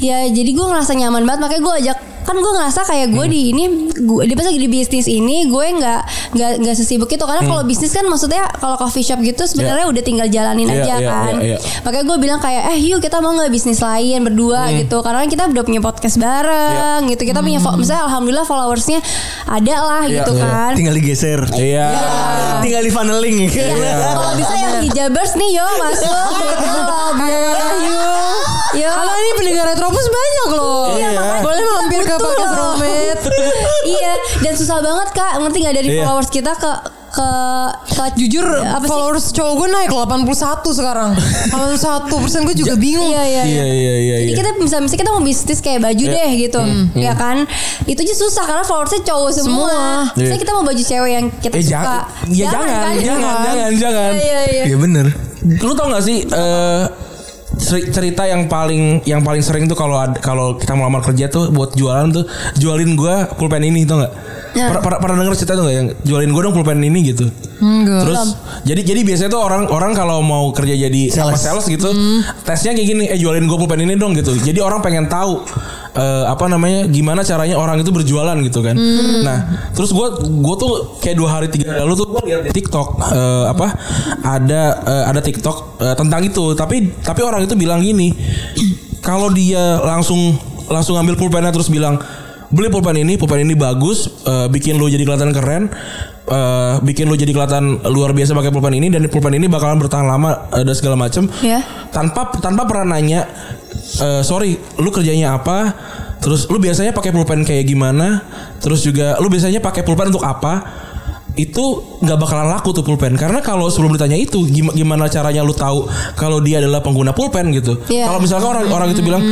Speaker 1: ya jadi gue ngerasa nyaman banget makanya gue ajak kan gue ngerasa kayak
Speaker 3: Hmm.
Speaker 1: gue di ini gue di pas lagi di bisnis ini gue nggak nggak nggak sesibuk itu karena kalau bisnis kan maksudnya kalau coffee shop gitu sebenarnya udah tinggal jalanin
Speaker 3: Hmm. Iya,
Speaker 1: aja
Speaker 3: iya,
Speaker 1: kan
Speaker 3: iya, iya.
Speaker 1: makanya gue bilang kayak eh yuk kita mau nggak bisnis lain
Speaker 3: Hmm.
Speaker 1: berdua gitu karena kan kita udah punya podcast bareng gitu kita punya fo- misalnya alhamdulillah followersnya ada lah
Speaker 3: Hmm. Iya,
Speaker 1: gitu
Speaker 3: iya.
Speaker 1: kan Iya.
Speaker 5: Tinggal digeser
Speaker 3: Iya.
Speaker 5: Tinggal Iya. di funneling
Speaker 1: kalau bisa yang hijabers nih yo *laughs* masuk gitu loh biar yo
Speaker 4: Kalau ini pendengar Retropus banyak loh.
Speaker 3: Oh,
Speaker 1: Iya, makanya
Speaker 4: Boleh
Speaker 1: kita iya.
Speaker 4: mampir ke
Speaker 1: butuh
Speaker 4: podcast
Speaker 1: *laughs* loh.
Speaker 4: Romet.
Speaker 1: iya dan susah banget kak ngerti nggak dari
Speaker 3: Iya.
Speaker 1: followers kita ke ke ke ke
Speaker 4: Jujur
Speaker 1: apa sih?
Speaker 4: followers cowok gue naik loh, 81
Speaker 3: *laughs*
Speaker 4: sekarang 81 persen gue juga bingung
Speaker 1: Iya iya.
Speaker 3: Iya iya iya.
Speaker 1: Jadi
Speaker 3: iya.
Speaker 1: kita bisa misalnya kita mau bisnis kayak baju
Speaker 3: Iya.
Speaker 1: deh gitu, ya kan? Itu aja susah karena followersnya cowok semua.
Speaker 4: Semua.
Speaker 1: Misalnya
Speaker 3: Iya.
Speaker 1: kita mau baju cewek yang kita
Speaker 3: Eh
Speaker 1: suka.
Speaker 3: jangan, ya jangan,
Speaker 1: kan?
Speaker 3: jangan, jangan, jangan.
Speaker 1: Iya iya.
Speaker 5: Iya bener
Speaker 3: Lu tau gak sih eh, ceri- cerita yang paling yang paling sering tuh kalau ad- kalau kita mau lamar kerja tuh buat jualan tuh jualin gua pulpen ini tau gak?
Speaker 1: Ya.
Speaker 3: Pernah, pernah, pernah denger cerita tuh gak yang jualin gua dong pulpen ini gitu.
Speaker 4: Enggak
Speaker 3: Terus jadi jadi biasanya tuh orang orang kalau mau kerja jadi sales, apa
Speaker 5: Sales.
Speaker 3: sales gitu, tesnya kayak gini, eh jualin gua pulpen ini dong gitu. Jadi orang pengen tahu eh, apa namanya gimana caranya orang itu berjualan gitu kan. Nah, terus gua gua tuh kayak dua hari tiga hari lalu tuh gua lihat di TikTok eh, apa ada eh, ada TikTok eh, tentang itu, tapi tapi orang itu bilang gini, kalau dia langsung langsung ngambil pulpennya terus bilang beli pulpen ini, pulpen ini bagus, eh, bikin lu jadi kelihatan keren, eh, bikin lu jadi kelihatan luar biasa pakai pulpen ini dan pulpen ini bakalan bertahan lama eh, dan segala macem.
Speaker 1: Iya.
Speaker 3: Tanpa tanpa pernah nanya, eh, sorry, lu kerjanya apa? Terus lu biasanya pakai pulpen kayak gimana? Terus juga lu biasanya pakai pulpen untuk apa? itu nggak bakalan laku tuh pulpen karena kalau sebelum ditanya itu gim- gimana caranya lu tahu kalau dia adalah pengguna pulpen gitu
Speaker 1: Iya.
Speaker 3: kalau misalkan orang orang itu bilang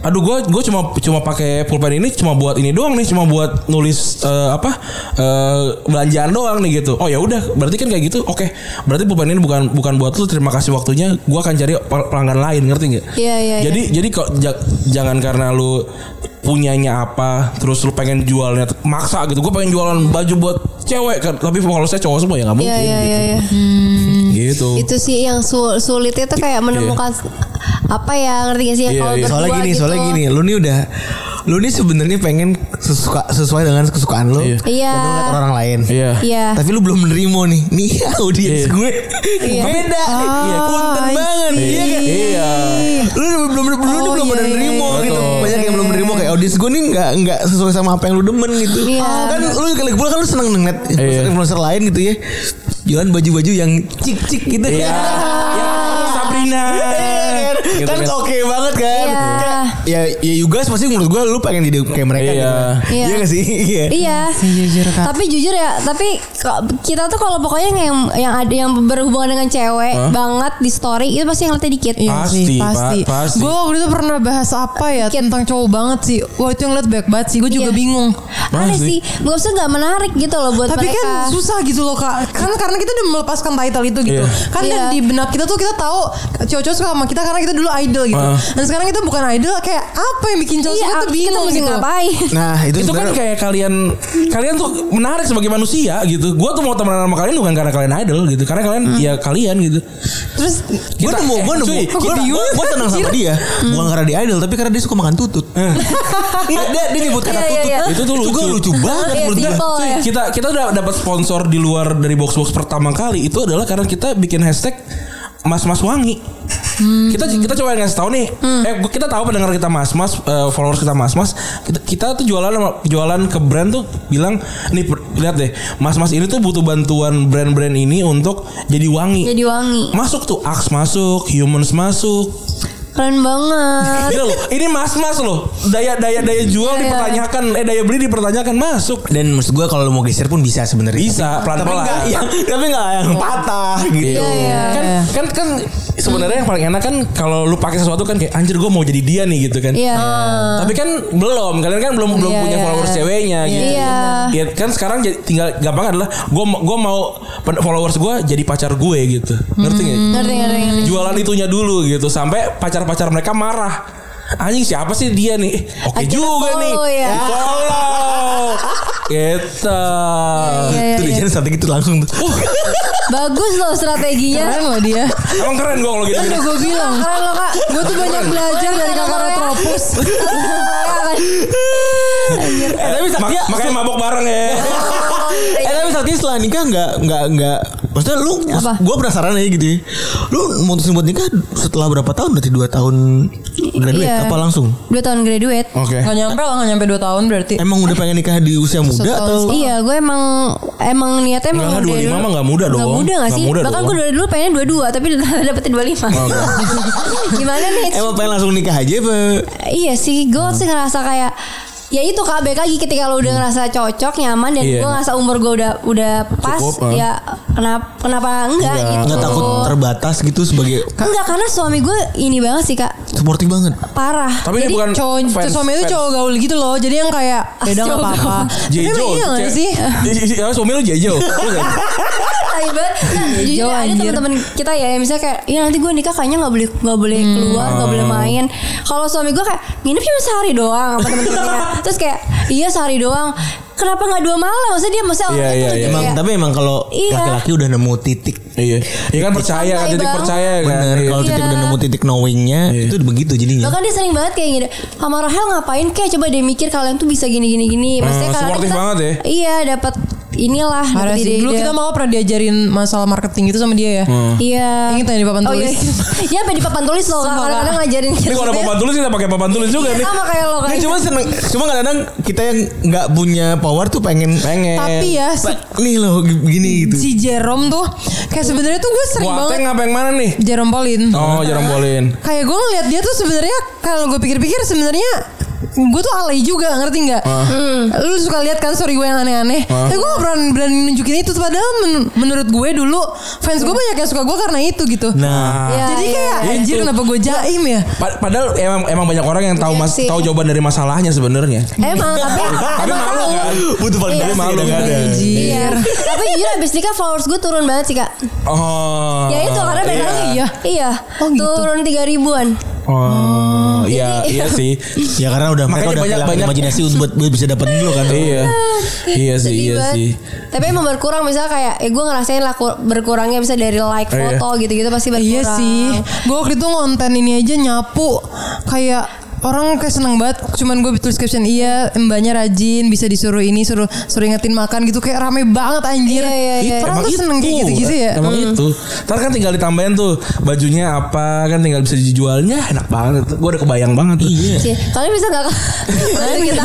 Speaker 3: aduh gue gue cuma cuma pakai pulpen ini cuma buat ini doang nih cuma buat nulis eh, apa eh, belanjaan doang nih gitu oh ya udah berarti kan kayak gitu oke berarti pulpen ini bukan bukan buat lu terima kasih waktunya gue akan cari pel- pelanggan lain ngerti nggak
Speaker 1: Iya, iya, iya.
Speaker 3: jadi jadi kok ja- jangan karena lu punyanya apa terus lu pengen jualnya t- maksa gitu gue pengen jualan baju buat cewek kan tapi kalau saya cowok semua ya nggak mungkin
Speaker 1: Iya iya iya. iya.
Speaker 3: gitu
Speaker 5: Oh.
Speaker 1: Itu sih yang sul- sulitnya tuh
Speaker 5: Iya.
Speaker 1: kayak menemukan apa ya ngerti gak sih yang
Speaker 3: Iya,
Speaker 1: kalau
Speaker 3: iya.
Speaker 1: berdua
Speaker 5: Soalnya gini
Speaker 1: gitu.
Speaker 5: Soalnya gini Lu nih udah Lu nih sebenarnya pengen sesuka, Sesuai dengan kesukaan lu
Speaker 3: Iya.
Speaker 1: Iya.
Speaker 5: Dan lu ngeliat orang lain
Speaker 3: iya
Speaker 1: Iya.
Speaker 5: Tapi lu belum menerima nih Nih *laughs* audiens
Speaker 3: Iya.
Speaker 5: gue Beda Iya Punten
Speaker 4: I
Speaker 5: banget
Speaker 4: see.
Speaker 5: Iya kan
Speaker 3: Iya.
Speaker 5: Lu udah belum belum lu
Speaker 4: Oh,
Speaker 5: belum
Speaker 4: iya,
Speaker 5: ada
Speaker 4: iya,
Speaker 5: nerimo
Speaker 4: iya.
Speaker 5: gitu.
Speaker 3: Betul.
Speaker 5: Banyak yang belum nerimo kayak audiens gue nih nggak nggak sesuai sama apa yang lu demen gitu.
Speaker 1: Iya.
Speaker 5: Kan lu kali pula kan lu seneng ngeliat
Speaker 3: Iya.
Speaker 5: influencer, influencer lain gitu ya. Jualan baju-baju yang cik-cik gitu
Speaker 3: Iya. Ya, Sabrina
Speaker 5: Iya kan?
Speaker 3: Gitu
Speaker 5: kan
Speaker 3: kan.
Speaker 5: oke banget kan
Speaker 1: Iya.
Speaker 5: Kayak, ya ya you guys pasti menurut gue lu pengen jadi kayak mereka
Speaker 3: Iya.
Speaker 5: gitu kan.
Speaker 1: Iya.
Speaker 5: iya gak sih iya
Speaker 1: Iya.
Speaker 4: Sih, jujur, Kak.
Speaker 1: Tapi jujur ya, tapi kok- kita tuh kalau pokoknya yang yang ada yang berhubungan dengan cewek banget di story itu pasti yang liatnya dikit.
Speaker 4: Iya
Speaker 3: Pasti,
Speaker 4: sih,
Speaker 3: Pak,
Speaker 4: pasti.
Speaker 3: pasti.
Speaker 4: Gue waktu itu pernah bahas apa ya
Speaker 1: Dikit.
Speaker 4: tentang cowok banget sih. Wah itu yang liat banyak banget sih. Gue juga
Speaker 1: Iya.
Speaker 4: bingung.
Speaker 1: Aneh sih, gue usah nggak menarik gitu loh buat
Speaker 4: Tapi
Speaker 1: mereka.
Speaker 4: kan susah gitu loh kak. Kan karena kita udah melepaskan title itu gitu.
Speaker 3: Iya.
Speaker 4: Kan
Speaker 1: Iya.
Speaker 4: dan di benak kita tuh kita tahu cowok-cowok suka sama kita karena kita dulu idol gitu.
Speaker 3: Heeh.
Speaker 4: Dan sekarang kita bukan idol. Kayak apa yang bikin cowok
Speaker 1: iya,
Speaker 4: suka tuh
Speaker 1: kita
Speaker 4: bingung
Speaker 1: mesti
Speaker 4: gitu.
Speaker 1: ngapain? *laughs*
Speaker 5: nah
Speaker 3: itu
Speaker 5: itu,
Speaker 3: kan
Speaker 5: sebenarnya-
Speaker 3: kayak kalian kalian tuh menarik sebagai manusia gitu gue tuh mau temenan sama kalian bukan karena kalian idol gitu karena kalian ya kalian gitu
Speaker 4: Terus
Speaker 5: Gue nemu, gue nemu,
Speaker 3: cuy,
Speaker 5: gue
Speaker 3: kita-
Speaker 5: gue tenang sama dia Bukan karena dia idol, tapi karena dia suka makan tutut *laughs* Iya, dia, dia nyebut kata
Speaker 1: Iya, iya, iya.
Speaker 5: tutut
Speaker 3: Itu tuh
Speaker 5: gua
Speaker 3: lucu.
Speaker 5: lucu banget
Speaker 1: Iya,
Speaker 5: menurut gue
Speaker 1: simple
Speaker 3: Cuy,
Speaker 1: ya.
Speaker 3: kita kita udah dapat sponsor di luar dari box box pertama kali itu adalah karena kita bikin hashtag Mas Mas Wangi.
Speaker 5: Hmm.
Speaker 3: Kita kita coba ngasih tahu nih. Eh gua- kita tahu pendengar kita Mas Mas eh, followers kita Mas Mas. Kita, kita tuh jualan sama- jualan ke brand tuh bilang nih per- lihat deh Mas Mas ini tuh butuh bantuan brand-brand ini untuk jadi wangi.
Speaker 1: Jadi wangi.
Speaker 3: Masuk tuh Axe masuk, Humans masuk.
Speaker 1: Keren banget.
Speaker 3: Gila loh, ini mas-mas loh. Daya daya daya jual dipertanyakan, eh daya beli dipertanyakan masuk.
Speaker 5: Dan maksud gue kalau lu mau geser pun bisa sebenarnya
Speaker 3: Bisa
Speaker 5: Tapi
Speaker 3: pelan-pelan. Iya,
Speaker 5: nggak yang, *laughs* tapi nggak yang patah
Speaker 1: Iya,
Speaker 5: gitu
Speaker 3: kan kan kan sebenarnya yang paling enak kan kalau lu pakai sesuatu kan kayak anjir gue mau jadi dia nih gitu kan
Speaker 1: Iya.
Speaker 5: Ah.
Speaker 3: tapi kan belum kalian kan belum belum
Speaker 4: Iya,
Speaker 3: punya
Speaker 4: iya.
Speaker 3: followers ceweknya
Speaker 4: Iya,
Speaker 3: gitu
Speaker 1: iya.
Speaker 3: Ya, kan sekarang jadi- tinggal gampang adalah gue gue mau pen- followers gue jadi pacar gue gitu ngerti nggak
Speaker 1: Ngerti ngerti ngerti.
Speaker 3: jualan itunya dulu gitu sampai pacar-pacar mereka marah anjing siapa sih dia nih Eh, oke
Speaker 1: Akhirnya
Speaker 3: juga nih
Speaker 1: follow ya.
Speaker 3: Di follow Gitu. kita
Speaker 1: Iya,
Speaker 5: Itu dia jadi strategi itu langsung tuh
Speaker 3: Uh,
Speaker 1: Bagus loh strateginya.
Speaker 4: keren loh dia.
Speaker 3: emang keren gue kalau gitu
Speaker 4: Udah gue bilang.
Speaker 1: Keren loh kak.
Speaker 4: Gue tuh banyak belajar dari kakak Retropus.
Speaker 5: Eh tapi
Speaker 3: Mak-
Speaker 5: Saktia
Speaker 3: makanya mabok bareng ya
Speaker 1: Iya,
Speaker 5: Eh tapi Sakti setelah nikah nggak nggak nggak maksudnya lu
Speaker 1: Apa?
Speaker 5: gue penasaran aja gitu. ya. Lu mutusin buat nikah setelah berapa tahun? Berarti dua tahun graduate
Speaker 1: Iya.
Speaker 5: apa langsung?
Speaker 1: Dua tahun graduate.
Speaker 5: Oke.
Speaker 4: Gak nyampe lah, gak nyampe 2 tahun berarti.
Speaker 5: Emang udah pengen nikah di usia muda
Speaker 4: Setahun
Speaker 5: atau?
Speaker 1: Iya, gue emang emang niatnya emang
Speaker 3: Enggak lah, 25 mah nggak muda
Speaker 1: Gak
Speaker 3: dong.
Speaker 1: muda gak
Speaker 3: Nggak
Speaker 1: sih?
Speaker 3: muda
Speaker 1: Bahkan
Speaker 3: dong. Oh,
Speaker 1: gue dari dulu pengen 22 tapi dapetin 25. *laughs* Gimana nih?
Speaker 5: Emang pengen langsung nikah aja apa?
Speaker 3: Hmm.
Speaker 1: Iya sih, gue sih ngerasa kayak ya itu kak baik lagi ketika lo udah ngerasa cocok nyaman dan
Speaker 3: Iya.
Speaker 1: gue ngerasa umur gue udah udah pas
Speaker 5: Cukup, ah.
Speaker 1: ya kenapa kenapa enggak gitu
Speaker 5: Nggak takut terbatas gitu sebagai
Speaker 1: enggak karena suami gue ini banget sih kak
Speaker 5: supportive banget.
Speaker 1: parah
Speaker 3: Tapi ini
Speaker 4: Jadi
Speaker 3: bukan
Speaker 4: cowok
Speaker 3: fans-
Speaker 4: suami itu
Speaker 3: fans-
Speaker 4: cowok gaul gitu loh. Jadi yang kayak
Speaker 1: Ah,
Speaker 4: ya udah enggak
Speaker 1: cowok
Speaker 3: *laughs*
Speaker 4: apa-apa. Tapi
Speaker 3: Jejo.
Speaker 4: emang iya enggak
Speaker 3: cewek-
Speaker 4: sih?
Speaker 3: Ih, ih, ih, Suami lu Jejo. Iya kan? Lu nggak?
Speaker 1: Tai banget. Nah, jujur
Speaker 4: Jauh,
Speaker 1: ada
Speaker 4: anjir.
Speaker 1: teman-teman kita ya yang misalnya kayak ya nanti gue nikah kayaknya nggak boleh nggak boleh keluar nggak boleh main kalau suami gue kayak nginep cuma sehari doang sama teman-temannya terus kayak iya sehari doang kenapa nggak dua malam maksudnya dia maksudnya orang
Speaker 3: Iya, iya,
Speaker 1: itu
Speaker 3: iya.
Speaker 1: kayak-
Speaker 5: Emang tapi emang kalau
Speaker 1: Iya.
Speaker 5: laki-laki udah nemu titik
Speaker 3: Iya. Iya kan percaya kan
Speaker 1: Santai,
Speaker 3: titik
Speaker 1: Bang.
Speaker 3: percaya kan.
Speaker 5: bener
Speaker 3: Iya.
Speaker 5: kalau titik
Speaker 1: Iya.
Speaker 5: udah nemu titik knowingnya
Speaker 3: Iya.
Speaker 5: itu begitu jadinya.
Speaker 1: Bahkan dia sering banget kayak gini Sama Rahel ngapain kayak coba dia mikir kalian tuh bisa gini gini gini Maksudnya
Speaker 3: Hmm,
Speaker 1: kadang
Speaker 3: supportive banget ya.
Speaker 1: Iya dapat inilah
Speaker 4: Parah
Speaker 1: dapat
Speaker 4: sih. Dulu
Speaker 1: ide-ide.
Speaker 4: kita mau pernah diajarin masalah marketing itu sama dia ya.
Speaker 3: Hmm.
Speaker 1: Iya
Speaker 4: Ingat yang di papan
Speaker 1: Oh *laughs* iya
Speaker 4: tulis. Ah.
Speaker 1: Dia sampai di papan tulis loh Kak.
Speaker 4: Sumpah, Kak.
Speaker 1: Kadang-kadang ngajarin kita
Speaker 3: Ini kalau ada papan tulis kita pakai papan tulis juga
Speaker 1: Iya,
Speaker 3: nih.
Speaker 1: Sama kayak lo
Speaker 5: Ini
Speaker 1: kayak
Speaker 5: cuma seneng, cuma kadang-kadang kita yang nggak punya power tuh pengen
Speaker 3: Pengen.
Speaker 4: Tapi ya se-
Speaker 5: Pak, nih loh gini gitu.
Speaker 4: si Jerome tuh kayak sebenarnya tuh gue sering banget
Speaker 3: Boateng apa yang mana nih?
Speaker 4: Jerome Pauline.
Speaker 3: Oh, jarang bolin.
Speaker 1: Iya.
Speaker 4: Kayak gue ngeliat dia tuh sebenarnya kalau gue pikir-pikir sebenarnya gue tuh alay juga ngerti nggak? Hmm. Lu suka lihat kan story gue yang aneh-aneh. Tapi gue gak berani, berani nunjukin itu padahal men- menurut gue dulu fans gue banyak yang suka gue karena itu gitu.
Speaker 5: Nah,
Speaker 1: Iya,
Speaker 4: Jadi
Speaker 1: iya.
Speaker 4: kayak anjir
Speaker 3: Itu.
Speaker 4: kenapa gue jaim ya?
Speaker 3: Pa- Padahal emang emang banyak orang yang tahu
Speaker 1: Iya
Speaker 3: mas
Speaker 1: sih.
Speaker 3: tahu jawaban dari masalahnya sebenarnya.
Speaker 1: Emang tapi
Speaker 3: Tapi
Speaker 1: emang
Speaker 3: malu
Speaker 1: tahu.
Speaker 3: kan?
Speaker 5: butuh validasi
Speaker 3: Iya, malu
Speaker 5: kadang-kadang.
Speaker 3: kan?
Speaker 1: Iya. *laughs* Tapi jujur abis nikah followers gue turun banget sih kak.
Speaker 3: Oh.
Speaker 1: Ya itu karena beda lagi
Speaker 3: iya.
Speaker 1: ya. Iya.
Speaker 4: Oh, gitu.
Speaker 1: Turun tiga ribuan.
Speaker 3: Oh,
Speaker 1: *laughs*
Speaker 3: iya iya sih.
Speaker 5: Ya karena udah
Speaker 3: Makanya
Speaker 5: mereka udah
Speaker 3: banyak-
Speaker 5: kehilangan
Speaker 3: banyak-
Speaker 5: imajinasi buat buat bisa dapat dulu kan.
Speaker 3: Iya. Iya sih,
Speaker 1: Ah, Sedih
Speaker 3: iya
Speaker 1: banget.
Speaker 3: sih.
Speaker 1: Tapi emang berkurang misalnya kayak, eh gue ngerasain lah kur- berkurangnya bisa dari like
Speaker 3: Iya.
Speaker 1: foto gitu-gitu pasti berkurang.
Speaker 4: Iya sih. Gue waktu itu ngonten ini aja nyapu kayak orang kayak seneng banget cuman gue tulis caption iya mbaknya rajin bisa disuruh ini suruh suruh ingetin makan gitu kayak rame banget anjir
Speaker 1: Iya, iya, iya.
Speaker 4: orang tuh seneng kayak gitu-gitu ya
Speaker 3: Emang
Speaker 1: Hmm.
Speaker 3: itu. Ntar kan tinggal ditambahin tuh bajunya apa kan tinggal bisa dijualnya enak banget. Gue udah kebayang banget. Iya.
Speaker 1: Cie, Kalian bisa gak? Bantu kita.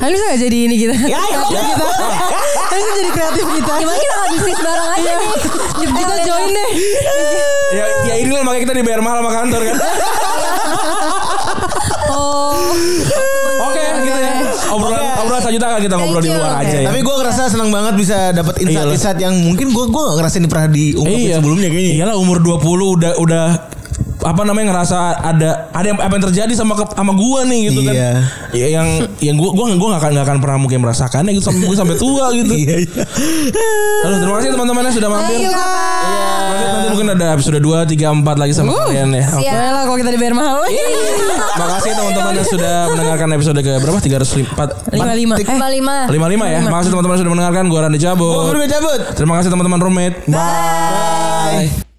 Speaker 4: Kan bisa gak jadi ini kita
Speaker 5: Ya, ya,
Speaker 3: Iya.
Speaker 4: Kreatif kita Kan bisa jadi kreatif kita
Speaker 1: Gimana kita gak bisnis bareng aja nih?
Speaker 4: Yuk, Kita join deh
Speaker 3: Ya, ya inilah makanya kita dibayar mahal sama kantor
Speaker 1: *laughs*
Speaker 3: kan. oh. Oke, gitu ya. Obrolan obrolan selanjutnya akan kita ngobrol di
Speaker 1: you.
Speaker 3: luar aja ya.
Speaker 5: Tapi gue ngerasa senang banget bisa dapat
Speaker 3: Iya,
Speaker 5: insight-insight yang mungkin gue gue gak ngerasain pernah diungkapin sebelumnya kayaknya.
Speaker 3: Iyalah umur 20 udah udah apa namanya ngerasa ada ada yang, apa yang terjadi sama ke- sama gua nih gitu
Speaker 5: Iya.
Speaker 3: kan. Ya, yang yang gua gua gua gak akan gak akan pernah mungkin merasakannya gitu sampai gua sampai tua gitu.
Speaker 5: Iya, iya.
Speaker 3: Lalu terima kasih teman-teman yang sudah mampir.
Speaker 1: Iya,
Speaker 4: Yuk,
Speaker 3: Nanti, nanti mungkin ada episode 2, 3, 4 lagi sama kalian ya. Oke.
Speaker 4: Boleh lah kalau kita dibayar mahal
Speaker 1: Iya.
Speaker 3: Makasih teman-teman yang sudah mendengarkan episode ke berapa? 304
Speaker 4: Lima lima Eh,
Speaker 1: Lima lima.
Speaker 3: 55 ya. Makasih teman-teman yang sudah mendengarkan. Gua Randy Jabo.
Speaker 5: Gue udah cabut.
Speaker 3: Terima kasih teman-teman roommate. Bye.